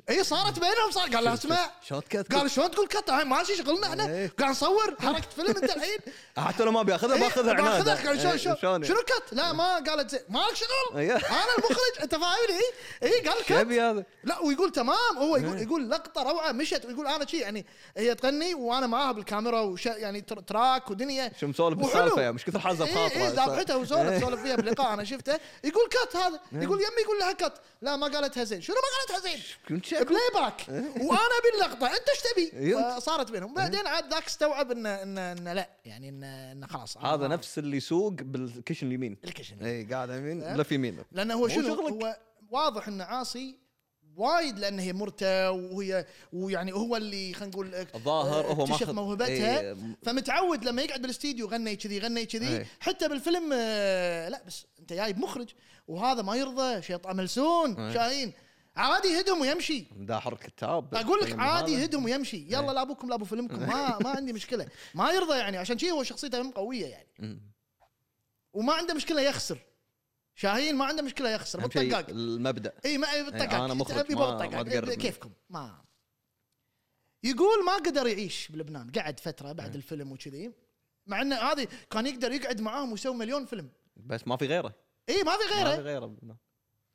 اي إيه، صارت بينهم صار قال له اسمع شوت كات قال شلون تقول كت هاي ماشي شغلنا احنا إيه. قاعد نصور حركت فيلم انت الحين آه، حتى لو ما بياخذها إيه، باخذها عناد باخذها قال شلون إيه، شلون شنو يعني؟ كت لا ما قالت زين مالك شغل إيه. انا المخرج انت فاهمني اي اي قال كت شبي هذا إيه. لا ويقول تمام هو يقول يقول لقطه روعه مشت ويقول انا شي يعني هي تغني وانا معاها بالكاميرا وش يعني تر- تراك ودنيا شو مسولف وحلو. بالسالفه يعني مش كثر حظه إيه بخاطره إيه ذابحتها وسولف إيه. سولف فيها بلقاء انا شفته يقول كات هذا يقول يمي يقول لها كات لا ما قالتها زين شنو ما قالتها زين كنت شاكو. بلاي باك إيه. وانا باللقطه انت ايش تبي أيوة. فصارت بينهم بعدين عاد ذاك استوعب انه انه إن لا يعني انه إن خلاص هذا نفس اللي يسوق بالكشن اليمين الكشن اي قاعد يمين لف يمين لانه هو هو شنو شغلك. هو واضح انه عاصي وايد لان هي مرته وهي ويعني هو اللي خلينا نقول الظاهر هو اكتشف ماخذ- موهبتها إيه. فمتعود لما يقعد بالاستديو غني كذي غني كذي إيه. حتى بالفيلم آه، لا بس انت جايب مخرج وهذا ما يرضى شيطان إيه. ملسون شاهين عادي يهدهم ويمشي مداحر كتاب اقول لك بالفيلم عادي هذا. إيه. يهدهم ويمشي يلا لا ابوكم لا ابو فيلمكم ما ما عندي مشكله ما يرضى يعني عشان شي هو شخصيته هم قويه يعني مم. وما عنده مشكله يخسر شاهين ما عنده مشكله يخسر أهم شيء بالطقاق المبدا اي ما يبي الطقاق يعني أنا مخرج، يبي ما- الطقاق. ما تقرب مني. كيفكم ما يقول ما قدر يعيش بلبنان قعد فتره بعد إيه. الفيلم وكذي مع انه هذه كان يقدر يقعد معاهم ويسوي مليون فيلم بس ما في غيره اي ما في ما في غيره غيره نعم.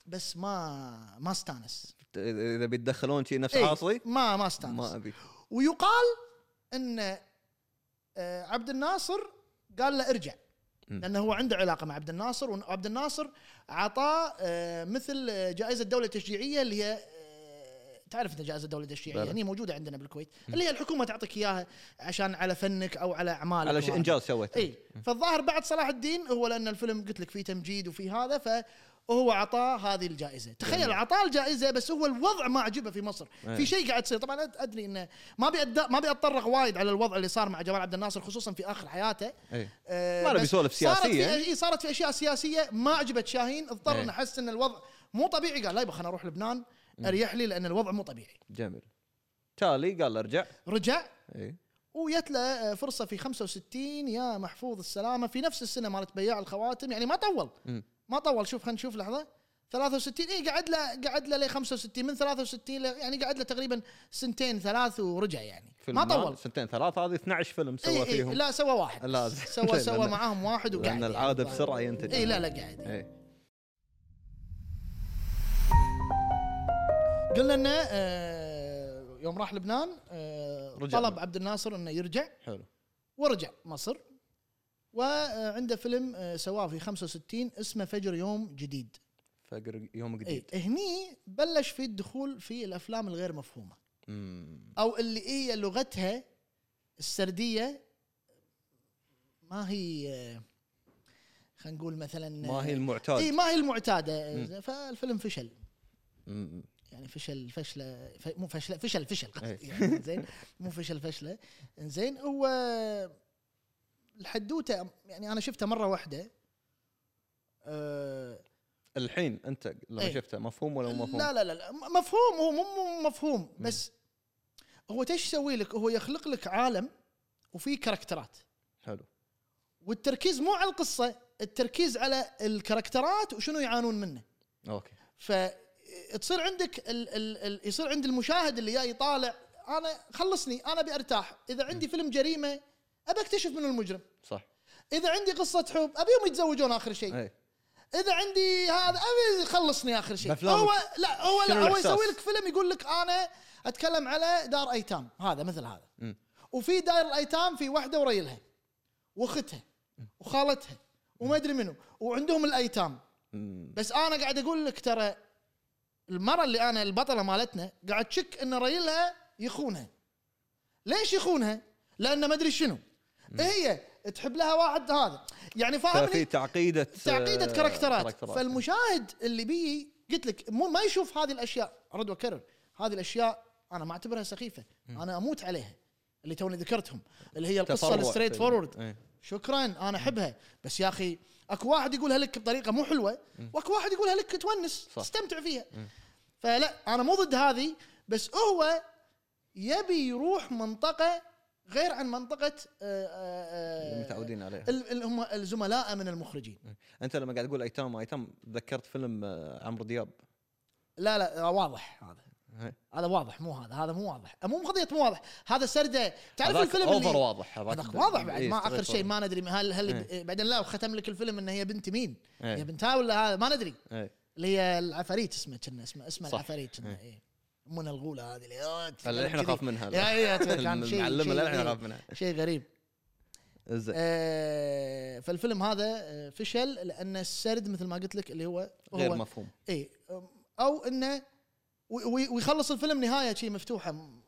بس ما ما استانس اذا إذا بيتدخلون شيء نفس إيه، عاصي ما ما استانس ما ابي ويقال ان آه، عبد الناصر قال له ارجع لانه هو عنده علاقه مع عبد الناصر وعبد الناصر عطاه آه، مثل آه، جائزه الدوله التشجيعيه اللي هي آه، تعرف انت جائزه الدوله التشجيعيه بلى. يعني موجوده عندنا بالكويت اللي هي الحكومه تعطيك اياها عشان على فنك او على اعمالك على شيء وهذا. انجاز سويته اي فالظاهر بعد صلاح الدين هو لان الفيلم قلت لك فيه تمجيد وفي هذا فهو عطاه هذه الجائزه تخيل عطاه الجائزه بس هو الوضع ما عجبه في مصر إيه. في شيء قاعد يصير طبعا أد- ادري انه ما بيأد... ما بيتطرق وايد على الوضع اللي صار مع جمال عبد الناصر خصوصا في اخر حياته إيه. آه، ما نبي بس نسولف صارت في سياسية. اي صارت في اشياء سياسيه ما عجبت شاهين اضطر إيه. انه حس ان الوضع مو طبيعي قال لا يبا خليني اروح لبنان اريح لي لان الوضع مو طبيعي جميل إيه. تالي قال ارجع رجع اي وجت له آه، فرصه في 65 يا محفوظ السلامه في نفس السنه مالت بياع الخواتم يعني ما طول مم. ما طول شوف خلينا نشوف لحظه 63 اي إيه، قعد له قعد له ل 65 من 63 ل- يعني قعد له تقريبا سنتين ثلاث ورجع يعني فيلم ما طول سنتين ثلاث هذه 12 فيلم سوى اي فيهم اي لا سوى واحد لازم. سوى سوى لأن- معاهم واحد وقعد لان يعني. العاده بسرعه ينتج اي لا لا قاعد إيه. قلنا انه آه، يوم راح لبنان آه، رجع. طلب عبد الناصر انه يرجع حلو ورجع مصر وعنده فيلم آه، سواه في 65 اسمه فجر يوم جديد فقر يوم اي جديد هني بلش في الدخول في الافلام الغير مفهومه مم. او اللي هي لغتها السرديه ما هي آه، خلينا نقول مثلا ما هي اي المعتاد ما هي المعتاده آه، فالفيلم فشل مم. يعني فشل فشله ف... مو فشله فشل فشل قصدي إيه. يعني زين مو فشل فشله زين هو الحدوته يعني انا شفتها مره واحده أه الحين انت لما إيه. شفته مفهوم ولا مو مفهوم؟ لا لا لا لا م- مفهوم هو مو مو مفهوم بس هو ايش يسوي لك؟ هو يخلق لك عالم وفيه كاركترات حلو والتركيز مو على القصه التركيز على الكاركترات وشنو يعانون منه اوكي فتصير عندك ال ال ال يصير عند المشاهد اللي جاي يطالع انا خلصني انا ابي ارتاح اذا عندي فيلم جريمه ابي اكتشف منو المجرم صح إيه. اذا عندي قصه حب ابيهم يتزوجون اخر شيء اي اذا عندي هذا ابي يخلصني اخر شيء بأفلامك. هو لا هو لا شنو هو الإحساس؟ يسوي لك فيلم يقول لك انا اتكلم على دار ايتام هذا مثل هذا مم. وفي دار الايتام في واحده وريلها واختها وخالتها وما ادري منو وعندهم الايتام مم. بس انا قاعد اقول لك ترى المره اللي انا البطله مالتنا قاعد تشك ان ريلها يخونها ليش يخونها؟ لانه ما ادري شنو هي تحب لها واحد هذا يعني ففي فاهمني تعقيده تعقيده آه، كاركترات فالمشاهد اللي بيجي قلت لك مو ما يشوف هذه الاشياء رد وكرر هذه الاشياء انا ما اعتبرها سخيفه انا اموت عليها اللي توني ذكرتهم اللي هي القصه تفرع. الستريت فورورد إيه. شكرا انا احبها بس يا اخي اكو واحد يقولها لك بطريقه مو حلوه واكو واحد يقولها لك تونس صح. تستمتع فيها فلا انا مو ضد هذه بس هو يبي يروح منطقه غير عن منطقه آه، آه، آه، إيه. متعودين عليها ال- ال- هم الزملاء من المخرجين انت لما قاعد تقول ايتام ايتام تذكرت فيلم آه، عمرو دياب لا لا آه، واضح هذا هاي. هذا واضح مو هذا هذا مو واضح مو قضيه مو واضح هذا سرده تعرف هذاك الفيلم اوفر اللي واضح هذاك واضح بعد إيه، ما اخر ستريت شيء واضح. ما ندري هل هل إيه. بعدين لا ختم لك الفيلم ان هي بنت مين إيه، هي بنتها ولا هذا ما ندري إيه. اللي هي العفاريت اسمه كنا اسمه اسمه صح. العفاريت كنا إيه. ايه من الغوله هذه اللي آه، تتكلم اللي احنا كذي. نخاف منها يا- يا- كان شيء- المعلمه اللي شيء احنا غريب. نخاف منها شيء غريب زين آه، فالفيلم هذا آه، فشل لان السرد مثل ما قلت لك اللي هو هو إيه، غير مفهوم اي او انه وي- وي- ويخلص الفيلم نهايه شيء مفتوحه م-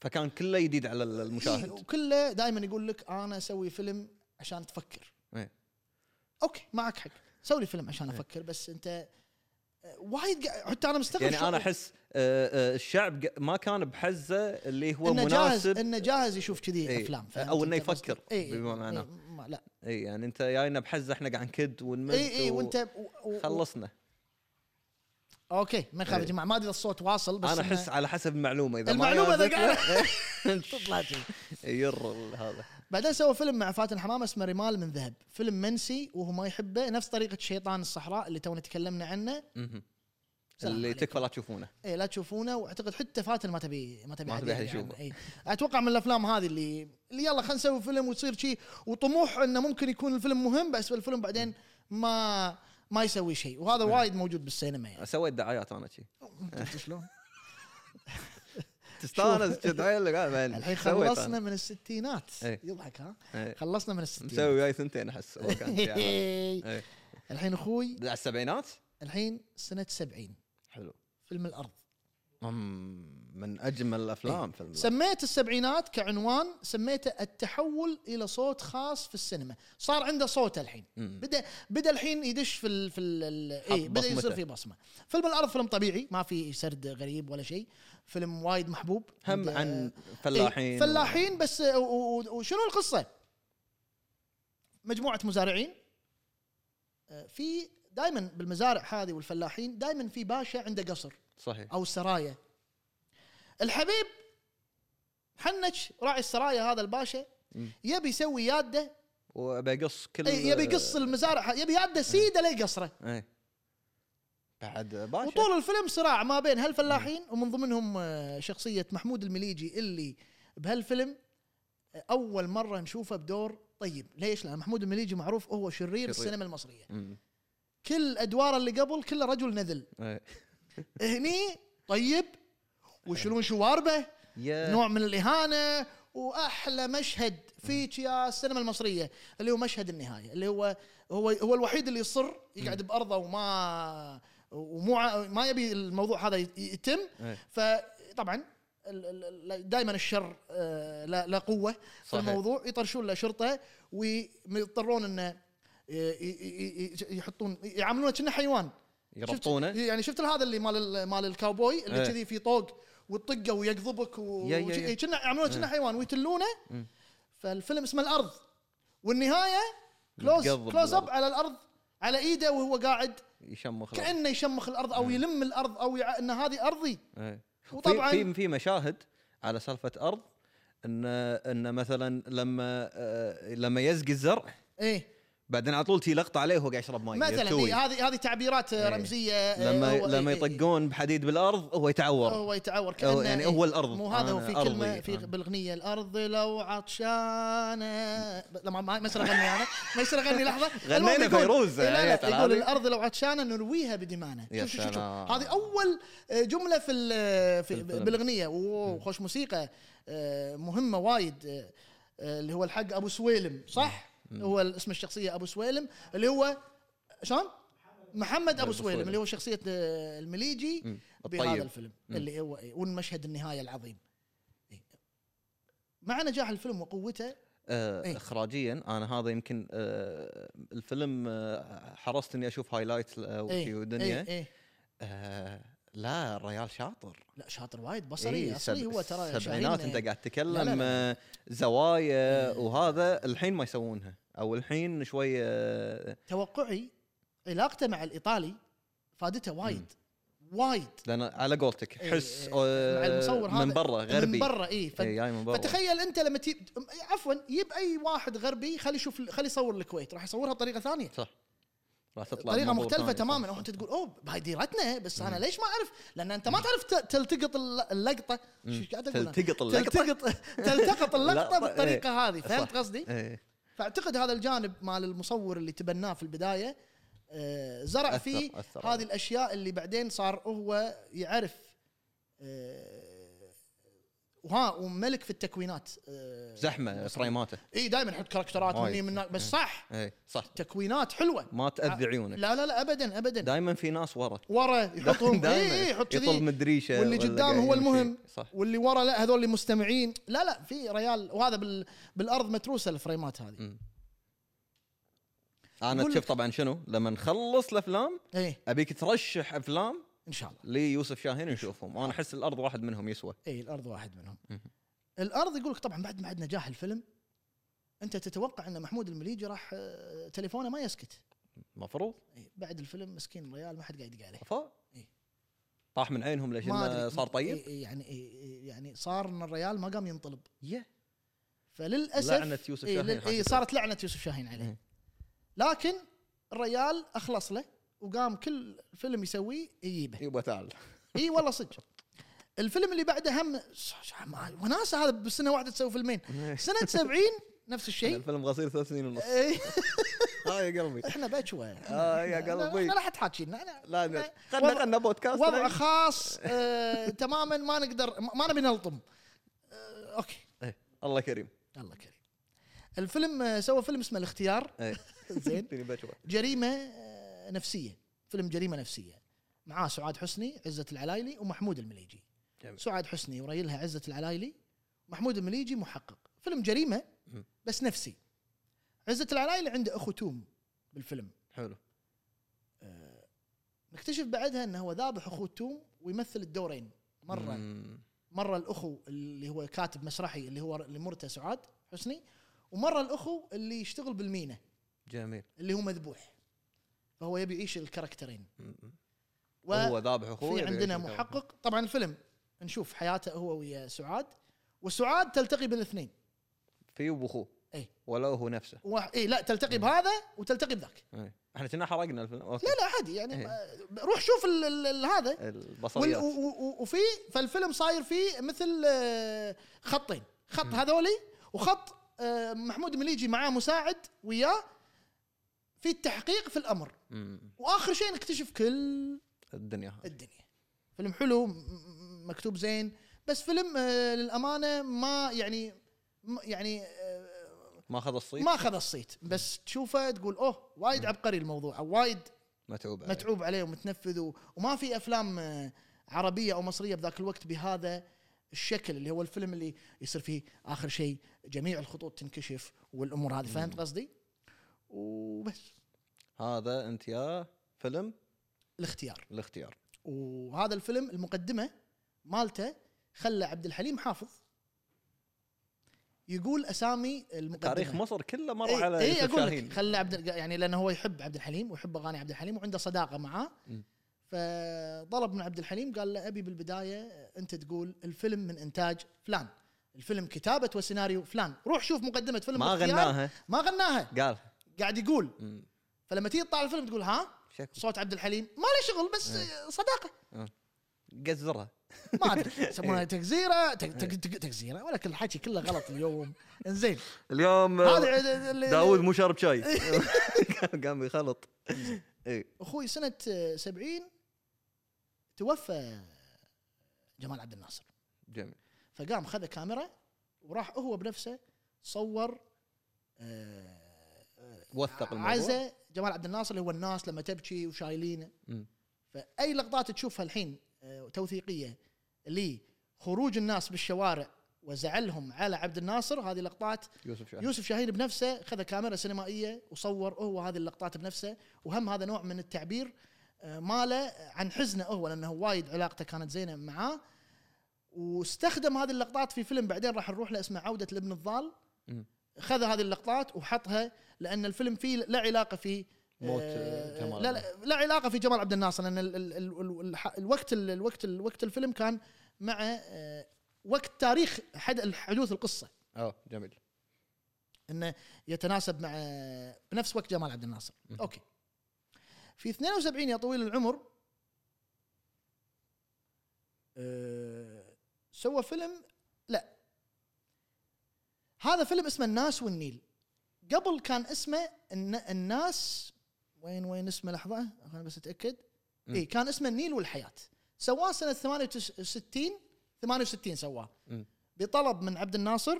فكان كله جديد على ال- إي، المشاهد إيه، وكله دائما يقول لك انا اسوي فيلم عشان تفكر إيه. اوكي معك حق سوي لي فيلم عشان افكر بس انت آه، وايد قا- حتى انا مستغرب يعني انا شلون- احس آه، آه، الشعب ق- ما كان بحزه اللي هو انه جاهز مناسب انه جاهز يشوف كذي إيه. افلام أو إنه يفكر بما بمعنى معناه. إيه، لا اي يعني انت جاينا بحزه احنا قاعد نكد ونمد اي اي و- وانت و- و- خلصنا اوكي ما يخاف يا إيه. جماعه ما ادري إذا الصوت واصل بس انا إنه- احس على حسب المعلومه اذا ما المعلومة إذا جازتنا، تطلع شيء. ير ال- هذا بعدين سوى فيلم مع فاتن حمامه اسمه رمال من ذهب فيلم منسي وهو ما يحبه نفس طريقه شيطان الصحراء اللي تونا تكلمنا عنه مهم. سلام اللي عليكم. تكفى لا تشوفونه اي إيه، لا تشوفونه واعتقد حتى فاتن ما تبي ما تبي ما حد تبي أحد يدري عنه. يشوفه. إي. اتوقع من الافلام هذه اللي اللي يلا خلينا نسوي فيلم وتصير شيء وطموح انه ممكن يكون الفيلم مهم بس الفيلم بعدين ما ما يسوي شيء إيه. وهذا وايد موجود بالسينما يعني سويت دعايات انا شي عرفت شلون؟ تستانس كذا عيل اللي قاعد بعدين. الحين سويت أنا. إيه. خلصنا من الستينات إي. يضحك ها إي. خلصنا من الستينات مسوي وياي ثنتين احس هو كان شي على- إيه. الحين اخوي على السبعينات الحين سنه 70 حلو فيلم الارض أمم، من اجمل الافلام فيلم سميت السبعينات كعنوان سميته التحول الى صوت خاص في السينما صار عنده صوت الحين مم. بدا بدا الحين يدش في ال في ال اي حط بدا يصير بصمته. فيه بصمه فيلم الارض فيلم طبيعي ما في سرد غريب ولا شيء فيلم وايد محبوب هم عنده- عن إي، إيه، فلاحين فلاحين بس و- و- وشنو القصه مجموعه مزارعين آه، في دائما بالمزارع هذه والفلاحين دائما في باشا عنده قصر صحيح او سرايا الحبيب حنش راعي السرايا هذا الباشا مم. يبي يسوي ياده وبقص كل إيه. أي، إيه، يبي يقص المزارع يبي ياده سيده لقصره اي بعد باشا وطول الفيلم صراع ما بين هالفلاحين ومن ضمنهم آه، شخصيه محمود المليجي اللي بهالفيلم آه، اول مره نشوفه بدور طيب ليش لان محمود المليجي معروف هو شرير, شرير. السينما المصريه أمم، كل ادواره اللي قبل كله رجل نذل إي. هني طيب ويشيلون شواربه يا نوع من الاهانه واحلى مشهد فيك يا السينما المصريه اللي هو مشهد النهايه اللي هو هو هو الوحيد اللي يصر يقعد بارضه وما ومو ع- ما يبي الموضوع هذا يت- يتم إيه. فطبعا دائما الشر آه، لا لا قوه في صحيح. الموضوع يطرشون له شرطه ويضطرون انه ي- ي- ي- يحطون يعاملونه كأنه حيوان شفت يربطونه يعني شفت هذا اللي مال ال- مال الكاوبوي اللي إيه. كذي في طوق وتطقه ويقضبك و- يا- يا- وش- يا. إيه، كنا يعملون كنا حيوان ويتلونه فالفيلم اسمه الارض والنهايه كلوز يتقضب كلوز اب بالأرض. على الارض على ايده وهو قاعد يشمخ الأرض. كانه يشمخ الارض او يلم الارض او يع... ان هذه ارضي إي. وطبعاً- إيه. في في- في مشاهد على سالفه ارض ان ان مثلا لما آه، لما يسقي الزرع ايه بعدين على طول تي لقطه عليه وهو قاعد يشرب ماي مثلا يرتوي. إيه، هذه هذه تعبيرات آه، إيه. رمزيه آه، لما هو- لما إيه، إيه، يطقون بحديد بالارض هو يتعور هو يتعور كانه يعني إيه، هو الأرض. مو هذا هو أنا في كلمه أرضي. في أنا. بالاغنيه الارض لو عطشانه لا ما ما ما يصير اغني انا ما يصير اغني لحظه المهم غنينا يقول- فيروز، إيه، لا آية لا يقول العربي. الارض لو عطشانه نرويها بدمانه يا شوف شوف شوف شوف. سلام. هذه اول آه، جمله في ال- في الفيلم. بالاغنيه أوه، خوش موسيقى آه، مهمه وايد آه، آه، اللي هو الحق ابو سويلم صح هو اسم الشخصيه ابو سويلم اللي هو شلون محمد ابو أبو سويلم سويلم. اللي هو شخصيه آه، المليجي مم. بهذا الطيب الفيلم طيب. مم. اللي هو إيه، والمشهد النهايه العظيم إيه. مع نجاح الفيلم وقوته آه، إيه. اخراجيا انا هذا يمكن آه، الفيلم آه، حرصت اني اشوف هايلايت اي آه، وشي ودنيا اي اي آه، لا الرجال شاطر لا شاطر وايد بصري إيه، اصلي سب- هو ترى السبعينات شاهين، انت إيه. قاعد لا، لا، تتكلم لا. إيه. آه، زوايا وهذا الحين ما يسوونها او الحين شوي آه، توقعي علاقته مع الايطالي فادته وايد وايد لان على قولتك إي، حس إي، آه، إيه، مع المصور هذا من برا غربي إيه، من برا اي ف... إي، جاي من برا فتخيل انت لما تجيب عفوا يب اي واحد غربي خلي يشوف خلي يصور الكويت راح يصورها بطريقه ثانيه صح راح تطلع طريقه بمنظور مختلفه ثاني، صح. تماما وانت تقول اوه هاي ديرتنا بس انا ليش ما اعرف لان انت ما تعرف ت- تلتقط الل- اللقطه شو قاعد اقول أنا؟ تلتقط اللقطة؟ تلتقط تلتقط اللقطه لقطة، بالطريقه هذه فهمت صح. قصدي؟ إي. فاعتقد هذا الجانب مال المصور اللي تبناه في البدايه آه، زرع أثر- فيه أثر. هذه الاشياء اللي بعدين صار هو يعرف آه، وها وملك في التكوينات آه، زحمه فريماته اي دائما يحط كاركترات من وايد. هني من هناك، بس صح اي إيه، صح تكوينات حلوه ما تاذي عيونك لا لا لا ابدا ابدا دائما في ناس ورا ورا يحطهم دايماً اي اي يحط يطل كذي مدريشه واللي ولا قدام قاعد هو يمشي. المهم صح واللي ورا لا هذول اللي مستمعين لا لا في ريال وهذا بال بالارض متروسه الفريمات هذه مم. انا يقول تشوف طبعا شنو لما نخلص الافلام اي ابيك ترشح افلام ان إيه، شاء الله ليوسف شاهين نشوفهم وانا احس الارض واحد منهم يسوى اي الارض واحد منهم مهم. الارض يقول لك طبعا بعد بعد نجاح الفيلم انت تتوقع ان محمود المليجي راح آه، تليفونه ما يسكت المفروض إي، بعد الفيلم مسكين ريال ما حد قاعد يدق عليه فا إي. طاح من عينهم ليش إيه. ما إنه أدري. صار طيب إي- إي، يعني إي- إي- يعني صار ان الريال ما قام ينطلب يه. فللاسف لعنة يوسف إي، شاهين لل- إي حقيقة. صارت لعنه يوسف شاهين عليه إي. لكن الريال اخلص له وقام كل فيلم يسويه يجيبه يبا تعال اي والله صدق الفيلم اللي بعده هم ش- ش- ما- وناسه هذا بسنه واحده تسوي فيلمين سنه 70 نفس الشيء إيه، الفيلم قصير ثلاث سنين ونص إي، ها يا قلبي احنا بشوى آه، يا قلبي. لا حد حاكينا أنا- لا أنا- لا خلنا وضع- خلنا بودكاست إيه. وضع لا. خاص آه، تماما ما نقدر ما- ما نبي نلطم آه، اوكي إيه. الله كريم الله كريم الفيلم آه، سوى فيلم اسمه الاختيار إيه. زين تني بشوى جريمه آه، نفسيه فيلم جريمه نفسيه معاه سعاد حسني عزه العلايلي ومحمود المليجي جميل. سعاد حسني وريلها عزه العلايلي محمود المليجي محقق فيلم جريمه مم. بس نفسي عزه العلايلي عنده اخو توم بالفيلم حلو نكتشف بعدها انه هو ذابح اخوه توم ويمثل الدورين مره مم. مره الاخو اللي هو كاتب مسرحي اللي هو اللي مرته سعاد حسني ومره الاخو اللي يشتغل بالمينا جميل اللي هو مذبوح فهو يبي يعيش الكاركترين مم. و- هو ذابح اخوه في يبي عندنا يعيش الكلام. محقق طبعا الفيلم نشوف حياته هو ويا سعاد وسعاد تلتقي بالاثنين في واخوه إيه. ولا هو نفسه وح... اي إيه، لا تلتقي بهذا وتلتقي بذاك إيه. احنا كنا حرقنا الفيلم أوكي. لا لا عادي يعني إيه. آه، روح شوف ال... ال... ال... هذا وال... البصريات و... و... وفي فالفيلم صاير فيه مثل آه، خطين خط هذولي وخط آه، محمود مليجي معاه مساعد وياه في التحقيق في الامر مم. واخر شيء نكتشف كل الدنيا هذه. الدنيا فيلم حلو م- م- مكتوب زين بس فيلم آه، للامانه ما يعني م- يعني آه، ما اخذ الصيت ما اخذ الصيت بس تشوفه تقول اوه وايد عبقري الموضوع أو وايد متعوب عليه. متعوب عليه ومتنفذ و- وما في افلام آه، عربيه او مصريه بذاك الوقت بهذا الشكل اللي هو الفيلم اللي يصير فيه اخر شيء جميع الخطوط تنكشف والامور هذه فهمت قصدي؟ وبس هذا انت يا فيلم الاختيار الاختيار وهذا الفيلم المقدمه مالته خلى عبد الحليم حافظ يقول اسامي المقدمه تاريخ مصر كله مر إيه، على إيه، يوسف أقول لك، شاهين خلى عبد يعني لانه هو يحب عبد الحليم ويحب اغاني عبد الحليم وعنده صداقه معاه مم. فطلب من عبد الحليم قال له ابي بالبدايه انت تقول الفيلم من انتاج فلان الفيلم كتابه وسيناريو فلان روح شوف مقدمه فيلم ما الاختيار. غناها ما غناها قال قاعد يقول مم. فلما تيجي تطالع الفيلم تقول ها شكو صوت عبد الحليم ما له شغل بس إيه. صداقه قزرها ما ادري إيه. يسمونها تجزيره تك- تك- تك- تجزيره ولكن الحكي كله غلط اليوم انزين اليوم هذا ال- ال- داود مو شارب شاي قام يخلط اي اخوي سنه 70 توفى جمال عبد الناصر جميل فقام خذ كاميرا وراح هو بنفسه صور آه، آه، وثق الموضوع عزا جمال عبد الناصر اللي هو الناس لما تبكي وشايلينه مم. فاي لقطات تشوفها الحين آه، توثيقيه لخروج الناس بالشوارع وزعلهم على عبد الناصر هذه لقطات يوسف شاهين يوسف شاهين بنفسه خذ كاميرا سينمائيه وصور هو هذه اللقطات بنفسه وهم هذا نوع من التعبير آه، ماله عن حزنه هو لانه وايد علاقته كانت زينه معاه واستخدم هذه اللقطات في فيلم بعدين راح نروح له اسمه عوده الابن الضال مم. خذ هذه اللقطات وحطها لان الفيلم فيه لا علاقه فيه موت آه، جمال لا لا لا علاقه في جمال عبد الناصر لان ال ال ال ال الح- الوقت ال الوقت ال وقت الفيلم كان مع آه، وقت تاريخ حد حدوث القصه اه جميل انه يتناسب مع بنفس وقت جمال عبد الناصر اوكي في 72 يا طويل العمر أه سوى فيلم لا هذا فيلم اسمه الناس والنيل قبل كان اسمه الن... الناس وين وين اسمه لحظه خليني بس اتاكد مم. اي كان اسمه النيل والحياه سواه سنه 68 68 سواه مم. بطلب من عبد الناصر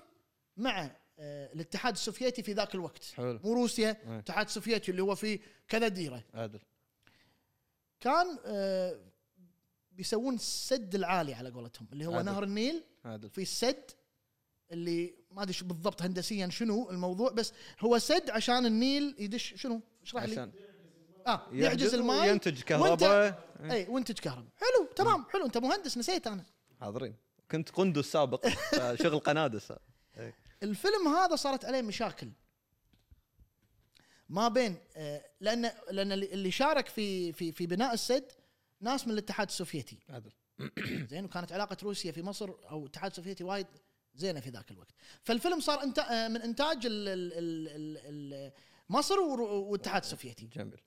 مع آه، الاتحاد السوفيتي في ذاك الوقت حلو مو روسيا أي. الاتحاد السوفيتي اللي هو فيه كذا ديره عادل كان آه، بيسوون السد العالي على قولتهم اللي هو عادل. نهر النيل عادل في السد اللي ما ادري شو بالضبط هندسيا شنو الموضوع بس هو سد عشان النيل يدش شنو اشرح لي عشان اه يعجز الماي ينتج كهرباء اي وانتج كهرباء حلو تمام حلو انت مهندس نسيت انا حاضرين كنت قندس سابق شغل قنادس الفيلم هذا صارت عليه مشاكل ما بين آه، لان لان اللي اللي شارك في في في بناء السد ناس من الاتحاد السوفيتي عادل زين وكانت علاقه روسيا في مصر او الاتحاد السوفيتي وايد زينه في ذاك الوقت فالفيلم صار انت آه، من انتاج ال ال ال ال ال مصر ور- والاتحاد السوفيتي جميل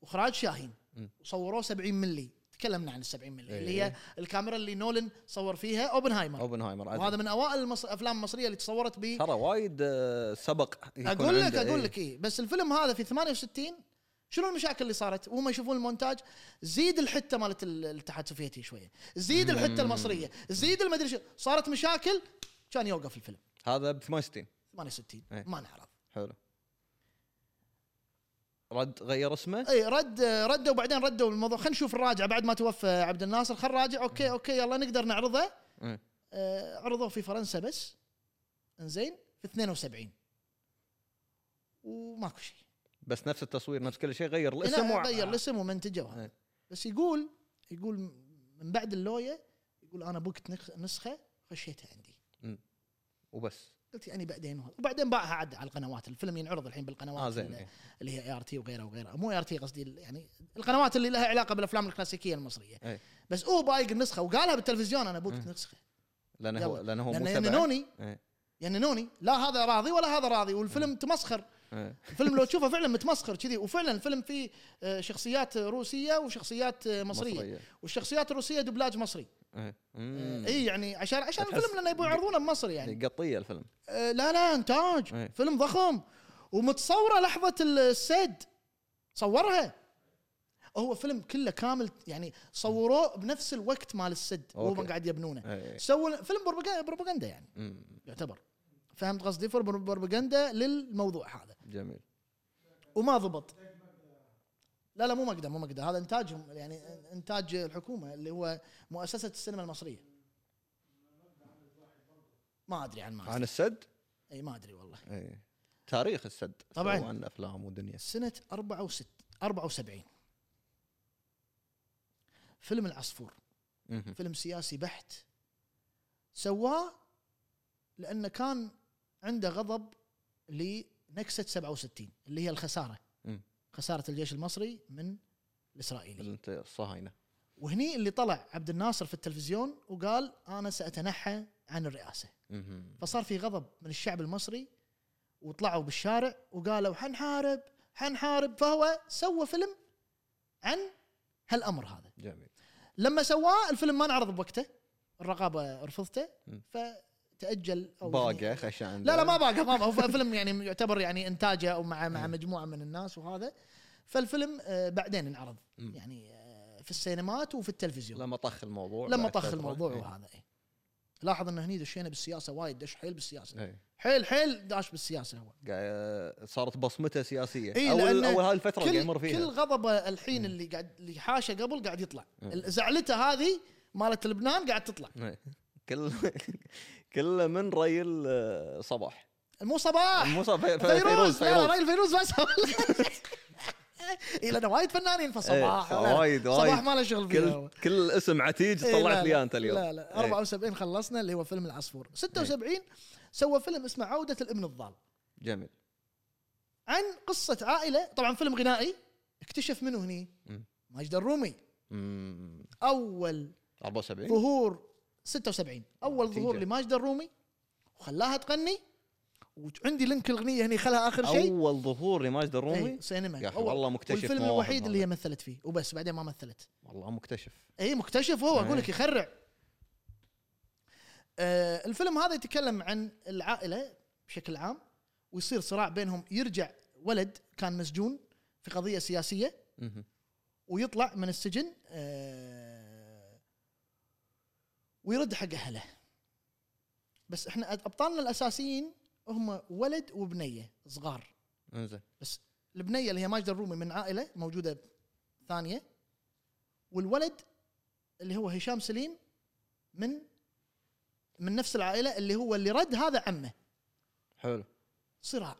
واخراج شاهين مم. وصوروه 70 ملي تكلمنا عن ال 70 ملي اللي هي إيه. الكاميرا اللي نولن صور فيها اوبنهايمر اوبنهايمر عادل. طيب. وهذا من اوائل المص- الافلام المصريه اللي تصورت ب ترى وايد آه، سبق يكون اقول لك عنده، اقول إيه. لك اي بس الفيلم هذا في 68 شنو المشاكل اللي صارت وهم يشوفون المونتاج زيد الحته مالت ال- الاتحاد السوفيتي شويه زيد الحته المصريه زيد المدري شو صارت مشاكل كان يوقف الفيلم هذا ب 68 68 إيه. ما نعرض حلو رد غير اسمه اي إيه، رد ردوا وبعدين ردوا الموضوع خلينا نشوف الراجع بعد ما توفى عبد الناصر خل راجع اوكي اوكي يلا نقدر نعرضه إيه. آه، عرضوه في فرنسا بس انزين في 72 وماكو شيء بس نفس التصوير نفس كل شيء غير الاسم لا وع- غير الاسم ومنتجه إيه. وهذا بس يقول يقول من بعد اللوية يقول انا بوقت نخ- نسخه خشيتها عندي وبس قلت يعني بعدين وهذا. وبعدين باعها عاد على القنوات الفيلم ينعرض الحين بالقنوات اه زين اللي- إيه. اللي هي اي ار تي وغيرها وغيرها مو اي ار تي قصدي ال- يعني القنوات اللي لها علاقه بالافلام الكلاسيكيه المصريه إيه. بس هو بايق النسخه وقالها بالتلفزيون انا بوقت إيه. نسخه لانه هو يلا. لانه هو مو لانه سبع ينوني إيه. ينوني لا هذا راضي ولا هذا راضي والفيلم تمسخر إيه. الفيلم لو تشوفه فعلا متمسخر كذي وفعلا الفيلم فيه آه، شخصيات روسيه وشخصيات آه، مصريه والشخصيات الروسيه دبلاج مصري إيه. مم. آه، اي يعني عشان عشان أحس- الفيلم لانه يبون يعرضونه بمصر يعني قطيه الفيلم آه، لا لا انتاج إيه. فيلم ضخم ومتصوره لحظه السد صورها هو فيلم كله كامل يعني صوروه بنفس الوقت مال السد وهو أوكي. قاعد يبنونه إيه. سووا فيلم بروباغا- بروباغندا يعني مم. يعتبر فهمت قصدي فيلم بروباغندا للموضوع هذا جميل وما ضبط لا لا مو مقدة مو مقدة هذا انتاجهم يعني انتاج الحكومه اللي هو مؤسسه السينما المصريه ما ادري عن ما عن السد اي ما ادري والله إيه. تاريخ السد طبعاً. سواء افلام ودنيا سنه 64 74 فيلم العصفور مهم. فيلم سياسي بحت سواه لانه كان عنده غضب لنكسه 67 اللي هي الخساره مم. خساره الجيش المصري من الاسرائيلي انت الصهاينه وهني اللي طلع عبد الناصر في التلفزيون وقال انا ساتنحى عن الرئاسه مهم. فصار في غضب من الشعب المصري وطلعوا بالشارع وقالوا حنحارب حنحارب فهو سوى فيلم عن هالامر هذا جميل لما سواه الفيلم ما انعرض بوقته الرقابه رفضته مم. فتاجل او باقه يعني- خشان لا لا ما باقى ما باقى هو فيلم يعني يعتبر يعني انتاجه او مع مع مجموعه من الناس وهذا فالفيلم آه، بعدين انعرض مم. يعني آه، في السينمات وفي التلفزيون لما طخ الموضوع لما بعد طخ فترة. الموضوع إيه. وهذا إيه. لاحظ ان هني دشينا بالسياسه وايد دش حيل بالسياسه إيه. حيل حيل داش بالسياسه هو قاعد- صارت بصمته سياسيه إيه، اول لأنه اول هاي الفتره اللي كل يمر فيها كل غضبه الحين اللي قاعد اللي حاشه قبل قاعد يطلع إيه. زعلته هذه مالت لبنان قاعد تطلع إيه. كل كل من ريل آه، صباح مو صباح مو صباح ف- فيروز فيروز لا لا فيروز راجل فيروز ما سوى اي لان وايد فنانين فصباح إيه، لا لا، وايد- صباح وايد. ما له شغل فيها هو. كل كل اسم عتيج إيه، لا، طلعت لي لا، إياه انت اليوم لا لا إيه. 74 خلصنا اللي هو إيه. فيلم العصفور 76 سوى فيلم اسمه عوده الابن الضال جميل عن قصه عائله طبعا فيلم غنائي اكتشف منه هني مم. ماجد الرومي مم. اول 74 ظهور 76 اول نتيجة. ظهور لماجد الرومي وخلاها تغني وعندي لينك الاغنيه هني خلاها اخر شيء اول ظهور لماجد الرومي أي، سينما يا اخي أول- والله مكتشف والفيلم مواهب الوحيد اللي هذا. هي مثلت فيه وبس بعدين ما مثلت والله مكتشف اي مكتشف هو أي. اقول لك يخرع آه الفيلم هذا يتكلم عن العائله بشكل عام ويصير صراع بينهم يرجع ولد كان مسجون في قضيه سياسيه مهم. ويطلع من السجن آه ويرد حق اهله بس احنا ابطالنا الاساسيين هم ولد وبنيه صغار انزين بس البنيه اللي هي ماجد الرومي من عائله موجوده ثانيه والولد اللي هو هشام سليم من من نفس العائله اللي هو اللي رد هذا عمه حلو صراع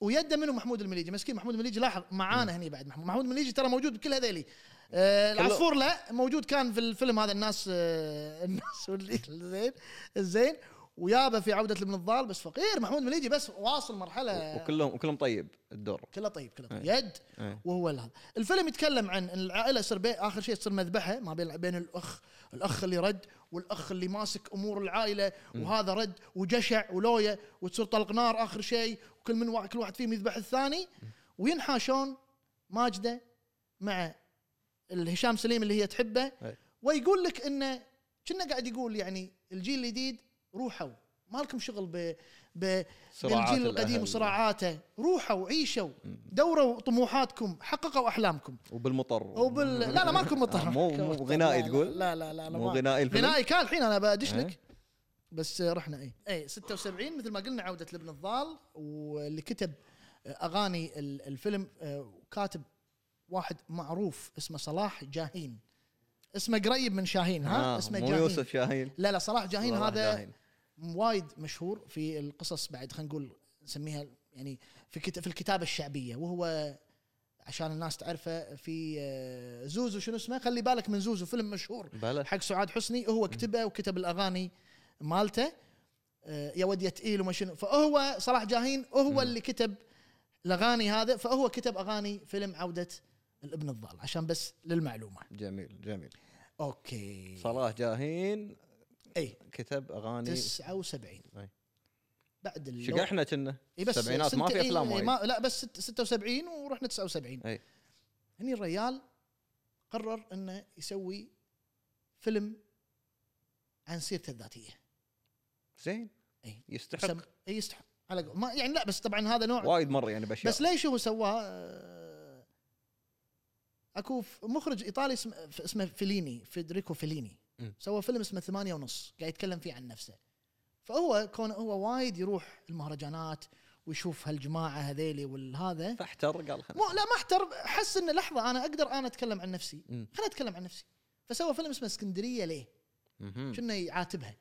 ويده منه محمود المليجي مسكين محمود المليجي لاحظ معانا هني بعد محمود محمود المليجي ترى موجود بكل هذيلي آه العصفور لا موجود كان في الفيلم هذا الناس آه الناس واللي زين زين ويابه في عوده من الضال بس فقير محمود المليجي بس واصل مرحله وكلهم وكلهم طيب الدور كله طيب كله طيب أي. يد أي. وهو هذا الفيلم يتكلم عن إن العائله يصير بي- اخر شيء تصير مذبحه ما بين بين الاخ الاخ اللي رد والاخ اللي ماسك امور العائله وهذا رد وجشع ولويه وتصير طلق نار اخر شيء وكل من واحد كل واحد فيهم يذبح الثاني وينحاشون ماجده مع الهشام سليم اللي هي تحبه أي. ويقول لك انه كنا قاعد يقول يعني الجيل الجديد روحوا ما لكم شغل ب ب صراعات بالجيل الأهل. القديم وصراعاته روحوا عيشوا دوروا طموحاتكم حققوا احلامكم وبالمطر او بال لا لا مالكم مضطر آه، مو- مو غنائي لا- تقول؟ لا لا لا, لا مو ما- غنائي الفيلم؟ غنائي كان الحين انا بدش إيه. لك بس رحنا إيه. اي اي 76 مثل ما قلنا عوده لابن الضال واللي كتب اغاني ال- الفيلم آه، كاتب واحد معروف اسمه صلاح جاهين اسمه قريب من شاهين ها آه اسمه مو جاهين يوسف شاهين لا لا صلاح جاهين والله هذا جاهين. وايد مشهور في القصص بعد خلينا نقول نسميها يعني في كت- في الكتابه الشعبيه وهو عشان الناس تعرفه في آه، زوزو شنو اسمه خلي بالك من زوزو فيلم مشهور بلى حق سعاد حسني هو كتبه وكتب الاغاني مالته آه، يا ود يا تقيل وما شنو فهو صلاح جاهين هو اللي كتب الاغاني هذا فهو كتب اغاني فيلم عوده الابن الضال عشان بس للمعلومه جميل جميل اوكي صلاح جاهين اي كتب اغاني 79 أي. بعد شو اللو- قاعد احنا كنا اي بس السبعينات ما سنت- في إي- افلام إي وايد ما لا بس ست- 76 ورحنا 79 اي هني الريال قرر انه يسوي فيلم عن سيرته الذاتيه زين إي. يستحق سم- اي إيه، يستحق على قول- ما يعني لا بس طبعا هذا نوع وايد مره يعني باشياء بس ليش هو سواه آه، اكو ف- مخرج ايطالي اسم- ف- اسمه فيليني فيدريكو فيليني مم. سوى فيلم اسمه ثمانية ونص قاعد يتكلم فيه عن نفسه فهو كون هو وايد يروح المهرجانات ويشوف هالجماعه هذيلي والهذا فاحتر قال مو خلنا لا ما احترم حس ان لحظه انا اقدر انا اتكلم عن نفسي مم. خليني اتكلم عن نفسي فسوى فيلم اسمه اسكندريه ليه؟ مهم. كنا يعاتبها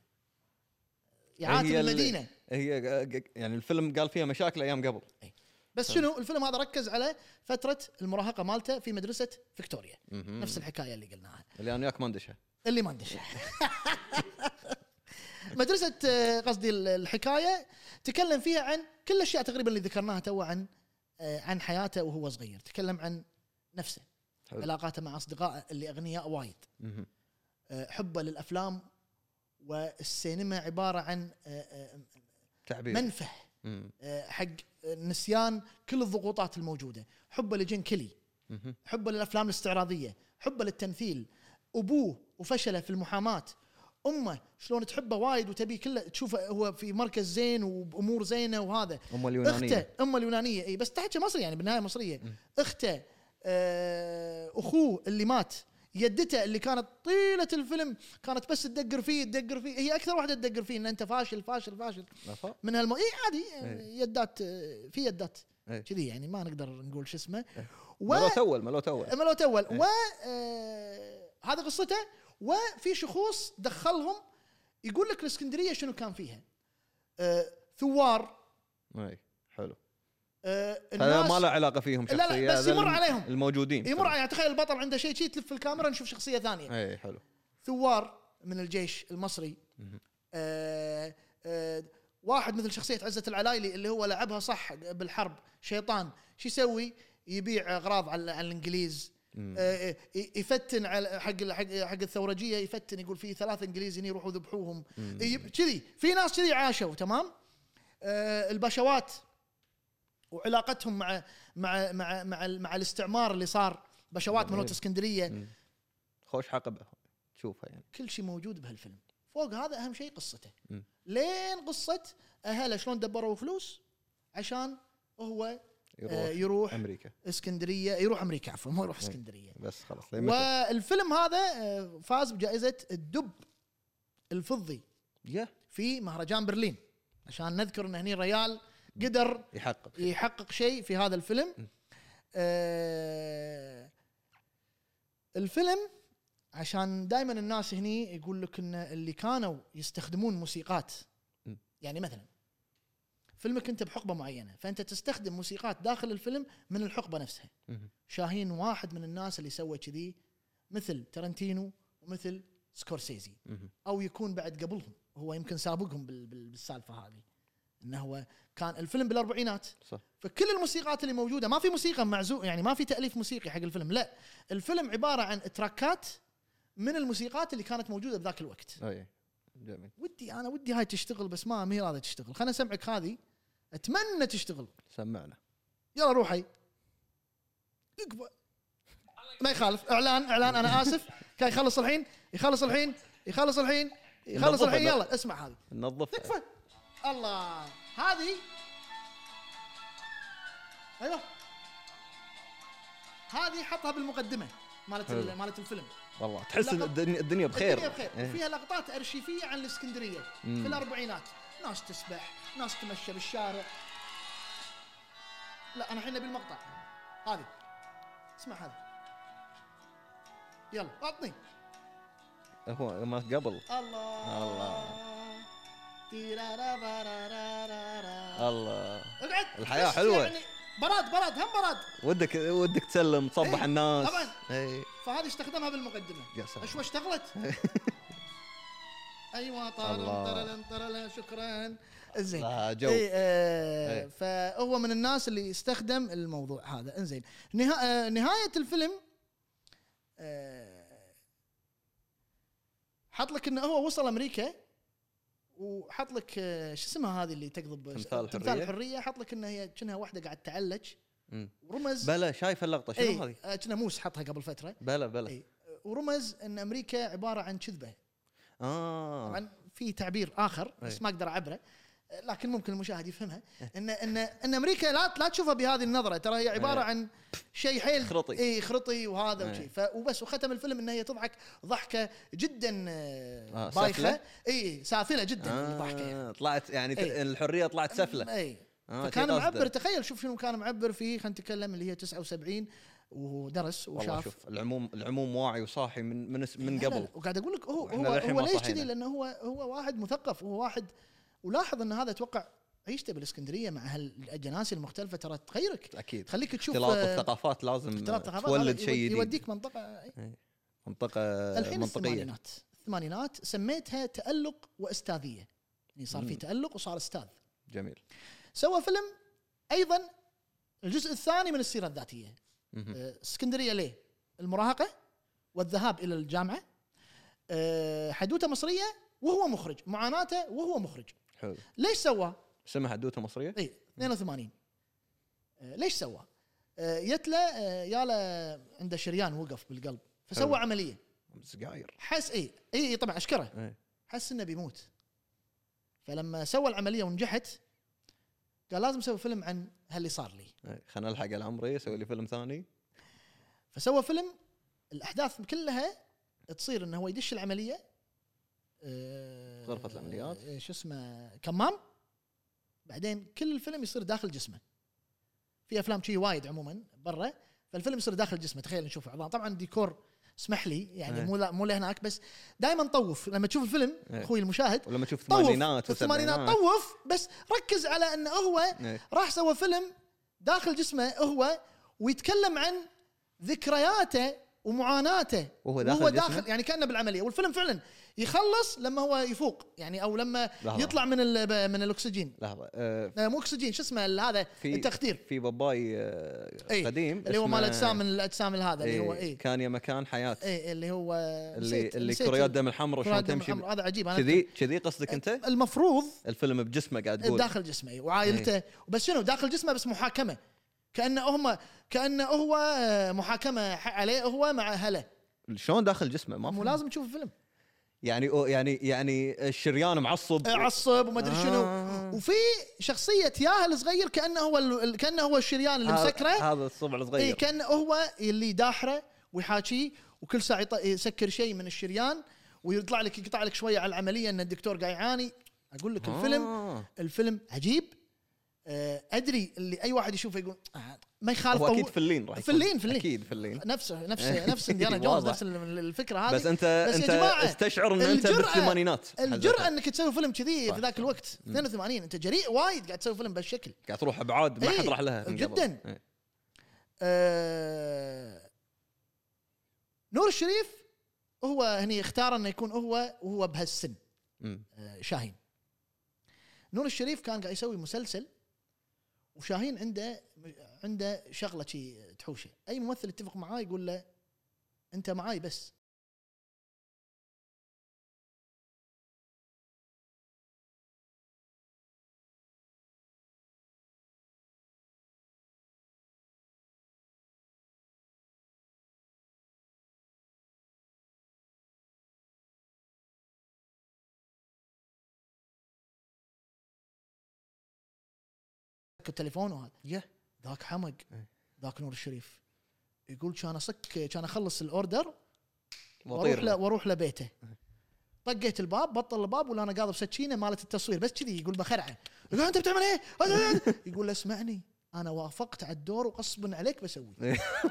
يعاتب هي اللي- المدينه هي آه، يعني الفيلم قال فيها مشاكل ايام قبل بس شنو الفيلم هذا ركز على فتره المراهقه مالته في مدرسه فيكتوريا مهم. نفس الحكايه اللي قلناها اللي انا وياك ما ندشها اللي ما ندش مدرسة آه، قصدي ال- الحكاية تكلم فيها عن كل الأشياء تقريبا اللي ذكرناها تو عن آه، عن حياته وهو صغير تكلم عن نفسه حلو. علاقاته مع أصدقائه اللي أغنياء وايد مهم. آه، حبه للأفلام والسينما عبارة عن آه، آه، تعبير منفه مم. آه، حق نسيان كل الضغوطات الموجودة حبه لجين كيلي مهم. حبه للافلام الاستعراضيه، حبه للتمثيل، ابوه وفشله في المحاماه، امه شلون تحبه وايد وتبي كله تشوفه هو في مركز زين وبامور زينه وهذا، ام اخته اليونانيه امه اليونانيه اي بس تحكي مصري يعني بالنهايه مصريه، اخته آه، اخوه اللي مات يدته اللي كانت طيله الفيلم كانت بس تدقر فيه تدقر فيه هي اكثر واحده تدقر فيه ان انت فاشل فاشل فاشل أفا؟ من هالم اي عادي إيه. يدات آه، في يدات إيه. كذي يعني ما نقدر نقول شو اسمه و ملوت اول ملوت اول ملوت اول إيه. و آه، هذا قصته وفي شخوص دخلهم يقول لك الاسكندريه شنو كان فيها آه، ثوار اي حلو آه، هذا الناس ما له علاقه فيهم لا، شخصيا لا، بس هذا يمر الم- عليهم. الموجودين يمر على- يعني تخيل البطل عنده شيء شي تلف الكاميرا نشوف شخصيه ثانيه اي حلو ثوار من الجيش المصري مهم. آه، آه، واحد مثل شخصيه عزه العلايلي اللي هو لعبها صح بالحرب شيطان شو يسوي؟ يبيع اغراض على على الانجليز آه، آه، يفتن على حق ال- حق حق الثورجيه يفتن يقول في ثلاث انجليز هني روحوا ذبحوهم يب- كذي في ناس كذي عاشوا تمام آه، البشوات وعلاقتهم مع مع مع مع, ال- مع الاستعمار اللي صار بشوات جميل. ملوت اسكندريه مم. خوش حقبه تشوفها يعني كل شيء موجود بهالفيلم فوق هذا اهم شيء قصته مم. لين قصه اهله شلون دبروا فلوس عشان هو آه، يروح يروح امريكا اسكندريه يروح امريكا عفوا ما يروح اسكندريه بس خلاص لين متى؟ والفيلم هذا آه، فاز بجائزه الدب الفضي يا في مهرجان برلين عشان نذكر ان هني ريال قدر يحقق يحقق شيء في هذا الفيلم آه الفيلم عشان دائما الناس هني يقول لك ان اللي كانوا يستخدمون موسيقات مم. يعني مثلا فيلمك انت بحقبه معينه فانت تستخدم موسيقات داخل الفيلم من الحقبه نفسها مم. شاهين واحد من الناس اللي سوى كذي مثل ترنتينو ومثل سكورسيزي مم. او يكون بعد قبلهم هو يمكن سابقهم بال- بال- بالسالفه هذه انه هو كان الفيلم بالاربعينات صح فكل الموسيقات اللي موجوده ما في موسيقى معزو يعني ما في تاليف موسيقي حق الفيلم لا الفيلم عباره عن تراكات من الموسيقات اللي كانت موجوده بذاك الوقت اي جميل ودي انا ودي هاي تشتغل بس ما ما هي راضيه تشتغل خلنا اسمعك هذه اتمنى تشتغل سمعنا يلا روحي اقبل ما يخالف اعلان اعلان انا اسف كان يخلص الحين يخلص الحين يخلص الحين يخلص الحين يلا اسمع هذه ننظفها تكفى الله هذه ايوه هذه حطها بالمقدمه مالت ال- حلو. مالت الفيلم والله تحس إن لقب- الدنيا الدنيا بخير الدنيا بخير إيه. فيها لقطات ارشيفيه عن الاسكندريه في الاربعينات ناس تسبح ناس تمشى بالشارع لا انا الحين نبي المقطع هذه اسمع هذا يلا عطني هو ما قبل الله الله. تيرارابارارارا. الله اقعد الحياة بس حلوة. يعني براد براد هم براد ودك ودك تسلم تصبح إيه، الناس طبعاً. اي فهذه استخدمها بالمقدمه يا سلام. اشوى اشتغلت ايوه طرلن الله. طرلن طرلن شكرا زين لا، جو. إي، آه، إي. فهو من الناس اللي استخدم الموضوع هذا انزين نها... آه، نهايه الفيلم آه، حط لك انه هو وصل امريكا وحط لك آه، شو اسمها هذه اللي تقضب تمثال الحرية. تمثال الحريه حط لك انها هي كأنها واحده قاعد تعلج ورمز بلا شايف اللقطه شنو اي هذه؟ آه، كنا موس حطها قبل فتره بلا بلا اي ورمز ان امريكا عباره عن كذبه آه. اه طبعا في تعبير اخر بس إي. ما اقدر اعبره آه، لكن ممكن المشاهد يفهمها إيه. ان ان ان امريكا لا لا تشوفها بهذه النظره ترى هي عباره إي. عن شيء حيل إيه. خرطي. إيه. اي خرطي وهذا إي. وشي ف- وبس وختم الفيلم ان هي تضحك ضحكه جدا آه، إيه، آه، بايخه سافلة؟ اي سافله جدا الضحكه يعني. آه طلعت يعني ت- إيه. الحريه طلعت اي سفله آه، إيه. فكان شي قصده. معبر تخيل شوف شنو كان معبر فيه خلينا نتكلم اللي هي 79 ودرس والله وشاف شوف العموم العموم واعي وصاحي من من اس- من لا، لا، قبل لا، وقاعد اقول لك هو وإحنا هو, للحين هو ما ليش صحينا. كذي لانه هو هو واحد مثقف هو واحد ولاحظ ان هذا اتوقع عيشته بالاسكندريه مع هالجناسي المختلفه ترى تغيرك اكيد تخليك تشوف اختلاط آه، الثقافات لازم اختلاط ثقافات. تولد هذا شيء يود- جديد آه، يوديك منطقه منطقه الحين منطقيه الثمانينات الثمانينات سميتها تالق واستاذيه يعني صار في مم. تالق وصار استاذ جميل سوى فيلم ايضا الجزء الثاني من السيره الذاتيه مهم. آه، اسكندريه ليه؟ المراهقه والذهاب الى الجامعه آه، حدوته مصريه وهو مخرج معاناته وهو مخرج حلو ليش سواه؟ اسمها حدوته مصريه اي 82 آه، ليش سواه؟ آه، يت له آه، ياله عنده شريان وقف بالقلب حلو. فسوى عمليه سقاير حس إيه، اي اي إي طبعا اشكره إيه. حس انه بيموت فلما سوى العمليه ونجحت قال لازم اسوي فيلم عن هاللي صار لي إيه. خلنا الحق على عمري اسوي لي فيلم ثاني فسوى فيلم الاحداث كلها تصير انه هو يدش العمليه آه، غرفة العمليات. آه، شو اسمه كمام بعدين كل الفيلم يصير داخل جسمه في افلام شي وايد عموما برا فالفيلم يصير داخل جسمه تخيل نشوف عظام طبعا ديكور اسمح لي يعني إيه. مو لا- مو لهناك بس دائما طوف لما تشوف الفيلم إيه. اخوي المشاهد ولما تشوف طوف الثمانينات الثمانينات والسبعينات. طوف بس ركز على انه هو إيه. راح سوى فيلم داخل جسمه هو ويتكلم عن ذكرياته ومعاناته وهو داخل وهو جسمه؟ داخل يعني كانه بالعمليه والفيلم فعلا يخلص لما هو يفوق يعني او لما لحظة. يطلع من ال- من الاكسجين لحظه آه، آه، مو اكسجين شو اسمه ال- هذا في التخدير في باباي آه، اي قديم إيه، اللي هو مال اسمه- اجسام من الاجسام هذا اللي هو إيه، إيه، اي كان يا مكان حياه اي اللي هو اللي اللي كريات دم الحمر وشلون تمشي ب- هذا عجيب انا كذي كذي قصدك انت؟ المفروض الفيلم بجسمه قاعد تقول إيه. داخل جسمه أي، وعائلته إيه. بس شنو داخل جسمه بس محاكمه كانه هم كانه هو آه، محاكمه ح- عليه هو مع اهله شلون داخل جسمه ما مو فهمت. لازم تشوف الفيلم يعني أو- يعني يعني الشريان معصب آه، عصب وما ادري شنو آه. وفي شخصيه ياهل صغير كانه هو ال- كانه هو الشريان اللي هذا- طيب. مسكره إيه، هذا الصبع اي الصغير كانه هو اللي داحره ويحاكيه وكل ساعه يط- يسكر شيء من الشريان ويطلع لك يقطع لك شويه على العمليه ان الدكتور قاعد يعاني اقول لك الفيلم آه. الفيلم عجيب آه، ادري اللي اي واحد يشوفه يقول آه، ما يخالف هو اكيد أو- فلين راح يكون. فلين، فلين. اكيد فلين نفسه نفسه نفس انديانا جونز واضح. نفس ال- الفكره هذه بس انت بس يا انت جماعة، تستشعر ان انت الجرأة- بالثمانينات الجرأه حزتها. انك تسوي فيلم كذي صح، في ذاك صح. الوقت 82 انت جريء وايد قاعد تسوي فيلم بهالشكل قاعد تروح ابعاد ما إيه، حد راح لها من قبل. جداً. إيه. آه، نور الشريف هو هني اختار انه يكون هو وهو بهالسن أمم. آه، شاهين نور الشريف كان قاعد يسوي مسلسل وشاهين عنده عنده شغله شي تحوشه اي ممثل يتفق معاه يقول له انت معاي بس سك التليفون وهذا يه. ذاك حمق إيه. ذاك نور الشريف يقول كان اصك كان اخلص الاوردر واروح وطير له واروح لبيته طقيت الباب بطل الباب ولا انا قاضي بسكينه مالت التصوير بس كذي يقول بخرعه يقول انت بتعمل ايه؟ يقول له اسمعني انا وافقت على الدور وغصبا عليك بسوي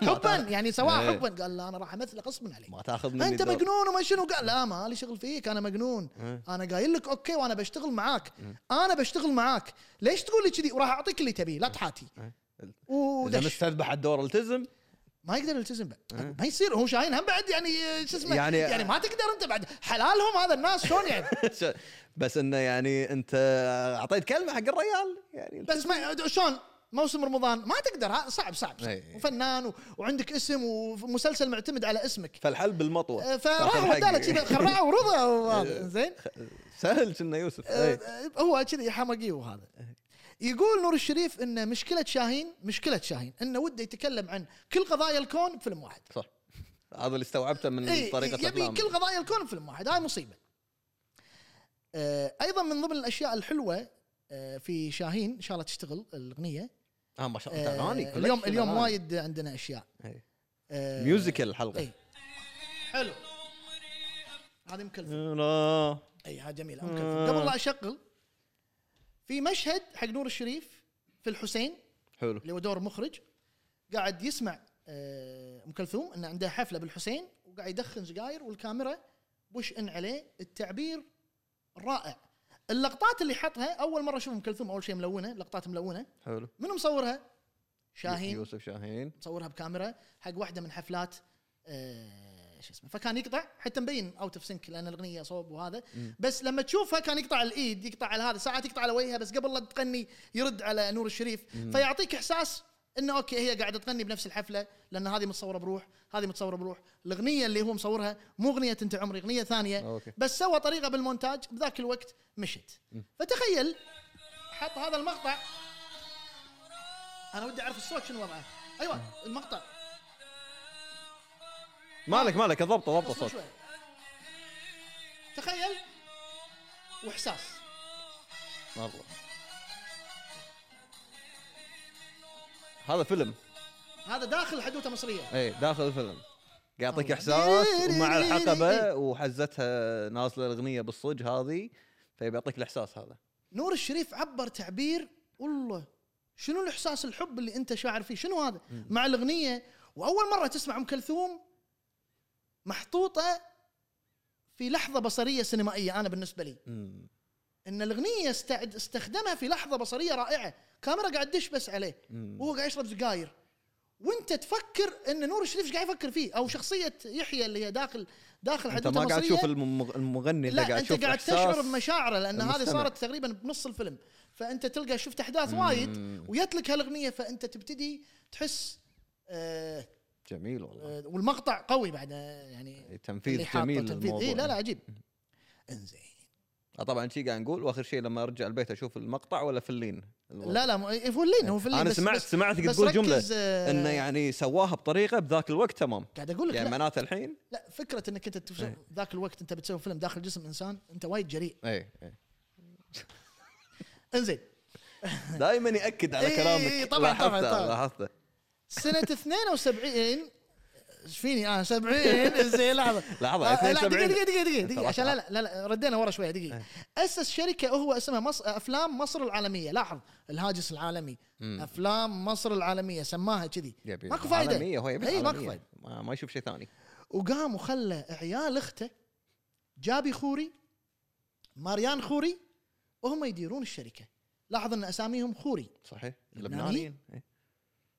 حبا يعني سواء إيه. حبا قال لا انا راح امثله غصبا عليك ما تاخذ مني انت دور. مجنون وما شنو قال لا ما لي شغل فيك انا مجنون إيه. انا قايل لك اوكي وانا بشتغل معاك مم. انا بشتغل معاك ليش تقول لي كذي وراح اعطيك اللي تبيه لا تحاتي إيه. ال- اذا ودش مستذبح الدور التزم ما يقدر يلتزم بعد إيه. ما يصير هو شاهين هم بعد يعني آه، شو اسمه يعني, يعني- يعني ما تقدر انت بعد حلالهم هذا الناس شلون يعني بس انه يعني انت اعطيت كلمه حق الريال يعني بس ما شلون موسم رمضان ما تقدر ها، صعب صعب, صعب. إيه. وفنان و... وعندك اسم ومسلسل معتمد على اسمك فالحل بالمطوه آه، فراح تاخذ حقي. وداله كذا خرعه ورضا إيه. وهذا، زين سهل كنا يوسف إيه، آه، اي آه، هو كذي حمقي وهذا إيه. يقول نور الشريف ان مشكله شاهين مشكله شاهين انه وده يتكلم عن كل قضايا الكون بفيلم واحد صح هذا اللي استوعبته من اي طريقه إيه، يبي افلام كل قضايا الكون بفيلم واحد هاي مصيبه آه، ايضا من ضمن الاشياء الحلوه آه، في شاهين ان شاء الله تشتغل الاغنيه اه ما شاء الله أنت اغاني آه، اليوم collection اليوم أغاني. وايد عندنا اشياء إيه. آه، ميوزيكال الحلقه إيه. حلو هذه ام كلثوم إيه، لا. اي ها جميله ام كلثوم قبل لا اشغل في مشهد حق نور الشريف في الحسين حلو اللي هو دور مخرج قاعد يسمع آه، ام كلثوم ان عندها حفله بالحسين وقاعد يدخن سجاير والكاميرا وش ان عليه التعبير رائع اللقطات اللي حطها اول مره اشوف ام كلثوم اول شيء ملونه لقطات ملونه حلو منو مصورها شاهين يوسف شاهين مصورها بكاميرا حق واحده من حفلات آه، شو اسمه فكان يقطع حتى مبين اوت اوف سنك لان الاغنيه صوب وهذا مم. بس لما تشوفها كان يقطع على الايد يقطع على هذا ساعات يقطع على وجهها بس قبل لا تغني يرد على نور الشريف فيعطيك احساس انه اوكي هي قاعده تغني بنفس الحفله لان هذه متصوره بروح هذه متصوره بروح الاغنيه اللي هو مصورها مو اغنيه انت عمري اغنيه ثانيه اوكي بس سوى طريقه بالمونتاج بذاك الوقت مشت فتخيل حط هذا المقطع انا ودي اعرف الصوت شنو وضعه ايوه المقطع مالك مالك ضبطه ضبطه اصبر صوت شوي تخيل واحساس مره هذا فيلم هذا داخل حدوته مصريه اي داخل الفيلم يعطيك الله. احساس ومع إيه. الحقبه وحزتها نازله الاغنيه بالصج هذه فيعطيك الاحساس هذا نور الشريف عبر تعبير والله شنو الاحساس الحب اللي انت شاعر فيه شنو هذا مع الاغنيه واول مره تسمع ام كلثوم محطوطه في لحظه بصريه سينمائيه انا بالنسبه لي مم. ان الاغنيه استعد استخدمها في لحظه بصريه رائعه كاميرا قاعد تدش بس عليه مم. وهو قاعد يشرب سجاير وانت تفكر ان نور الشريف ايش قاعد يفكر فيه او شخصيه يحيى اللي هي داخل داخل انت حدوته ما قاعد مصرية. تشوف المغ- المغني اللي لا قاعد انت تشوف قاعد إحساس تشعر بمشاعره لان هذه المستمع. صارت تقريبا بنص الفيلم فانت تلقى شفت احداث وايد ويت لك هالاغنيه فانت تبتدي تحس آه جميل والله إيه، آه والمقطع قوي بعد آه، يعني تنفيذ جميل للموضوع اي إيه، لا لا عجيب انزين آه، طبعا شي قاعد نقول واخر شيء لما ارجع البيت اشوف المقطع ولا فلين لا لا مو- إيه، هو اللين هو في اللين انا بس- سمعت بس- سمعتك بس تقول جمله ركز، آه، انه يعني سواها بطريقه بذاك الوقت تمام قاعد اقول لك يعني لا, معناته الحين لا فكره انك انت تف- إيه. ذاك الوقت انت بتسوي فيلم داخل جسم انسان انت وايد جريء اي اي انزين دائما ياكد على إي، إي، كلامك إي، إيه، طبعاً، لاحظته- طبعاً، طبعاً. لاحظته سنه 72 ايش فيني انا 70 زين لحظه لحظة، آه، لا 72. دقيقه دقيقه دقيقه دقيقه, أنت إيه. دقيقة عشان لا راح- لا لا, لا ردينا ورا شويه دقيقه اسس شركه هو اسمها مص... افلام مصر العالميه لاحظ الهاجس العالمي افلام مصر العالميه سماها كذي يبي ماكو فايده عالمية، هو يبي اي ماكو عالمية. فايده ما, ما يشوف شيء ثاني وقام وخلى عيال اخته جابي خوري ماريان خوري وهم يديرون الشركه لاحظ ان اساميهم خوري صحيح إيه، لبناني؟ لبنانيين إي،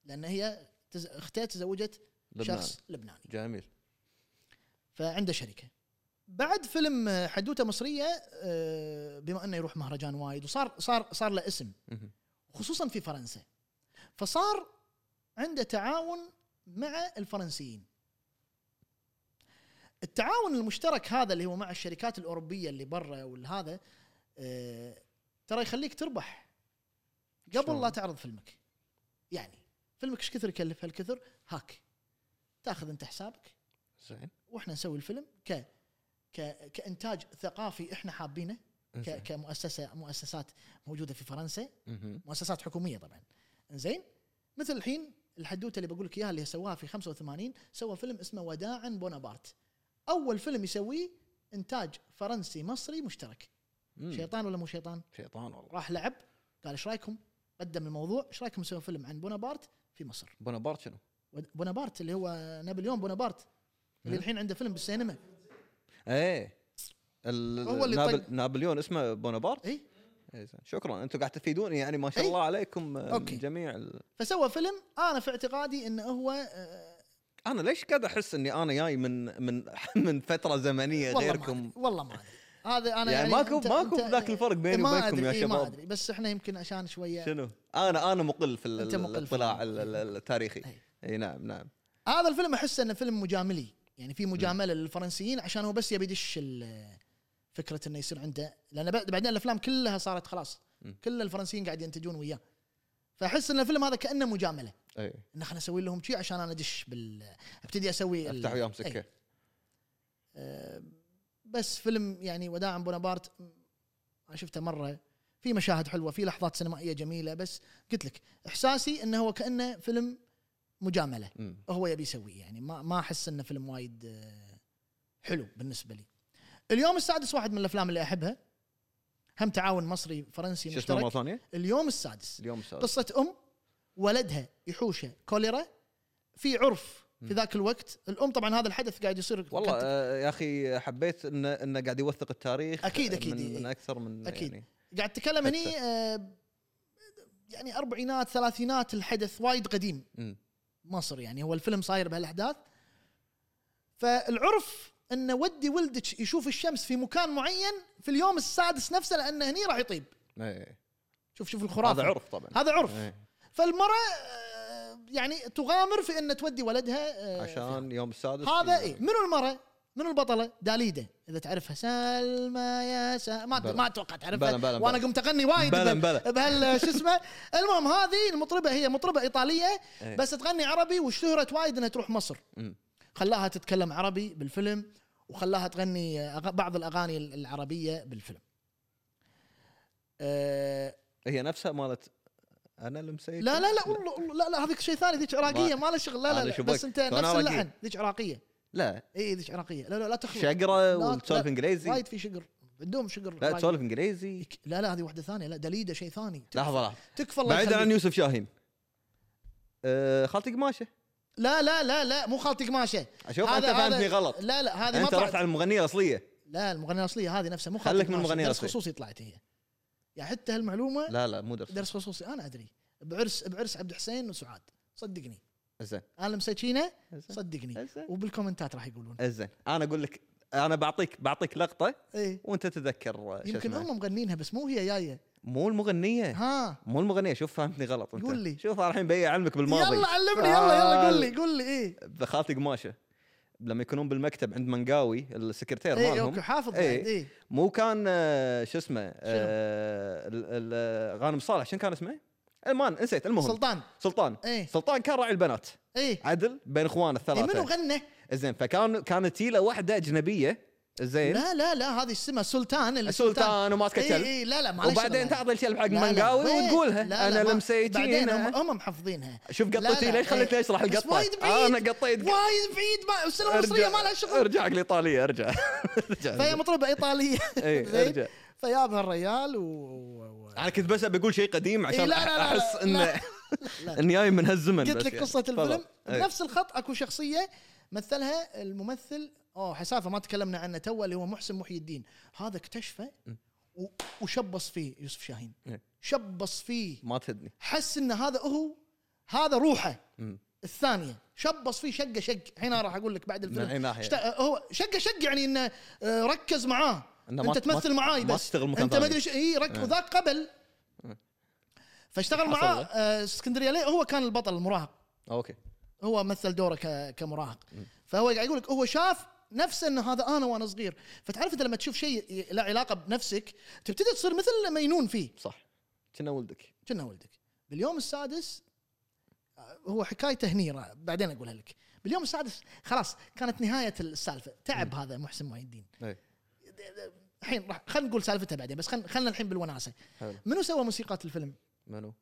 لان هي تز... اختها تزوجت لبنان. شخص لبناني جميل فعنده شركه بعد فيلم آه، حدوته مصريه آه، بما انه يروح مهرجان وايد وصار صار صار له اسم مهم. خصوصا في فرنسا فصار عنده تعاون مع الفرنسيين التعاون المشترك هذا اللي هو مع الشركات الاوروبيه اللي برا والهذا آه، ترى يخليك تربح قبل شلون؟ لا تعرض فيلمك يعني فيلمك ايش كثر يكلف هالكثر هاك تاخذ انت حسابك زين واحنا نسوي الفيلم ك ك كانتاج ثقافي احنا حابينه ك زين. كمؤسسه مؤسسات موجوده في فرنسا مهم. مؤسسات حكوميه طبعا زين مثل الحين الحدوته اللي بقول لك اياها اللي سواها في 85 سوى فيلم اسمه وداعا بونابارت اول فيلم يسويه انتاج فرنسي مصري مشترك مم. شيطان ولا مو شيطان شيطان والله راح لعب قال ايش رايكم قدم الموضوع ايش رايكم نسوي فيلم عن بونابارت في مصر بونابرت شنو؟ ود- بونابارت اللي هو نابليون بونابارت اللي مم. الحين عنده فيلم بالسينما ايه ال- هو اللي نابل- طق. نابليون اسمه بونابرت اي إيه، زين. شكرا انتم قاعد تفيدوني يعني ما شاء إي. الله عليكم آه، إيه. أوكي. جميع ال... فسوى فيلم انا في اعتقادي انه هو آه، انا ليش قاعد احس اني انا جاي من من من فتره زمنيه والله غيركم ما أدري- والله ما ادري هذا انا يعني ماكو- أنت- ماكو أنت- ذاك الفرق بيني ما وبينكم أدري، يا إيه، ما شباب. ادري بس احنا يمكن عشان شويه شنو؟ انا انا مقل في ال- أنت مقل في الاطلاع الموضوع. ال- ال- التاريخي إي. اي نعم نعم هذا الفيلم احس انه فيلم مجاملي يعني في مجامله للفرنسيين عشان هو بس يبي يدش ال- فكره انه يصير عنده لان بعد- بعدين الافلام كلها صارت خلاص م. كل الفرنسيين قاعد ينتجون وياه فاحس ان الفيلم هذا كانه مجامله اي ان خلينا نسوي لهم شيء عشان انا ادش بال ابتدي اسوي ال- افتح وياهم إيه. سكه آه، بس فيلم يعني وداعا بونابارت م، انا شفته مره في مشاهد حلوه في لحظات سينمائيه جميله بس قلت لك احساسي انه هو كانه فيلم مجامله مم. هو يبي يسويه يعني ما ما احس انه فيلم وايد آه، حلو بالنسبه لي اليوم السادس واحد من الافلام اللي احبها هم تعاون مصري فرنسي شو اسمه مره مشترك ثانيه؟ اليوم السادس اليوم السادس قصة أم ولدها يحوشه كوليرا في عرف في ذاك الوقت الأم طبعا هذا الحدث قاعد يصير والله قد- آه، يا اخي حبيت انه انه قاعد يوثق التاريخ أكيد، أكيد، من, إي. من اكثر من أكيد. يعني قاعد تتكلم هني آه، يعني أربعينات ثلاثينات الحدث وايد قديم مم. مصر يعني هو الفيلم صاير بهالأحداث فالعرف أن ودي ولدك يشوف الشمس في مكان معين في اليوم السادس نفسه لأن هني راح يطيب إي. شوف شوف الخرافة هذا عرف إيه. طبعا هذا عرف إي. فالمرأة آه، يعني تغامر في أن تودي ولدها آه، فيها. عشان يوم السادس هذا ي- اي منو المرأة؟ منو البطلة؟ داليدا اذا تعرفها سلمى يا سلمى ما بلى. ما اتوقع تعرفها بلى- بلى- وانا بلى. قمت اغني وايد بهال- بلى- بلى. بهال شو اسمه المهم هذه المطربة هي مطربة ايطالية إيه. بس تغني عربي واشتهرت وايد انها تروح مصر مم. خلاها تتكلم عربي بالفيلم وخلاها تغني أغ- بعض الاغاني العربية بالفيلم أه هي نفسها مالت انا المسيك لا لا لا والله والله- لا لا هذيك شيء ثاني ذيك عراقيه ما لها شغل لا أنا لا, لا شبك. بس انت طيب، أنا نفس عراقي. اللحن ذيك عراقيه لا اي ذيك عراقيه لا لا لا تخلط شقره لا- وتسولف لا، انجليزي وايد في شقر عندهم شقر لا رايق. تسولف انجليزي لا لا هذه واحده ثانيه لا دليده شيء ثاني تكفى- لحظه لحظه تكفى الله بعيدا عن يخليك. يوسف شاهين أه خالتي قماشه لا لا لا لا مو خالتي قماشه اشوف انت فهمتني غلط لا لا هذه ما انت رحت طلعت على المغنيه الاصليه لا المغنيه الاصليه هذه نفسها مو خالتي خليك من قماشة. المغنية درس الأصلية. خصوصي طلعت هي يعني حتى هالمعلومه لا لا مو درس درس خصوصي انا ادري بعرس بعرس عبد الحسين وسعاد صدقني زين انا مساكينه زين. صدقني زين. وبالكومنتات راح يقولون زين انا اقول لك انا بعطيك بعطيك لقطه ايه وانت تتذكر إيه. شو يمكن اسمه إيه. هم مغنينها بس مو هي جايه مو المغنيه ها مو المغنيه شوف فهمتني غلط انت قول لي. شوف أنا الحين بي علمك بالماضي يلا علمني يلا يلا قول آه، لي قول لي ايه خالتي قماشه لما يكونون بالمكتب عند منقاوي السكرتير ايه مالهم اوكي حافظ بعد، إيه. ايه مو كان آه، شو اسمه آه، ال- ال- غانم صالح شنو كان اسمه؟ المان نسيت المهم سلطان سلطان ايه سلطان كان راعي البنات ايه عدل بين اخوانه إيه، الثلاثه منو غنى؟ زين فكان كانت تيله واحده اجنبيه زين لا لا لا هذه اسمها سلطان اللي السلطان وماسكه اي كلب اي لا لا معلش وبعدين لا، تعطي الكلب حق لا، لا، منقاوي وين؟ لا، لا، وتقولها انا ما- لمسيتين بعدين هم, هم محافظينها شوف لا، قطيتي لا، ليش آه، خليتني إيه. اشرح بس القطه وايد بعيد. انا قطيت وايد بعيد ما السينما المصريه ما لها شغل ارجعك لايطاليا ارجع ارجع فهي مطربه ايطاليه اي زين؟ إيه، ارجع فيابها الريال و... و... و- انا كنت بس ابي اقول شيء قديم إيه، عشان لا، لا، لا، احس لا، ان لا. لا. اني جاي من هالزمن قلت بس لك يعني. قصه الفيلم تفضل. إيه. بنفس الخط اكو شخصيه مثلها الممثل اوه حسافه ما تكلمنا عنه تو اللي هو محسن محي الدين هذا اكتشفه و- وشبص فيه يوسف شاهين إيه. شبص فيه ما تهدني حس ان هذا هو هذا روحه مم. الثانيه شبص فيه شقه شق الحين أنا راح اقول لك بعد من اي الفيلم ناحيه شت... هو شقه شق يعني انه آه، ركز معاه إنه ما- انت تمثل ما- معاي ما بس تشتغل مكان انت ما ثاني. إيه. ادري ايش اي رك... وذاك قبل فاشتغل حصل معاه له. آه، اسكندريه ليه هو كان البطل المراهق اوكي هو مثل دوره ك- كمراهق فهو قاعد يقول لك هو شاف نفسه ان هذا انا وانا صغير فتعرف انت لما تشوف شيء ي- له علاقه بنفسك تبتدي تصير مثل مينون فيه صح كنا ولدك كنا ولدك باليوم السادس آه، هو حكايته هني را- بعدين اقولها لك باليوم السادس خلاص كانت نهايه السالفه تعب هذا محسن معين الدين إيه. الحين راح خلينا نقول سالفته بعدين بس خلينا خلينا الحين بالوناسه حلو. منو سوى موسيقى الفيلم منو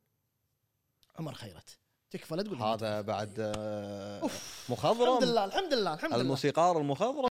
عمر خيرت تكفى لا تقول لي ما هذا بعد آه، أوف. مخضرم الحمد لله الحمد لله الحمد لله الموسيقار المخضرم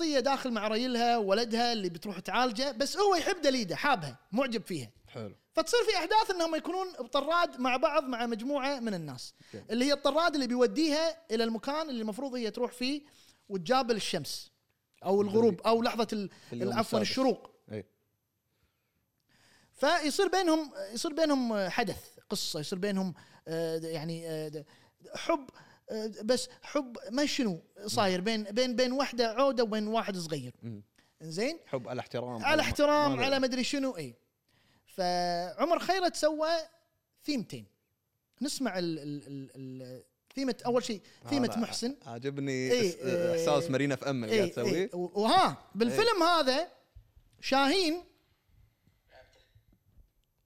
شخصيه داخل مع ريلها ولدها اللي بتروح تعالجه بس هو يحب دليده حابها معجب فيها حلو فتصير في احداث انهم يكونون بطراد مع بعض مع مجموعه من الناس أوكي. اللي هي الطراد اللي بيوديها الى المكان اللي المفروض هي تروح فيه وتجابل الشمس او الغروب او لحظه ال- في اليوم عفوا السادس. الشروق اي فيصير بينهم يصير بينهم آه، حدث قصه يصير بينهم آه، يعني آه، د- حب آه، بس حب ما شنو صاير بين بين بين واحده عوده وبين واحد صغير مم. زين حب على احترام على احترام ما- على مدري شنو اي فعمر خيرت سوى ثيمتين نسمع ال ال ال ال ثيمه اول شيء ثيمه هذا محسن عجبني إي، إس- إي. احساس مارينا في ام اللي قاعد اي تسويه اي وها بالفيلم هذا شاهين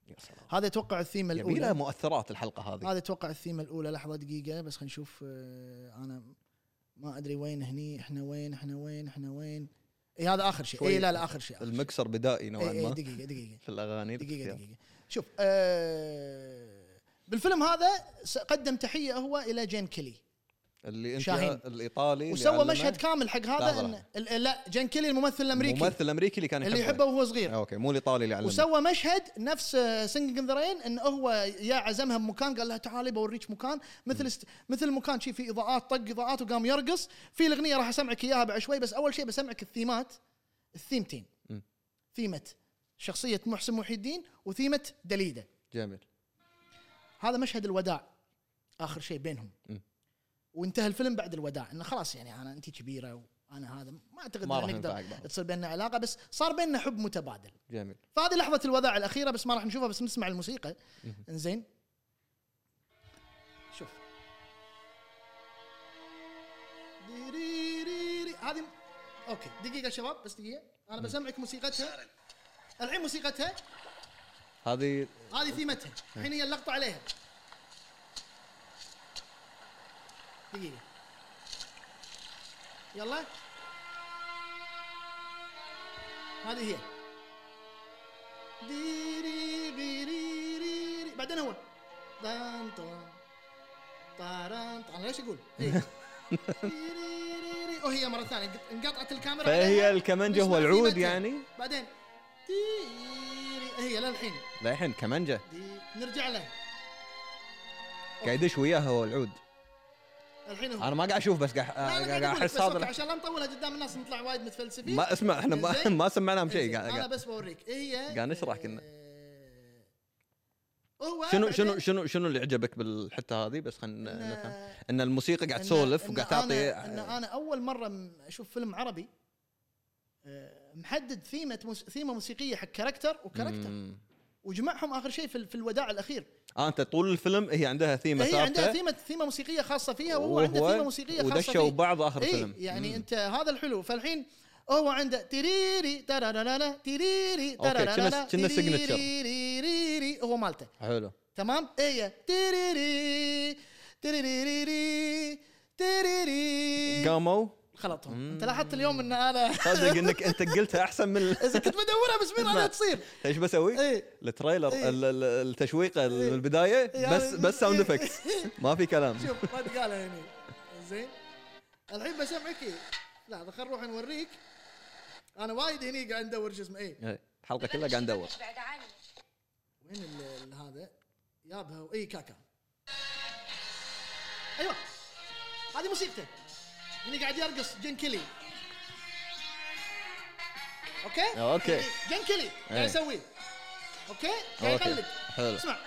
يا سلام. هذا اتوقع الثيمه الاولى جميله مؤثرات الحلقه هذه هذا اتوقع الثيمه الاولى لحظه دقيقه بس خلينا نشوف آه، انا ما ادري وين هني احنا وين احنا وين احنا وين اي هذا اخر شيء اي شوي لا لا اخر شيء إيه، آخر شيء. المكسر بدائي إي، نوعا إي، ما دقيقه دقيقه في الاغاني دقيقه الاختيار. دقيقه شوف آه بالفيلم هذا س- قدم تحيه هو الى جين كيلي اللي انت شاهين. الايطالي اللي وسوى علمه مشهد كامل حق هذا لحظة، إن لحظة. ال- يعني لا جين كيلي الممثل الامريكي الممثل الامريكي اللي كان اللي يحبه وهو صغير اوكي آه، مو الايطالي اللي علمه وسوى مشهد نفس آه، سينجينج ان ذا رين انه هو يا عزمها بمكان قال لها تعالي بوريك مكان مثل است... مثل مكان شي في اضاءات طق اضاءات وقام يرقص في الاغنيه راح اسمعك اياها بعد شوي بس اول شيء بسمعك الثيمات الثيمتين مم. ثيمه شخصيه محسن محي الدين وثيمه دليده جميل هذا مشهد الوداع اخر شيء بينهم مم. وانتهى الفيلم بعد الوداع انه خلاص يعني انا انت كبيره وانا هذا ما اعتقد ما إن راح نقدر ننفعك بعض تصير بيننا علاقه بس صار بيننا حب متبادل جميل فهذه لحظة الوداع الأخيرة بس ما راح نشوفها بس نسمع الموسيقى مهم. انزين شوف ديريريري. هذه اوكي دقيقة شباب بس دقيقة أنا بسمعك موسيقتها الحين موسيقتها هذه هذه ثيمتها الحين هي اللقطة عليها دقيقة يلا هذه هي ديري بيري ريري. بعدين هو دان طان طاران طان. انا ليش اقول؟ إيه. ديري ريري. وهي مرة ثانية انقطعت الكاميرا فهي عليها. الكمنجة نسمع هو العود ثيمتها. يعني بعدين ديري هي للحين للحين كمانجه دي نرجع له قاعد يدش وياها هو العود الحين هو انا ما قاعد اشوف بس قاعد لا، أنا قاعد أقول لك احس بس أوكي، هذا عشان لا نطولها قدام الناس نطلع وايد متفلسفين ما اسمع احنا ما, زين. ما سمعنا هم زين، شيء قاعد- انا قاعد بس بوريك إيه، هي قاعد نشرح كنا. آه، هو شنو بعدين شنو شنو شنو اللي عجبك بالحته هذه بس خلينا نفهم إنه- ان الموسيقى قاعد إن- تسولف إن وقاعد أنا ان تعطي انا اول مره م- اشوف فيلم عربي آه، محدد ثيمه موس... ثيمه موسيقيه حق كاركتر وكاركتر مم. وجمعهم اخر شيء في, ال- في الوداع الاخير اه انت طول الفيلم هي عندها ثيمه هي إيه، عندها ثابته ثيمه ثيمه موسيقيه خاصه فيها وهو عنده ثيمه موسيقيه خاصه ودشوا فيه بعض اخر اي الفيلم يعني انت هذا الحلو فالحين هو عنده تيريري ترارارارا تيريري أوكي، كنا- ترارارارا كنا signature. تيريريريري، هو مالته حلو تمام إيه، اي تيريري تيريريري تيريري قاموا خلطهم انت لاحظت اليوم ان انا صدق انك انت قلتها احسن من ال- اذا كنت بدورها باسمين انا تصير ايش بسوي؟ إيه. التريلر إيه. ال- ال- التشويقه من البدايه يعني- بس بس ساوند إيه. افكتس ما في كلام شوف ما تقال هني زين الحين بسمعك إيه. لحظه خل نروح نوريك انا وايد هني قاعد ندور شو اسمه اي إيه. الحلقه كلها قاعد ندور بعد عني وين ال- ال- هذا يابها اي كاكا ايوه هذه موسيقته هني قاعد يرقص جين كيلي اوكي آه، أوكي. جين كيلي إيه. قاعد يسوي اوكي قاعد أوكي. يقلد حلو. اسمع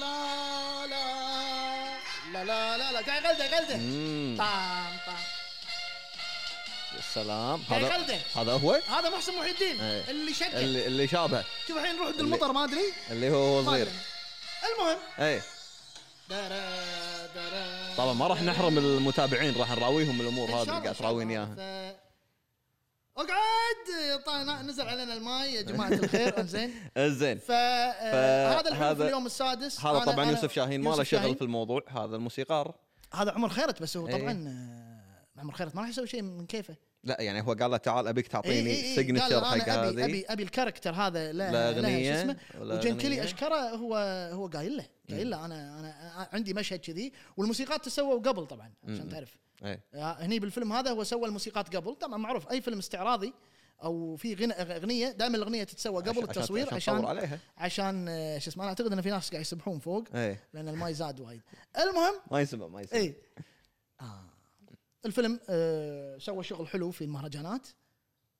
لا لا لا لا لا لا قاعد يقلده يقلده مم. طيب. طام طام يا سلام قاعد هذا يقلده. هذا هو هذا محسن محي الدين إيه. اللي شقه اللي اللي شابه شوف الحين نروح عند المطر ما ادري اللي هو هو ما صغير إيه. أدري. المهم اي دارا دارا طبعا ما راح نحرم المتابعين راح نراويهم الامور إن شاء هذه اللي الله- إن قاعد شاء الله. تراوينا اياها ف- اقعد طيب نزل علينا الماي يا جماعه الخير انزين زين فهذا الحلو في هذا- اليوم السادس هذا أنا- طبعا أنا- يوسف شاهين ما له يوسف شغل شاهين. في الموضوع هذا الموسيقار هذا عمر خيرت بس هو إيه. طبعا آه، عمر خيرت ما راح يسوي شيء من كيفه لا يعني هو قال له تعال ابيك إيه، إيه، تعطيني إيه، قال سيجنتشر أنا حق ابي ابي هذه ابي الكاركتر هذا لا لا لا شو أغنية اسمه ولا وجين كيلي أغنية. اشكره هو هو قايل له قايل له انا انا عندي مشهد كذي والموسيقات تسووا قبل طبعا عشان تعرف إيه. آه، هني بالفيلم هذا هو سوى الموسيقات قبل طبعا معروف اي فيلم استعراضي او في غنى اغنيه دائما الاغنيه تتسوى قبل عشان- التصوير عشان عشان تطور عشان, عليها آه، شو اسمه انا اعتقد ان في ناس قاعد يسبحون فوق ايه لان الماي زاد وايد المهم ما يسمع ما يسمع اي آه. الفيلم آه سوى شغل حلو في المهرجانات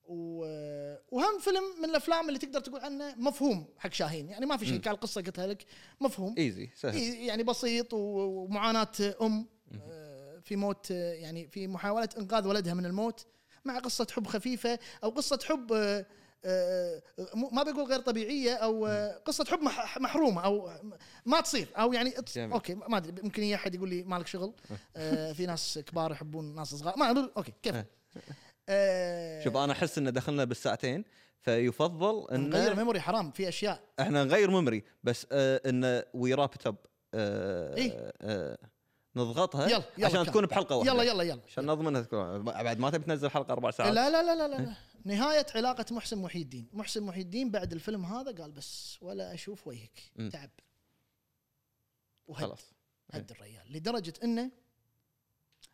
و... آه، وهم فيلم من الافلام اللي تقدر تقول عنه مفهوم حق شاهين يعني ما في شيء كان القصه قلتها لك مفهوم ايزي سهل إي- يعني بسيط و- ومعاناه ام آه، في موت آه، يعني في محاوله انقاذ ولدها من الموت مع قصه حب خفيفه او قصه حب آه، آه، مو- ما بقول غير طبيعيه او آه، قصه حب مح- محرومه او ما تصير او يعني it's- جميل. اوكي ما ادري ممكن يجي احد يقول لي مالك شغل آه، في ناس كبار يحبون ناس صغار ما أدري، اوكي كيف آه، شوف انا احس ان دخلنا بالساعتين فيفضل نغير ان ميموري حرام في اشياء احنا نغير ميموري بس آه ان وي راب اب إيه. آه، نضغطها يلا، يلا إيه؟ عشان كمل. تكون يعني. بحلقه واحده يلا يلا يلا عشان نضمنها تكون بعد ما تبي تنزل حلقه اربع ساعات لا لا لا لا لا لا نهاية علاقة محسن محي الدين، محسن محي الدين بعد الفيلم هذا قال بس ولا اشوف وجهك مم. تعب وهد خلاص هد الرجال لدرجة انه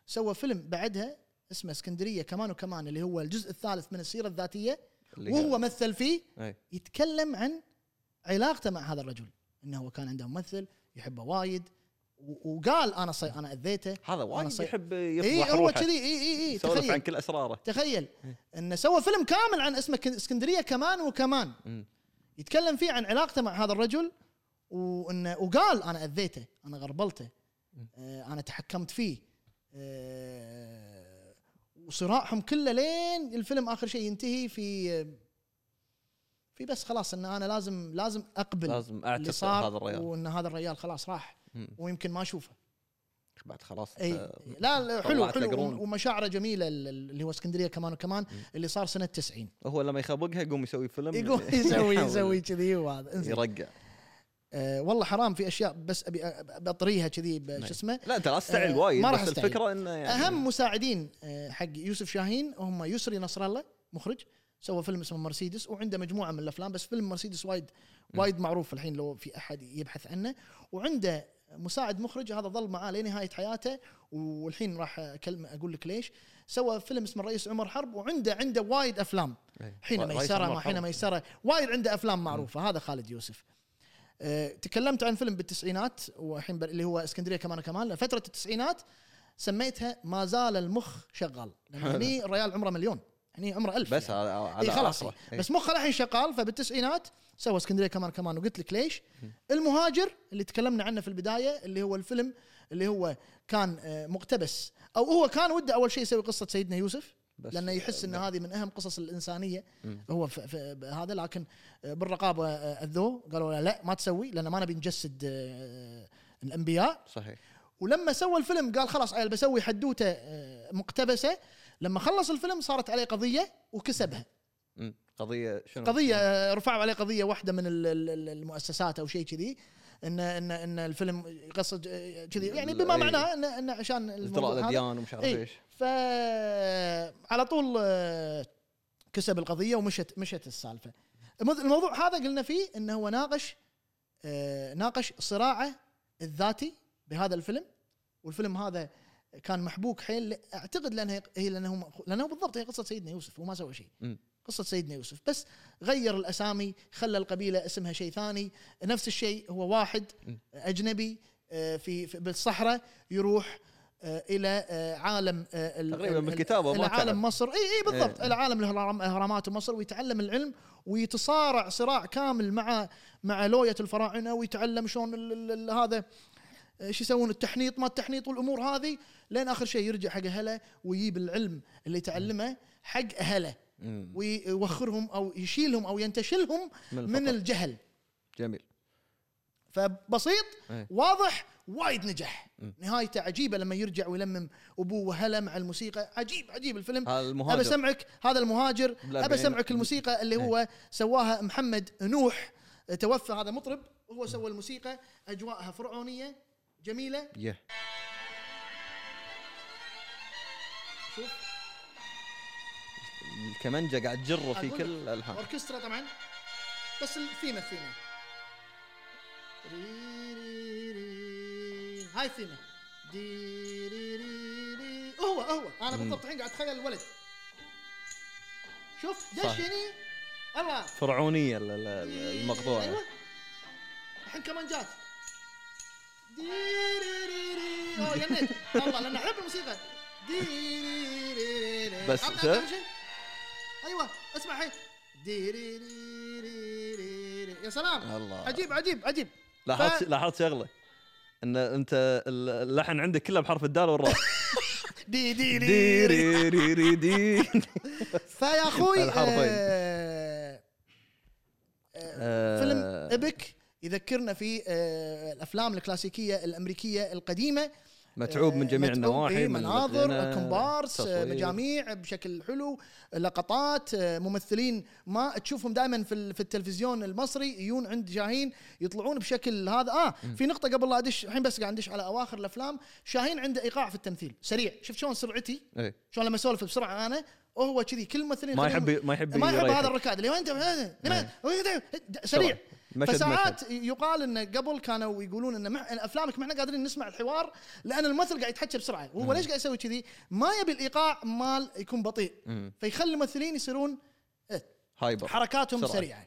سوى فيلم بعدها اسمه اسكندرية كمان وكمان اللي هو الجزء الثالث من السيرة الذاتية اللي وهو مثل فيه إيه. يتكلم عن علاقته مع هذا الرجل انه هو كان عنده ممثل يحبه وايد و- وقال انا صي... انا اذيته هذا إيه، أنا وايد صي- يحب اي يفضح هو روحه كذي اي اي اي يسولف عن تخيل كل اسراره تخيل إيه. انه سوى فيلم كامل عن اسمه كن- اسكندريه كمان وكمان مم. يتكلم فيه عن علاقته مع هذا الرجل وانه وقال انا اذيته انا غربلته آه انا تحكمت فيه آه وصراعهم كله لين الفيلم اخر شيء ينتهي في آه، في بس خلاص ان انا لازم لازم اقبل لازم اللي اعتقد صار هذا الريال وان هذا الرجال خلاص راح مم. ويمكن ما اشوفه بعد خلاص اي آه، إيه، لا لا، حلو طلعت حلو لقرون. ومشاعره جميله اللي هو اسكندريه كمان وكمان اللي صار سنه 90 هو لما يخبقها يقوم يسوي فيلم يقوم يسوي يسوي كذي وهذا انزين يرقع آه والله حرام في اشياء بس ابي أ- بطريها كذي ب- نعم. شو اسمه لا انت لا تستعجل آه، وايد ما راح بس أستعجل. الفكره انه يعني اهم مساعدين آه، حق يوسف شاهين هم يسري نصر الله مخرج سوى فيلم اسمه مرسيدس وعنده مجموعه من الافلام بس فيلم مرسيدس وايد وايد معروف الحين لو في احد يبحث عنه وعنده مساعد مخرج هذا ظل معاه لنهايه حياته والحين راح اكلم اقول لك ليش سوى فيلم اسمه الرئيس عمر حرب وعنده عنده وايد افلام إيه. حين رئيس ميسره عمر ما حرب. حين ميسره وايد عنده افلام معروفه هذا خالد يوسف أه، تكلمت عن فيلم بالتسعينات والحين بر- اللي هو اسكندريه كمان كمان فتره التسعينات سميتها ما زال المخ شغال لأن حلو. هني الريال عمره مليون هني عمره ألف بس يعني. على على اي خلاص آخره. إيه. بس مخه الحين شغال فبالتسعينات سوى اسكندريه كمان كمان وقلت لك ليش المهاجر اللي تكلمنا عنه في البدايه اللي هو الفيلم اللي هو كان آه، مقتبس او هو كان وده اول شيء يسوي قصه سيدنا يوسف بس- لانه يحس ان هذه من اهم قصص الانسانيه هو في في هذا لكن آه، بالرقابه آه، اذوه قالوا له لا ما تسوي لان ما نبي نجسد آه، الانبياء صحيح ولما سوى الفيلم قال خلاص عيل بسوي حدوته آه، مقتبسه لما خلص الفيلم صارت عليه قضيه وكسبها مم. قضيه شنو قضيه آه، رفعوا عليه قضيه واحده من ال- ال- ال- المؤسسات او شيء كذي ان ان ان الفيلم يقصد آه، كذي يعني بما إيه. معناه ان ان عشان ازدراء هذا. الاديان ومش عارف إيه. ايش فعلى طول آه، كسب القضيه ومشت مشت السالفه الموض- الموضوع هذا قلنا فيه انه هو ناقش آه، ناقش صراعه الذاتي بهذا الفيلم والفيلم هذا كان محبوك حيل اعتقد لانه هي لانه لانه بالضبط هي قصه سيدنا يوسف وما سوى شيء مم. قصه سيدنا يوسف بس غير الاسامي خلى القبيله اسمها شيء ثاني نفس الشيء هو واحد مم. اجنبي آه، في في- بالصحراء يروح آه، الى آه، عالم آه، ال- تقريباً ال- بالكتابة الى ما عالم تعرف. مصر اي اي بالضبط إيه. الى عالم الهرام- الاهرامات ومصر ويتعلم العلم ويتصارع صراع كامل مع مع لويه الفراعنه ويتعلم شلون ال- ال- ال- هذا ايش يسوون التحنيط ما التحنيط والامور هذه لين اخر شيء يرجع حق اهله ويجيب العلم اللي تعلمه حق اهله مم. ويوخرهم او يشيلهم او ينتشلهم من من الفقر. الجهل جميل فبسيط إيه. واضح وايد نجح مم. نهايته عجيبه لما يرجع ويلمم ابوه وهلا مع الموسيقى عجيب عجيب الفيلم هذا ابى المهاجر اسمعك هذا المهاجر بالأربعين. ابى اسمعك الموسيقى اللي هو سواها محمد نوح توفى هذا مطرب هو سوى الموسيقى اجواءها فرعونيه جميله يه. شوف الكمنجه قاعد تجر في أقول كل الالحان اوركسترا طبعا بس الثيمه الثيمه هاي الثيمه دي- ري- ري- ري. هو هو انا بالضبط الحين قاعد اتخيل الولد شوف دش صح. هني الله فرعونيه ال- ال- ال- أيوة. المقطوعه الحين كمان جات ديريريري. أوه، جنيت. والله لان احب الموسيقى ديريريري. بس عطنا شايف؟ آخر شيء. ايوه اسمع الحين ديريريري. يا سلام الله. عجيب عجيب عجيب لاحظت ف- لاحظت شغله ان انت اللحن عندك كله بحرف الدال والراء دي دي دي دي ري ري ري دي فيا اخوي الحرفين. آه، آه، فيلم ابك يذكرنا في آه، الافلام الكلاسيكيه الامريكيه القديمه متعوب من جميع متعوب، إيه، النواحي من مناظر الغناء، كومبارس آه، التصوير. مجاميع بشكل حلو لقطات آه، ممثلين ما تشوفهم دائما في ال- في التلفزيون المصري يجون عند شاهين يطلعون بشكل هذا اه في نقطه قبل لا ادش الحين بس قاعد ادش على اواخر الافلام شاهين عنده ايقاع في التمثيل سريع شفت شلون سرعتي إيه. شلون لما اسولف بسرعه انا وهو كذي كل ممثلين ما خليهم- يحب ما يحب ما يحب يريح. نعم. هذا الركاد اللي وين انت لماذا؟ وين أنت؟ سريع مشهد فساعات مشهد. يقال انه قبل كانوا يقولون ان مع- إن افلامك ما احنا قادرين نسمع الحوار لان الممثل قاعد يتحكى بسرعه وهو ليش قاعد يسوي كذي؟ ما يبي الايقاع مال يكون بطيء مم. فيخلي الممثلين يصيرون هايبر حركاتهم بسرعة. سريعه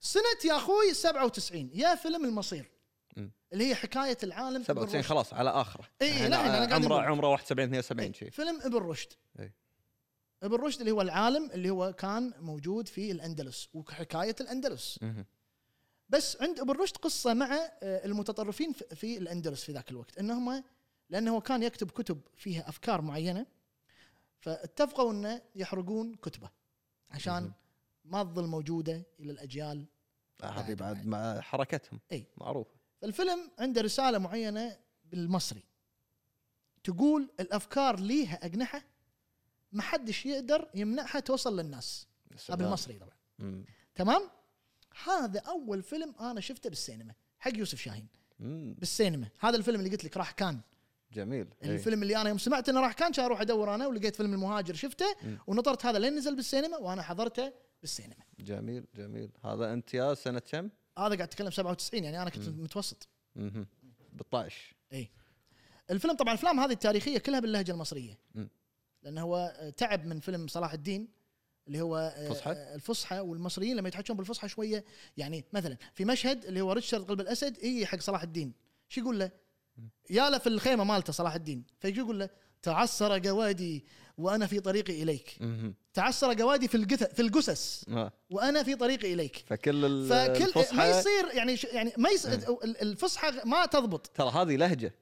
سنه يا اخوي 97 يا فيلم المصير مم. اللي هي حكايه العالم 97 بالرشد. خلاص على اخره إيه، إحنا لا، أنا قاعد عمره أقول. عمره 71 72 شيء إيه. فيلم ابن رشد إي. ابن رشد اللي هو العالم اللي هو كان موجود في الاندلس وحكايه الاندلس مهم. بس عند ابن رشد قصه مع آه، المتطرفين في- في الاندلس في ذاك الوقت انهم لانه هو كان يكتب كتب فيها افكار معينه فاتفقوا انه يحرقون كتبه عشان مهم. آه، ما تظل موجوده الى الاجيال هذه بعد مع حركتهم إيه. معروف فالفيلم عنده رساله معينه بالمصري تقول الافكار ليها اجنحه ما حدش يقدر يمنعها توصل للناس آه، بالمصري طبعا مم. تمام هذا اول فيلم انا شفته بالسينما حق يوسف شاهين مم. بالسينما هذا الفيلم اللي قلت لك راح كان جميل إيه. الفيلم اللي انا يوم سمعت انه راح كان كان اروح ادور انا ولقيت فيلم المهاجر شفته مم. ونطرت هذا لين نزل بالسينما وانا حضرته بالسينما جميل جميل هذا انت يا سنه كم؟ هذا قاعد اتكلم 97 يعني انا كنت متوسط مهم. بالطائش اي الفيلم طبعا الافلام هذه التاريخيه كلها باللهجه المصريه مم. لانه هو آه، تعب من فيلم صلاح الدين اللي هو فصحى؟ آه، الفصحى والمصريين لما يتحكون بالفصحى شويه يعني مثلا في مشهد اللي هو ريتشارد قلب الاسد يجي حق صلاح الدين شو يقول له؟ يا له في الخيمه مالته صلاح الدين فيجي يقول له تعسر جوادي وانا في طريقي اليك مهم. تعسر جوادي في الجث في الجثث آه. وانا في طريقي اليك فكل ال- فكل ما الفصحى يصير يعني ش- يعني ما يص... ال- الفصحى ما تضبط ترى هذه لهجه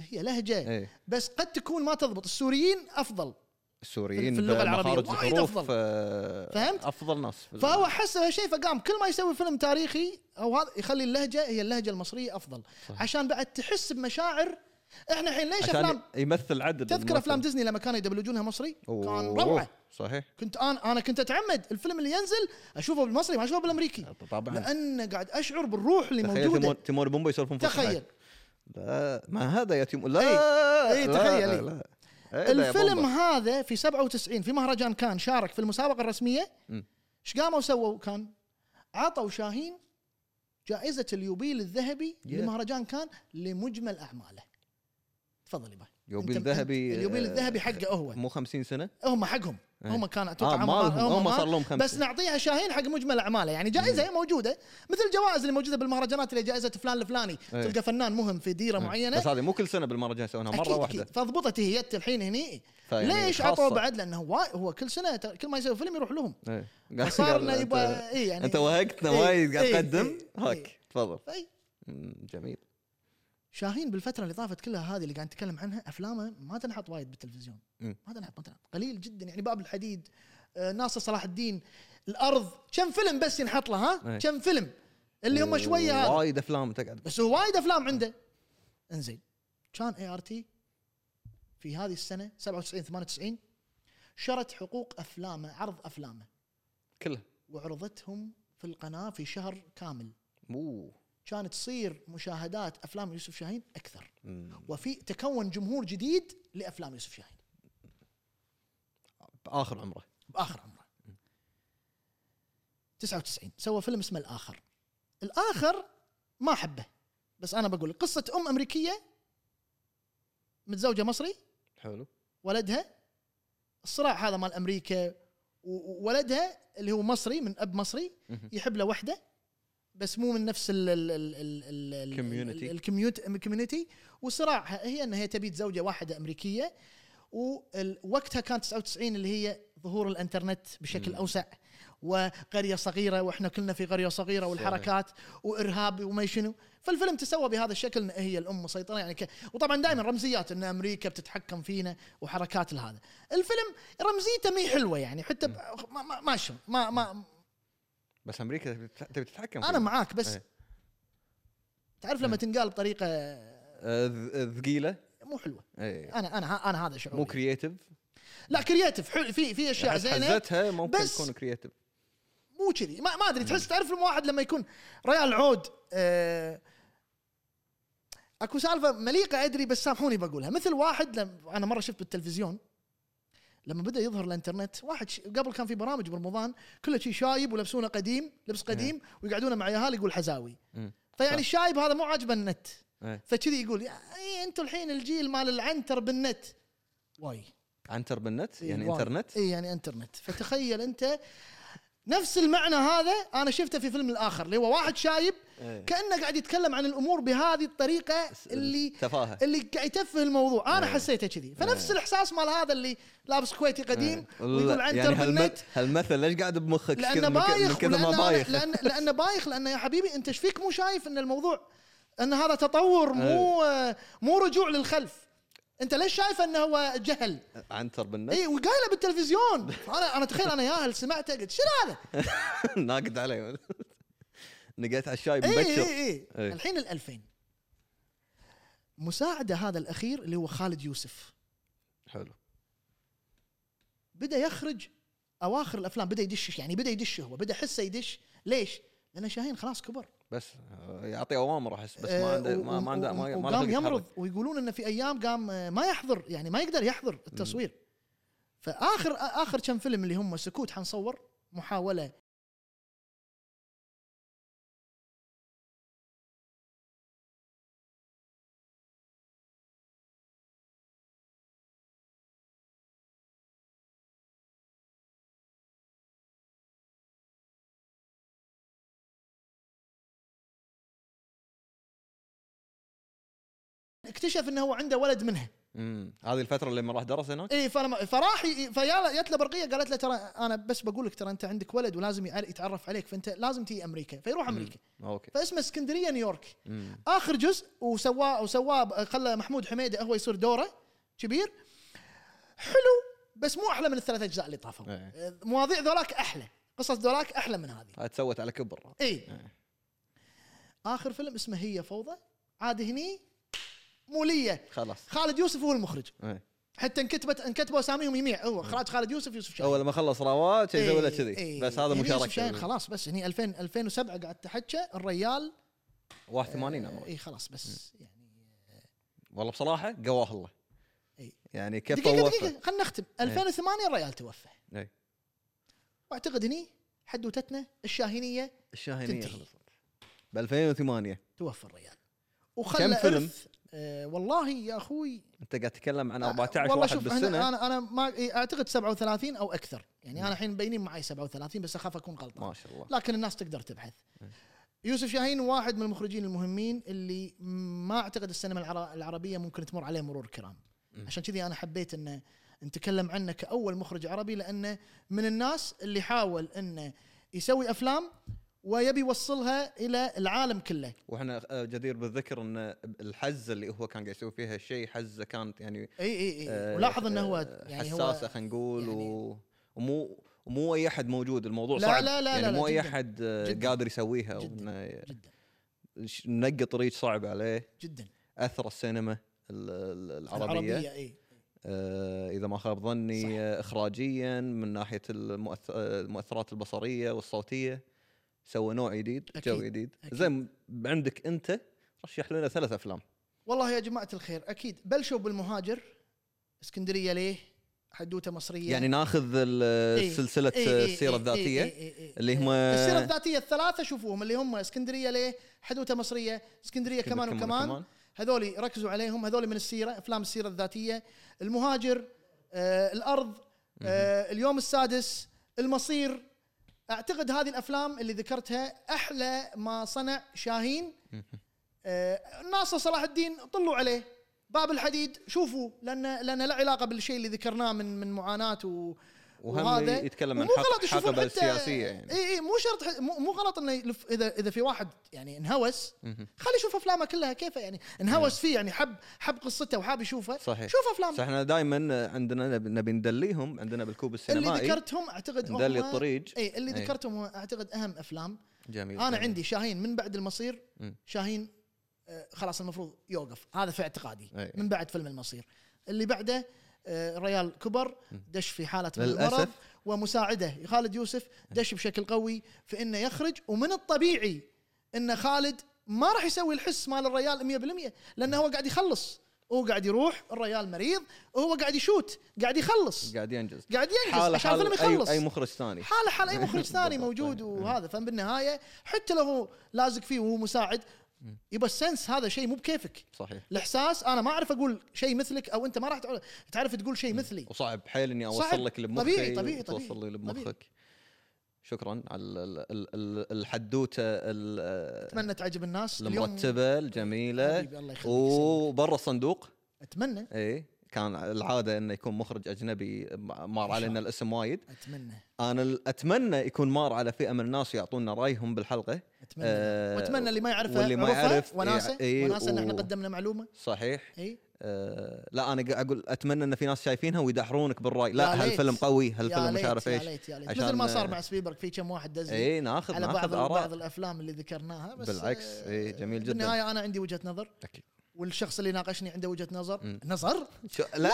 هي لهجه اي بس قد تكون ما تضبط السوريين افضل السوريين في اللغة العربية بمخارج وايد الحروف أفضل. آه، فهمت؟ افضل ناس في ال- فهو حس هالشيء فقام كل ما يسوي فيلم تاريخي او هذا يخلي اللهجه هي اللهجه المصريه افضل صح. عشان بعد تحس بمشاعر احنا الحين ليش عشان افلام يمثل عدد تذكر الممثل. افلام ديزني لما كانوا يدبلجونها مصري كان أوه، روعه صحيح كنت انا انا كنت اتعمد الفيلم اللي ينزل اشوفه بالمصري ما اشوفه بالامريكي طبعا لان قاعد اشعر بالروح اللي تخيل تيمور, موجوده تيمور بومبا يسولفون فصحى. تخيل لا ما هذا يا تيمور لا أي لا، تخيل، أي. لا. إيه لا يا الفيلم بومبا. هذا في 97 في مهرجان كان شارك في المسابقه الرسميه مم. ايش قاموا سووا كان عطوا شاهين جائزه اليوبيل الذهبي Yeah. لمهرجان كان لمجمل اعماله تفضل يبا يوبيل أنت- أنت- ذهبي، اليوبيل آه، الذهبي حقه هو مو 50 سنه هم حقهم إيه. هم كان اتوقع اه هم- مالهم هم- هم هم- صار لهم خمسه بس نعطيها شاهين حق مجمل اعماله يعني جائزه هي موجوده مثل الجوائز اللي موجوده بالمهرجانات اللي جائزه فلان الفلاني إيه. تلقى فنان مهم في ديره معينه بس هذه مو كل سنه بالمهرجان يسوونها مره أكيد واحده أكيد. فضبطت هي جت الحين هني فيعني ليش يعني خاصة. عطوا بعد لانه هو, هو كل سنه ت- كل ما يسوي فيلم يروح لهم إيه. فصارنا قال يبقى أنت- اي يعني انت وهقتنا إيه، وايد قاعد إيه، تقدم إيه، هاك تفضل إيه. فأي- مم، جميل شاهين بالفتره اللي طافت كلها هذه اللي قاعد نتكلم عنها افلامه ما تنحط وايد بالتلفزيون مم. ما تنحط ما تنحط قليل جدا يعني باب الحديد آه، ناصر صلاح الدين الارض كم فيلم بس ينحط له ها إيه. كم فيلم اللي هم شويه هذا وايد افلام تقعد بس هو وايد افلام عنده انزين كان اي ار تي في هذه السنه 97 98 شرت حقوق افلامه عرض افلامه كلها وعرضتهم في القناه في شهر كامل مو كانت تصير مشاهدات افلام يوسف شاهين اكثر مم. وفي تكون جمهور جديد لافلام يوسف شاهين باخر عمره باخر عمره 99 سوى فيلم اسمه الاخر الاخر ما احبه بس انا بقول لك، قصه ام امريكيه متزوجه مصري حلو ولدها الصراع هذا مال امريكا و- وولدها اللي هو مصري من اب مصري مهم. يحب له وحده بس مو من نفس ال ال ال ال ال Community. الكميونتي الكميونتي وصراعها هي انها هي تبي تزوجه واحده امريكيه ووقتها كان 99 اللي هي ظهور الانترنت بشكل مم. اوسع وقريه صغيره واحنا كلنا في قريه صغيره والحركات وارهاب وما شنو فالفيلم تسوى بهذا الشكل ان هي الام مسيطره يعني ك... وطبعا دائما رمزيات ان امريكا بتتحكم فينا وحركات الهذا الفيلم رمزيته مي حلوه يعني حتى ب... ما ما ما, شو- ما ما بس امريكا تبي تتح- تبي تتحكم انا فيه. معاك بس إيه. تعرف لما تنقال بطريقه آه، ذ- ثقيله مو حلوه إيه. انا انا انا هذا مو شعوري كرييتيف لا كرياتيف حلو في في اشياء زينه حزتها ممكن بس- تكون كرييتيف مو كذي ما, ما ادري تحس تعرف لما واحد لما يكون ريال عود آه اكو سالفه مليقه ادري بس سامحوني بقولها مثل واحد لم انا مره شفت بالتلفزيون لما بدا يظهر الانترنت واحد ش... قبل كان في برامج برمضان كله شي شايب ولبسونه قديم لبس قديم ويقعدونه مع يهال يقول حزاوي مم. فيعني إيه. صح. الشايب هذا مو عاجبه النت إيه. فكذي يقول اي انتم الحين الجيل مال العنتر بالنت واي عنتر بالنت إي، يعني واي. انترنت اي يعني انترنت فتخيل انت نفس المعنى هذا انا شفته في فيلم الاخر اللي هو واحد شايب إيه. كانه قاعد يتكلم عن الامور بهذه الطريقه إيه، اللي تفاهه اللي قاعد يتفه الموضوع انا حسيته كذي فنفس الاحساس مال هذا اللي لابس كويتي قديم ويقول لا، عنتر يعني هالم- بالنت هالمثل ليش قاعد بمخك لانه كذا من ك- من بايخ كذا ولأنه ما أنا- بايخ لان لانه بايخ لانه يا حبيبي انت ايش فيك مو شايف ان الموضوع ان هذا تطور مو مو رجوع للخلف انت ليش شايف انه هو جهل عنتر بالنت اي وقايله إيه، بالتلفزيون انا انا تخيل انا ياهل سمعته قلت شنو هذا؟ ناقد عليه نقيت على الشاي اي مبكر إيه. اي اي إي. إيه، الحين ال 2000 مساعده هذا الاخير اللي هو خالد يوسف حلو بدا يخرج اواخر الافلام بدا يدش يعني بدا يدش هو بدا حسه يدش ليش؟ لان شاهين خلاص كبر بس آه، يعطي اوامر احس بس ما آه، عنده ما و- ما عنده و- ما- ما له وقام خلق يمرض يتحرك. ويقولون انه في ايام قام آه، ما يحضر يعني ما يقدر يحضر التصوير فاخر اخر كم فيلم اللي هم سكوت حنصور محاوله اكتشف انه هو عنده ولد منها امم هذه الفتره اللي لما راح درس هناك اي إيه، فلما فراح ي- فيا جت له برقيه قالت له ترى انا بس بقول لك ترى انت عندك ولد ولازم يع- يتعرف عليك فانت لازم تيجي امريكا فيروح امريكا اوكي فاسمه اسكندريه نيويورك امم اخر جزء وسواه وسواه خلى محمود حميده هو يصير دوره كبير حلو بس مو احلى من الثلاث اجزاء اللي طافوا إيه. مواضيع ذولاك احلى قصص ذولاك احلى من هذه هاي تسوت على كبر اي اخر فيلم اسمه هي فوضى عاد هني موليه خلاص خالد يوسف هو المخرج إيه. حتى انكتبت انكتبوا اساميهم يميع هو اخراج خالد يوسف يوسف شاهين اول ما خلص رواد شي سوى له إيه، كذي إيه. بس هذا يعني يوسف شاهين مشاركه خلاص بس يعني هني 2000 2007 قعدت احكي الريال 81 عمره اي خلاص بس يعني والله بصراحه قواه الله إيه. يعني كيف دقيقه وفى دقيقه خلينا نختم 2008 الريال توفى إيه. واعتقد هني حدوتتنا الشاهينيه الشاهينيه تنتهي. خلصت ب 2008 توفى الريال وخلى كم فيلم؟ إرث- آه والله يا اخوي انت قاعد تتكلم عن 14 أه، والله واحد شوف بالسنه انا انا انا ما إيه، اعتقد 37 او اكثر يعني انا الحين باينين معي 37 بس اخاف اكون غلطان ما شاء الله لكن الناس تقدر تبحث يوسف شاهين واحد من المخرجين المهمين اللي ما اعتقد السينما العرا- العربيه ممكن تمر عليه مرور كرام مم. عشان كذي انا حبيت انه نتكلم عنه كاول مخرج عربي لانه من الناس اللي حاول انه يسوي افلام ويبي يوصلها الى العالم كله واحنا آه، جدير بالذكر ان الحزه اللي هو كان قاعد يسوي فيها الشيء حزه كانت يعني اي اي اي آه، إيه، ولاحظ انه هو آه، يعني حساسه هو خلينا نقول يعني- و... ومو ومو اي احد موجود الموضوع لا- صعب لا- لا- يعني لا- لا، مو اي جداً. احد آه، جداً. قادر يسويها جداً. وإنه جدا ش- نقى طريق صعب عليه جدا اثر السينما ال- ال- العربيه, العربيه اي آه، اذا ما خاب صح. ظني آه، اخراجيا من ناحيه المؤث- آه، المؤثرات البصريه والصوتيه سوى نوع جديد أكيد، جو جديد أكيد. زين عندك انت رشح لنا ثلاث افلام والله يا جماعه الخير اكيد بلشوا بالمهاجر اسكندريه ليه حدوته مصريه يعني ناخذ ال- إيه، سلسله إيه، إيه، السيره إيه، إيه، الذاتيه إيه، إيه، اللي إيه. هم- السيره الذاتيه الثلاثه شوفوهم اللي هم اسكندريه ليه حدوته مصريه اسكندريه كمان وكمان هذول ركزوا عليهم هذول من السيره افلام السيره الذاتيه المهاجر آه الارض آه اليوم السادس المصير اعتقد هذه الافلام اللي ذكرتها احلى ما صنع شاهين آه ناصر صلاح الدين طلوا عليه باب الحديد شوفوا لان لان لا علاقه بالشيء اللي ذكرناه من من معاناه و وهم يتكلم عن ومو حق- غلط يشوفون حقبة حتى- سياسية يعني. اي اي مو شرط ح- مو مو غلط انه يلف- اذا اذا في واحد يعني انهوس خلي يشوف افلامه كلها كيف يعني انهوس فيه يعني حب حب قصته وحاب يشوفه نعم. صحيح. شوف افلامه فاحنا دائما عندنا نب- نبي ندليهم عندنا بالكوب اللي السينمائي ذكرتهم اعتقد هم ندلي الطريق اي اللي إي. ذكرتهم هم اعتقد اهم افلام جميل انا جميل. عندي شاهين من بعد المصير مم. شاهين آه، خلاص المفروض يوقف هذا في اعتقادي أي. من بعد فيلم المصير اللي بعده آه، ريال كبر دش في حاله من للأسف. المرض ومساعده خالد يوسف دش بشكل قوي في انه يخرج ومن الطبيعي ان خالد ما راح يسوي الحس مال الريال 100% لانه هو قاعد يخلص هو قاعد يروح الريال مريض وهو قاعد يشوت قاعد يخلص قاعد ينجز قاعد ينجز عشان الفيلم أي- يخلص اي مخرج ثاني حاله حال اي مخرج ثاني بالضبط. موجود وهذا فبالنهايه حتى لو هو لازق فيه وهو مساعد يبقى السنس هذا شيء مو بكيفك صحيح الاحساس انا ما اعرف اقول شيء مثلك او انت ما راح تعرف- تعرف تقول شيء مثلي وصعب حيل اني صعب. اوصل لك اللي بمخي طبيعي- طبيعي- توصل لي اللي طبيعي. بمخك شكرا على ال- ال- ال- الحدوته ال- اتمنى تعجب الناس اليوم المرتبه الجميله حبيبي الله يخليك وبرا الصندوق اتمنى اي كان العاده انه يكون مخرج اجنبي ما- مار علينا الاسم وايد اتمنى انا ال- اتمنى يكون مار على فئه من الناس يعطونا رايهم بالحلقه اتمنى آه، واتمنى اللي ما يعرفه واللي ما يعرفها يعرف وناسه يع- إيه، وناسه ان و- احنا قدمنا إيه؟ معلومه صحيح اي أه لا انا قاعد اقول اتمنى ان في ناس شايفينها ويدحرونك بالراي يا لا ليت. هالفيلم قوي هالفيلم مش ليت- عارف يا ايش ليت يا ليت عشان- آه. إيه، مثل ما صار مع سبيبرغ في كم واحد دز لي اي ناخذ على بعض ناخذ بعض اراء الافلام اللي ذكرناها بس بالعكس، إيه، جميل جدا. بالنهايه انا عندي وجهه نظر أكيد. والشخص اللي ناقشني عنده وجهه نظر مم. نظر شو- لا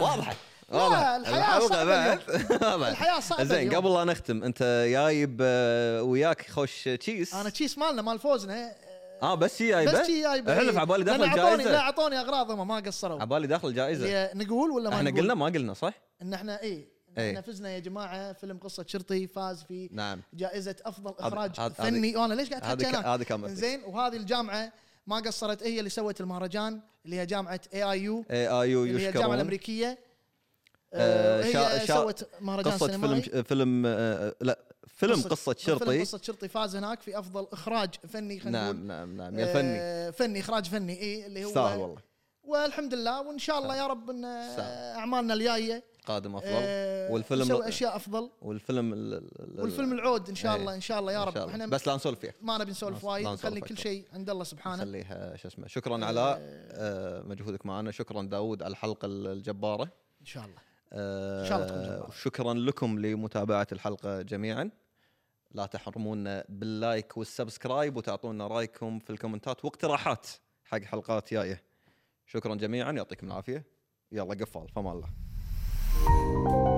واضحه لا، واضحه الحياة الحلقه صعبة بعد واضح. الحياه صعبه طيب. زين اليوم. قبل لا نختم انت جايب آه، وياك خوش تشيس انا تشيس مالنا مال فوزنا آه، اه بس هي جايبه بس شي جايبه احلف إيه. عبالي لأن داخل اعطوني لا جائزه اعطوني اغراض هم ما قصروا عبالي داخل جائزه هي نقول ولا ما احنا نقول؟ قلنا ما قلنا صح؟ ان احنا اي إيه. احنا فزنا يا جماعه فيلم قصه شرطي فاز في نعم جائزه افضل اخراج هذا- فني وانا ليش قاعد هذه احكي ك- هناك هذه كامل زين وهذه الجامعه ما قصرت هي اللي سوت المهرجان اللي هي جامعه اي اي يو اي آي إيه، آه، يو اللي هي الجامعه يشكرون الامريكيه آه، آه، هي شا- شا- سوت مهرجان قصه سينمائي. فيلم فيلم آه، لا فيلم قصه فيلم شرطي قصه شرطي فاز هناك في افضل اخراج فني خلينا نقول نعم نعم نعم يا فني آه، فني اخراج فني اي اللي هو يستاهل والله والحمد لله وان شاء الله يا رب ان سلام. اعمالنا الجايه قادم افضل آه، والفيلم- نسوي اشياء افضل والفيلم ال- ال- ال- والفيلم العود ان شاء إيه. الله ان شاء الله يا إن رب شاء الله. احنا بس لا نسولف فيه ما نبي لا نسولف نسولف وايد أكثر. نخلي كل شيء عند الله سبحانه خليها شو اسمه شكرا علاء آه، مجهودك معنا شكرا داود على الحلقه الجباره ان شاء الله آه، إن شاء الله تكون جبارة. شكرا لكم لمتابعه الحلقه جميعا لا تحرمونا باللايك والسبسكرايب وتعطونا رايكم في الكومنتات واقتراحات حق حلقات جايه شكرا جميعا يعطيكم العافيه يلا قفال فما الله